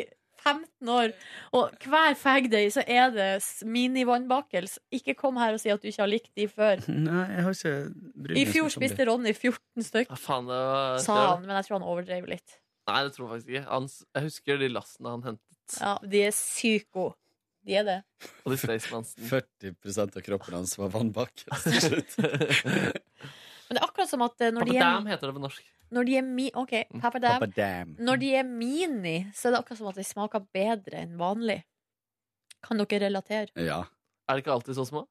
[SPEAKER 2] 15 år, og hver fagday så er det s- mini-vannbakels. Ikke kom her og si at du ikke har likt de før.
[SPEAKER 4] Nei, jeg har ikke brydd
[SPEAKER 2] I fjor spiste Ronny 14 stykk,
[SPEAKER 3] Ja, faen, det var
[SPEAKER 2] sa han, men jeg tror han overdrev litt.
[SPEAKER 3] Nei, det tror jeg faktisk ikke. Han, s- jeg husker de lastene han hentet,
[SPEAKER 2] Ja, de er sykt gode. De er det.
[SPEAKER 3] og de Staysmansen.
[SPEAKER 4] 40 av kroppen hans var
[SPEAKER 2] Altså,
[SPEAKER 4] vannbakkelser.
[SPEAKER 2] Men det er akkurat som at eh, når
[SPEAKER 3] Papa
[SPEAKER 2] de er,
[SPEAKER 3] Dam heter det på norsk.
[SPEAKER 2] når de er mi... OK,
[SPEAKER 3] Mm,
[SPEAKER 2] Papa Dam.
[SPEAKER 4] Papadam.
[SPEAKER 2] Når de er mini, så er det akkurat som at de smaker bedre enn vanlig. Kan dere relatere?
[SPEAKER 4] Ja.
[SPEAKER 3] Er det ikke alltid så små?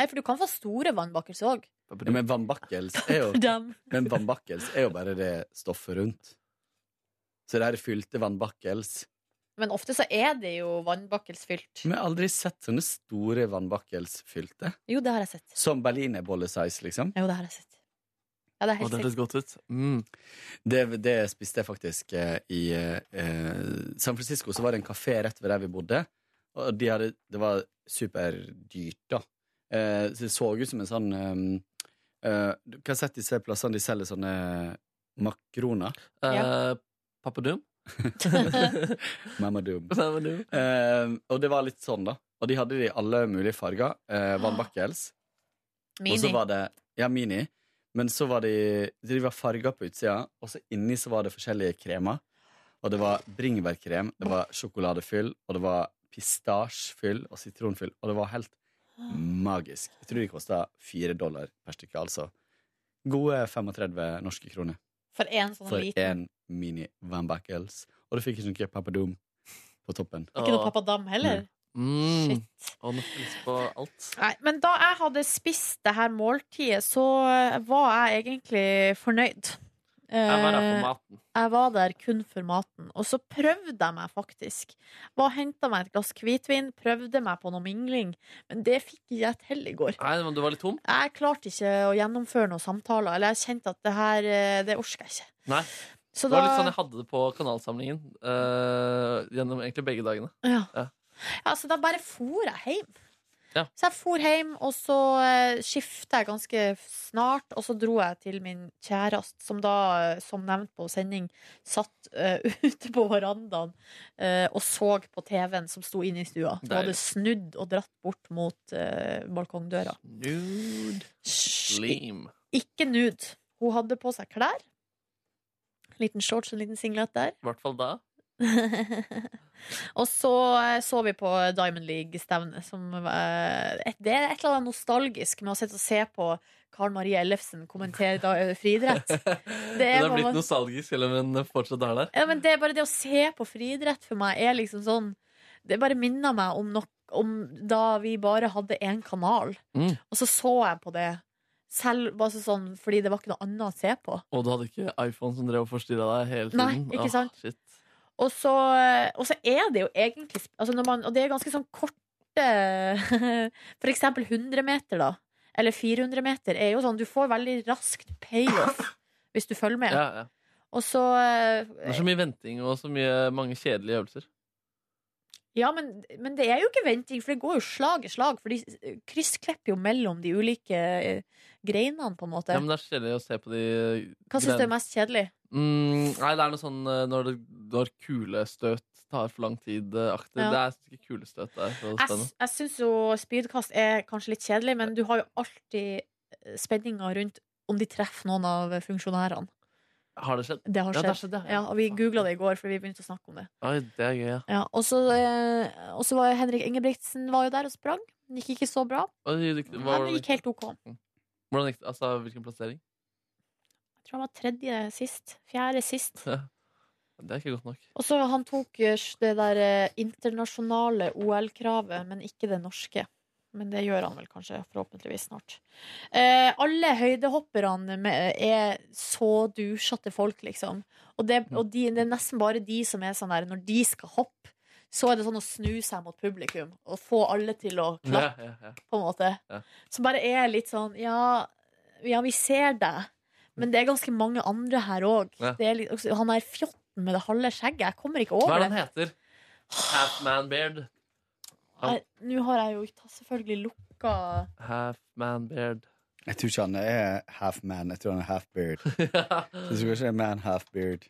[SPEAKER 2] Nei, for du kan få store vannbakelser òg.
[SPEAKER 3] Papa
[SPEAKER 4] Ja,
[SPEAKER 3] Doom.
[SPEAKER 4] men vannbakkels er jo Men vannbakkels er jo bare det stoffet rundt. Så det her er fylte vannbakkels.
[SPEAKER 2] Men ofte så er det jo vannbakkelsfylt.
[SPEAKER 4] Men jeg har aldri sett sånne store vannbakkelsfylte.
[SPEAKER 2] Jo, det har jeg sett.
[SPEAKER 4] Som berlinerbollesize, liksom.
[SPEAKER 2] Jo, det har jeg sett. Ja, det er
[SPEAKER 3] Å,
[SPEAKER 2] helt
[SPEAKER 3] det
[SPEAKER 2] sikkert.
[SPEAKER 3] høres godt ut. Mm.
[SPEAKER 4] Det, det spiste jeg faktisk eh, i eh, San Francisco. Så var det en kafé rett ved der vi bodde. Og de hadde, det var superdyrt, da. Eh, så det så ut som en sånn eh, eh, Du kan sett disse plassene de selger sånne makroner.
[SPEAKER 2] Ja.
[SPEAKER 3] Eh, Papa Doom?
[SPEAKER 4] Mamadum.
[SPEAKER 3] Papa Doom.
[SPEAKER 4] Eh, og det var litt sånn, da. Og de hadde det i alle mulige farger. Eh, vannbakkels. Og så
[SPEAKER 2] Mini.
[SPEAKER 4] var det Ja, mini. Men så var de De var farga på utsida, og så inni så var det forskjellige kremer. Og det var bringebærkrem, det var sjokoladefyll, og det var pistasjefyll og sitronfyll. Og det var helt magisk. Jeg tror de kosta fire dollar per stykke, altså. Gode 35 norske kroner
[SPEAKER 2] For én sånn
[SPEAKER 4] for
[SPEAKER 2] liten.
[SPEAKER 4] én mini Van Backels. Og du fikk ikke noe Papadum på toppen.
[SPEAKER 2] Ikke noe pappadam heller.
[SPEAKER 3] Mm.
[SPEAKER 2] Shit.
[SPEAKER 3] Og nøkkels på alt.
[SPEAKER 2] Nei, men da jeg hadde spist det her måltidet, så eh, var jeg egentlig fornøyd.
[SPEAKER 3] Jeg var der
[SPEAKER 2] Eh,
[SPEAKER 3] for maten.
[SPEAKER 2] Jeg var der kun for maten, og så prøvde jeg meg faktisk. Var Henta meg et glass hvitvin, prøvde meg på noe mingling, men det fikk ikke jeg til i går.
[SPEAKER 3] Nei, men du var litt tom?
[SPEAKER 2] Jeg klarte ikke å gjennomføre noen samtaler, eller jeg kjente at det her, eh, det orker jeg ikke.
[SPEAKER 3] Nei.
[SPEAKER 2] Så
[SPEAKER 3] Det var
[SPEAKER 2] da-
[SPEAKER 3] litt sånn jeg hadde det på kanalsamlingen eh, gjennom egentlig begge dagene.
[SPEAKER 2] Ja.
[SPEAKER 3] Ja.
[SPEAKER 2] ja, så da bare for jeg hjem.
[SPEAKER 3] Ja.
[SPEAKER 2] Så jeg for hjem, og så eh, skifta jeg ganske snart, og så dro jeg til min kjæreste, som da, eh, som nevnt på sending, satt eh, ute på verandaen eh, og så på TV-en som sto inne i stua. Hun hadde
[SPEAKER 3] Deilig.
[SPEAKER 2] snudd og dratt bort mot eh, balkongdøra.
[SPEAKER 3] Nude
[SPEAKER 2] Hysj,
[SPEAKER 3] slim.
[SPEAKER 2] Ikke nude. Hun hadde på seg klær. Liten shorts og en liten singlet der.
[SPEAKER 3] I hvert fall da.
[SPEAKER 2] og så eh, så vi på Diamond League-stevnet. som, eh, et- Det er et eller annet nostalgisk med å sitte og se på Karen Marie Ellefsen kommenterer da eh, friidrett. Det
[SPEAKER 3] Hun
[SPEAKER 2] er
[SPEAKER 3] har
[SPEAKER 2] bare-
[SPEAKER 3] blitt nostalgisk, selv om hun fortsatt er der.
[SPEAKER 2] Ja, men det er bare det å se på friidrett for meg er liksom sånn Det bare minner meg om nok om da vi bare hadde én kanal.
[SPEAKER 3] Mm.
[SPEAKER 2] Og så så jeg på det selv, bare så sånn, fordi det var ikke noe annet å se på.
[SPEAKER 3] Og du hadde ikke iPhone som drev og forstyrra deg hele tiden?
[SPEAKER 2] Nei, ikke
[SPEAKER 3] Ah,
[SPEAKER 2] sant?
[SPEAKER 3] shit.
[SPEAKER 2] Og så, eh, og så er det jo egentlig altså når man, Og det er ganske sånn korte For eksempel 100 meter, da. Eller 400 meter. Er jo sånn, du får veldig raskt payoff hvis du følger med.
[SPEAKER 3] Ja, Altså- ja.
[SPEAKER 2] Og så eh,
[SPEAKER 3] Det er så mye venting og så mye, mange kjedelige øvelser.
[SPEAKER 2] Ja, men, men det er jo ikke venting, for det går jo slag i slag. For de kryssklipper jo mellom de ulike eh, greinene, på en måte.
[SPEAKER 3] Ja, men det er så kjedelig å se på de
[SPEAKER 2] Hva syns du er
[SPEAKER 3] greiene.
[SPEAKER 2] mest kjedelig?
[SPEAKER 3] Mm, nei, det er noe sånn eh, når, det- når kulestøt tar for lang tid-aktig.
[SPEAKER 2] Ja.
[SPEAKER 3] Det er jeg synes ikke kulestøt det er så
[SPEAKER 2] Jeg,
[SPEAKER 3] spennende.
[SPEAKER 2] s- jeg syns jo spydkast er kanskje litt kjedelig, men du har jo alltid eh, spenninga rundt om de treffer noen av funksjonærene.
[SPEAKER 3] Har det skjedd?
[SPEAKER 2] Det har
[SPEAKER 3] Ja,
[SPEAKER 2] skjedd.
[SPEAKER 3] det
[SPEAKER 2] Ja,
[SPEAKER 3] har skjedd, ja, ja.
[SPEAKER 2] og vi googla det i går, for vi begynte å snakke om det.
[SPEAKER 3] Oi, det er gøy, ja.
[SPEAKER 2] Ja, og så eh, og så var jo Henrik Ingebrigtsen var jo der og sprang. Det Gikk ikke så bra,
[SPEAKER 3] Oi, det- hva-
[SPEAKER 2] men
[SPEAKER 3] hvordan,
[SPEAKER 2] det
[SPEAKER 3] gikk-
[SPEAKER 2] gikk helt OK.
[SPEAKER 3] hvordan gikk det? Altså, hvilken plassering?
[SPEAKER 2] Jeg tror han var tredje sist. Fjerde sist.
[SPEAKER 3] Det er ikke godt nok.
[SPEAKER 2] Og så han tok eh, det der eh, internasjonale OL-kravet, men ikke det norske. Men det gjør han vel kanskje, forhåpentligvis snart. Eh, alle høydehopperne med, er så dusjete folk, liksom. Og, det, og de, det er nesten bare de som er sånn der Når de skal hoppe, så er det sånn å snu seg mot publikum og få alle til å klappe
[SPEAKER 3] Ja, ja, ja.
[SPEAKER 2] på en måte.
[SPEAKER 3] Ja.
[SPEAKER 2] Som bare er litt sånn Ja, ja vi ser deg, men det er ganske mange andre her òg.
[SPEAKER 3] Ja.
[SPEAKER 2] Han er fjotten med det halve skjegget. Jeg kommer ikke
[SPEAKER 3] Hva
[SPEAKER 2] over
[SPEAKER 3] er det han
[SPEAKER 2] det.
[SPEAKER 3] heter? Half Man Beard.
[SPEAKER 2] Jeg- Nå har jeg jo ikke tatt- selvfølgelig lukka
[SPEAKER 3] Half Man Beard.
[SPEAKER 4] Jeg tror ikke han er half man, jeg tror han er half beard. Jeg tror kanskje det er man half beard.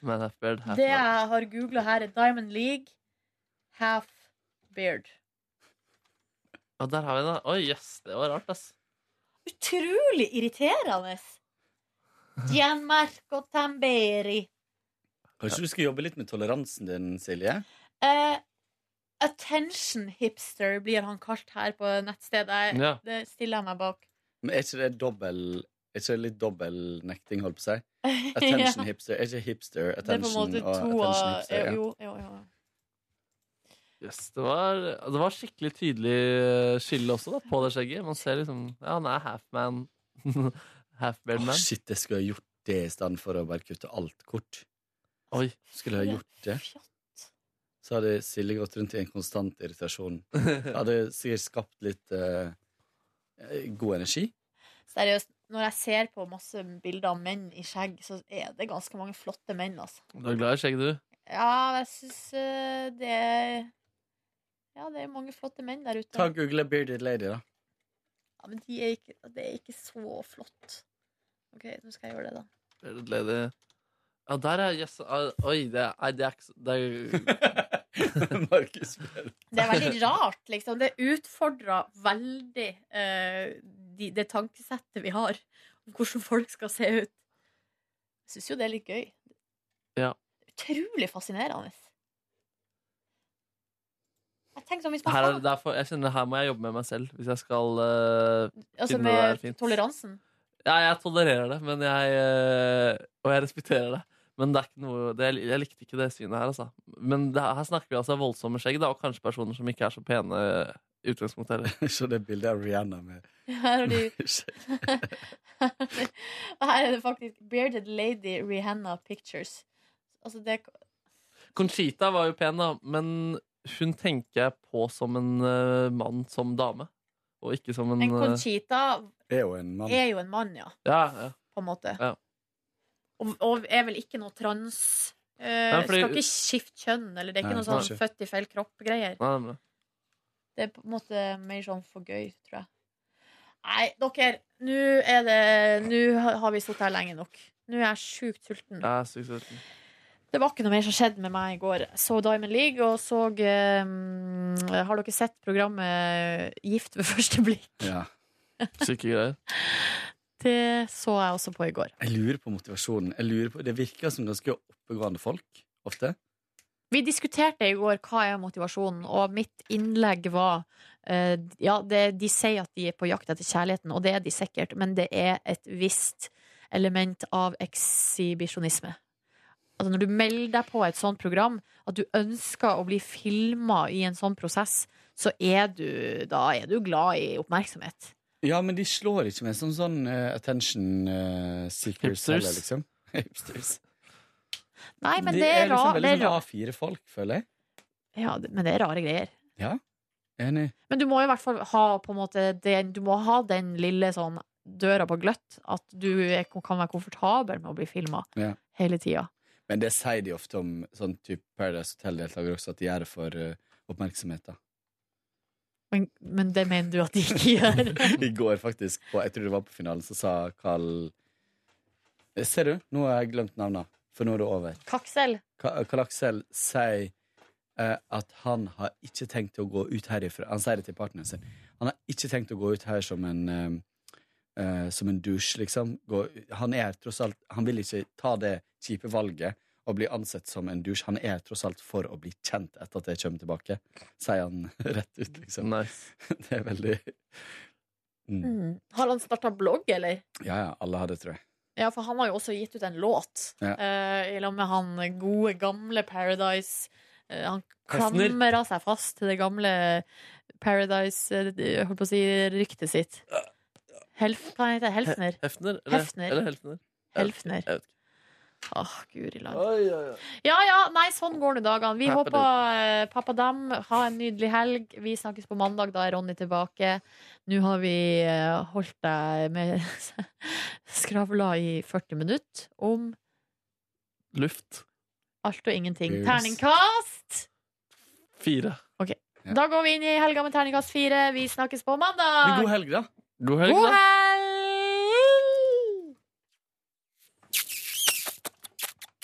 [SPEAKER 3] Man half beard, half
[SPEAKER 2] Det jeg har googla her, er Diamond League half beard.
[SPEAKER 3] Og der har vi den. Oi, jøss, det var rart, ass.
[SPEAKER 2] Utrolig irriterende! Gianmarco Tamberi.
[SPEAKER 4] Kanskje du skal jobbe litt med toleransen din, Silje?
[SPEAKER 2] Eh, attention hipster blir han kalt her på nettstedet. Jeg-
[SPEAKER 4] Ja.
[SPEAKER 2] Det stiller jeg meg bak.
[SPEAKER 4] Men er ikke det dobbel Er ikke det litt dobbel nekting, holdt på å si? Attention
[SPEAKER 2] Ja.
[SPEAKER 4] hipster. Er ikke hipster
[SPEAKER 2] Det er på en
[SPEAKER 4] attention
[SPEAKER 2] måte
[SPEAKER 4] og
[SPEAKER 2] to
[SPEAKER 4] attention
[SPEAKER 2] av
[SPEAKER 4] hipster? Ja.
[SPEAKER 2] jo, jo, jo.
[SPEAKER 3] Yes, det, var, det var skikkelig tydelig eh, skille også da, på det skjegget. Man ser liksom Ja, han er half man. half beard
[SPEAKER 4] Åh,
[SPEAKER 3] man.
[SPEAKER 4] shit, jeg skulle ha gjort det i stedet for å bare kutte alt kort.
[SPEAKER 3] Oi.
[SPEAKER 4] Skulle ha gjort det. Så hadde Silje gått rundt i en konstant irritasjon. Det hadde sikkert skapt litt eh, god energi.
[SPEAKER 2] Seriøst, når jeg ser på masse bilder av menn i skjegg, så er det ganske mange flotte menn, altså.
[SPEAKER 3] Du er glad i skjegg, du?
[SPEAKER 2] Ja, jeg syns det er Ja, det er mange flotte menn der ute.
[SPEAKER 4] Ta og Google 'bearded lady', da.
[SPEAKER 2] Ja, men de er ikke, det er ikke så flott. OK, nå skal jeg gjøre det, da.
[SPEAKER 3] Bearded lady. Ja, der er yes, ah, Oi, det er, nei, det er ikke så- Det er
[SPEAKER 4] Markus
[SPEAKER 2] Det er veldig rart, liksom. Det utfordrer veldig eh, de, det tankesettet vi har om hvordan folk skal se ut. Jeg syns jo det er litt gøy.
[SPEAKER 3] Ja.
[SPEAKER 2] Utrolig fascinerende. Jeg tenker sånn, hvis man
[SPEAKER 3] Her er,
[SPEAKER 2] har,
[SPEAKER 3] det er for, jeg kjenner her må jeg jobbe med meg selv hvis jeg skal eh,
[SPEAKER 2] altså
[SPEAKER 3] finne det der
[SPEAKER 2] med
[SPEAKER 3] fint.
[SPEAKER 2] toleransen
[SPEAKER 3] Ja, jeg tolererer det, men jeg, eh, og jeg respekterer det. Men det er ikke noe, det, jeg likte ikke det synet her. Altså. Men det, her snakker vi altså om voldsomme skjegg, da, og kanskje personer som ikke er så pene i utgangspunktet heller.
[SPEAKER 4] Så det bildet av Rihanna med
[SPEAKER 2] Her er, de, her er det faktisk Bearded Lady Rihanna Pictures. Altså det
[SPEAKER 3] Conchita var jo pen, da, men hun tenker jeg på som en eh, mann som dame. Og ikke som en
[SPEAKER 2] En
[SPEAKER 3] eh,
[SPEAKER 2] Conchita
[SPEAKER 4] Er jo en mann.
[SPEAKER 2] er jo en mann, ja.
[SPEAKER 3] Ja, ja.
[SPEAKER 2] På en måte.
[SPEAKER 3] Ja.
[SPEAKER 2] Og, og er vel ikke noe trans eh,
[SPEAKER 3] Nei, fordi-
[SPEAKER 2] Skal ikke skifte kjønn, eller det er ikke
[SPEAKER 3] Nei,
[SPEAKER 2] noe sånn
[SPEAKER 3] kanskje.
[SPEAKER 2] født i feil kropp-greier.
[SPEAKER 3] Nei, men,
[SPEAKER 2] Det er på en måte mer sånn for gøy, tror jeg. Nei, dere, nå er det Nå har vi sittet her lenge nok. Nå er jeg sjukt sulten.
[SPEAKER 3] jeg er sykt sulten.
[SPEAKER 2] Det var ikke noe mer som skjedde med meg i går. Så Diamond League, og så eh, Har dere sett programmet Gift ved første blikk?
[SPEAKER 4] Ja.
[SPEAKER 3] Syke greier.
[SPEAKER 2] Det så jeg også på i går.
[SPEAKER 4] Jeg lurer på motivasjonen. Jeg lurer på, det virker som ganske oppegående folk ofte.
[SPEAKER 2] Vi diskuterte i går hva er motivasjonen, og mitt innlegg var eh, Ja, det, de sier at de er på jakt etter kjærligheten, og det er de sikkert, men det er et visst element av ekshibisjonisme. Altså når du melder deg på et sånt program, at du ønsker å bli filma i en sånn prosess, så er du, da er du glad i oppmerksomhet.
[SPEAKER 4] Ja, men de slår ikke med som sånn eh, attention eh, seekers
[SPEAKER 3] Hipsters.
[SPEAKER 4] heller, liksom. Hipsters.
[SPEAKER 2] Nei, men
[SPEAKER 4] de
[SPEAKER 2] det er,
[SPEAKER 4] liksom
[SPEAKER 2] ra- det
[SPEAKER 4] veldig
[SPEAKER 2] er ra-
[SPEAKER 4] sånn A4-folk, føler jeg.
[SPEAKER 2] Ja, det- men det er rare greier.
[SPEAKER 4] Ja, enig.
[SPEAKER 2] Men du må i hvert fall ha på en måte den, Du må ha den lille sånn døra på gløtt At du er, kan være komfortabel med å bli filmet
[SPEAKER 4] Ja.
[SPEAKER 2] Hele tiden
[SPEAKER 4] Men det sier de ofte om sånn type Paradise Hotel-deltakere også, at de gjør det for eh, oppmerksomhet. da.
[SPEAKER 2] men, men det mener du at de ikke gjør
[SPEAKER 4] I går, faktisk, på, jeg tror det var på finalen, så sa Carl Eh, Ser du, nå har jeg glemt navnet, for nå er det over.
[SPEAKER 2] Kaksel
[SPEAKER 4] Ka- Karl Aksel sier eh, at han har ikke tenkt å gå ut herifra. Han sier det til partneren sin. Han har ikke tenkt å gå ut her som en eh, eh, Som en dusj, liksom. Gå, han er tross alt Han vil ikke ta det kjipe valget og bli ansett som en dusj. Han er tross alt for å bli kjent etter at jeg kommer tilbake, sier han rett ut, liksom. Det er veldig mm.
[SPEAKER 2] mm. Har han startet blogg, eller?
[SPEAKER 4] Ja, ja. Alle har det, tror jeg.
[SPEAKER 2] Ja, for han har jo også gitt ut en låt
[SPEAKER 4] Ja.
[SPEAKER 2] eh, I lag med han gode, gamle Paradise Eh, Han
[SPEAKER 3] Hefner.
[SPEAKER 2] klamrer seg fast til det gamle Paradise eh, Jeg holdt på å si ryktet sitt Helf, hva heter det? Helfner
[SPEAKER 3] Hefner? Eller,
[SPEAKER 2] Hefner.
[SPEAKER 3] eller Helfner?
[SPEAKER 2] Helfner.
[SPEAKER 3] Jeg vet ikke.
[SPEAKER 2] Åh, guri land
[SPEAKER 3] Oi, oi, oi.
[SPEAKER 2] Ja, ja, nei, sånn går nå dagene. Vi
[SPEAKER 3] Pappa
[SPEAKER 2] håper eh, Pappa Dam ha en nydelig helg. Vi snakkes på mandag, da er Ronny tilbake. Nå har vi eh, holdt deg med skravla i 40 minutter om
[SPEAKER 3] Luft.
[SPEAKER 2] alt og ingenting.
[SPEAKER 3] Yes.
[SPEAKER 2] Terningkast!
[SPEAKER 3] Fire.
[SPEAKER 2] Da går vi inn i helga med terningkast fire. Vi snakkes på mandag!
[SPEAKER 4] God helg, da.
[SPEAKER 3] God helg,
[SPEAKER 2] Ah. God
[SPEAKER 3] da.
[SPEAKER 2] helg!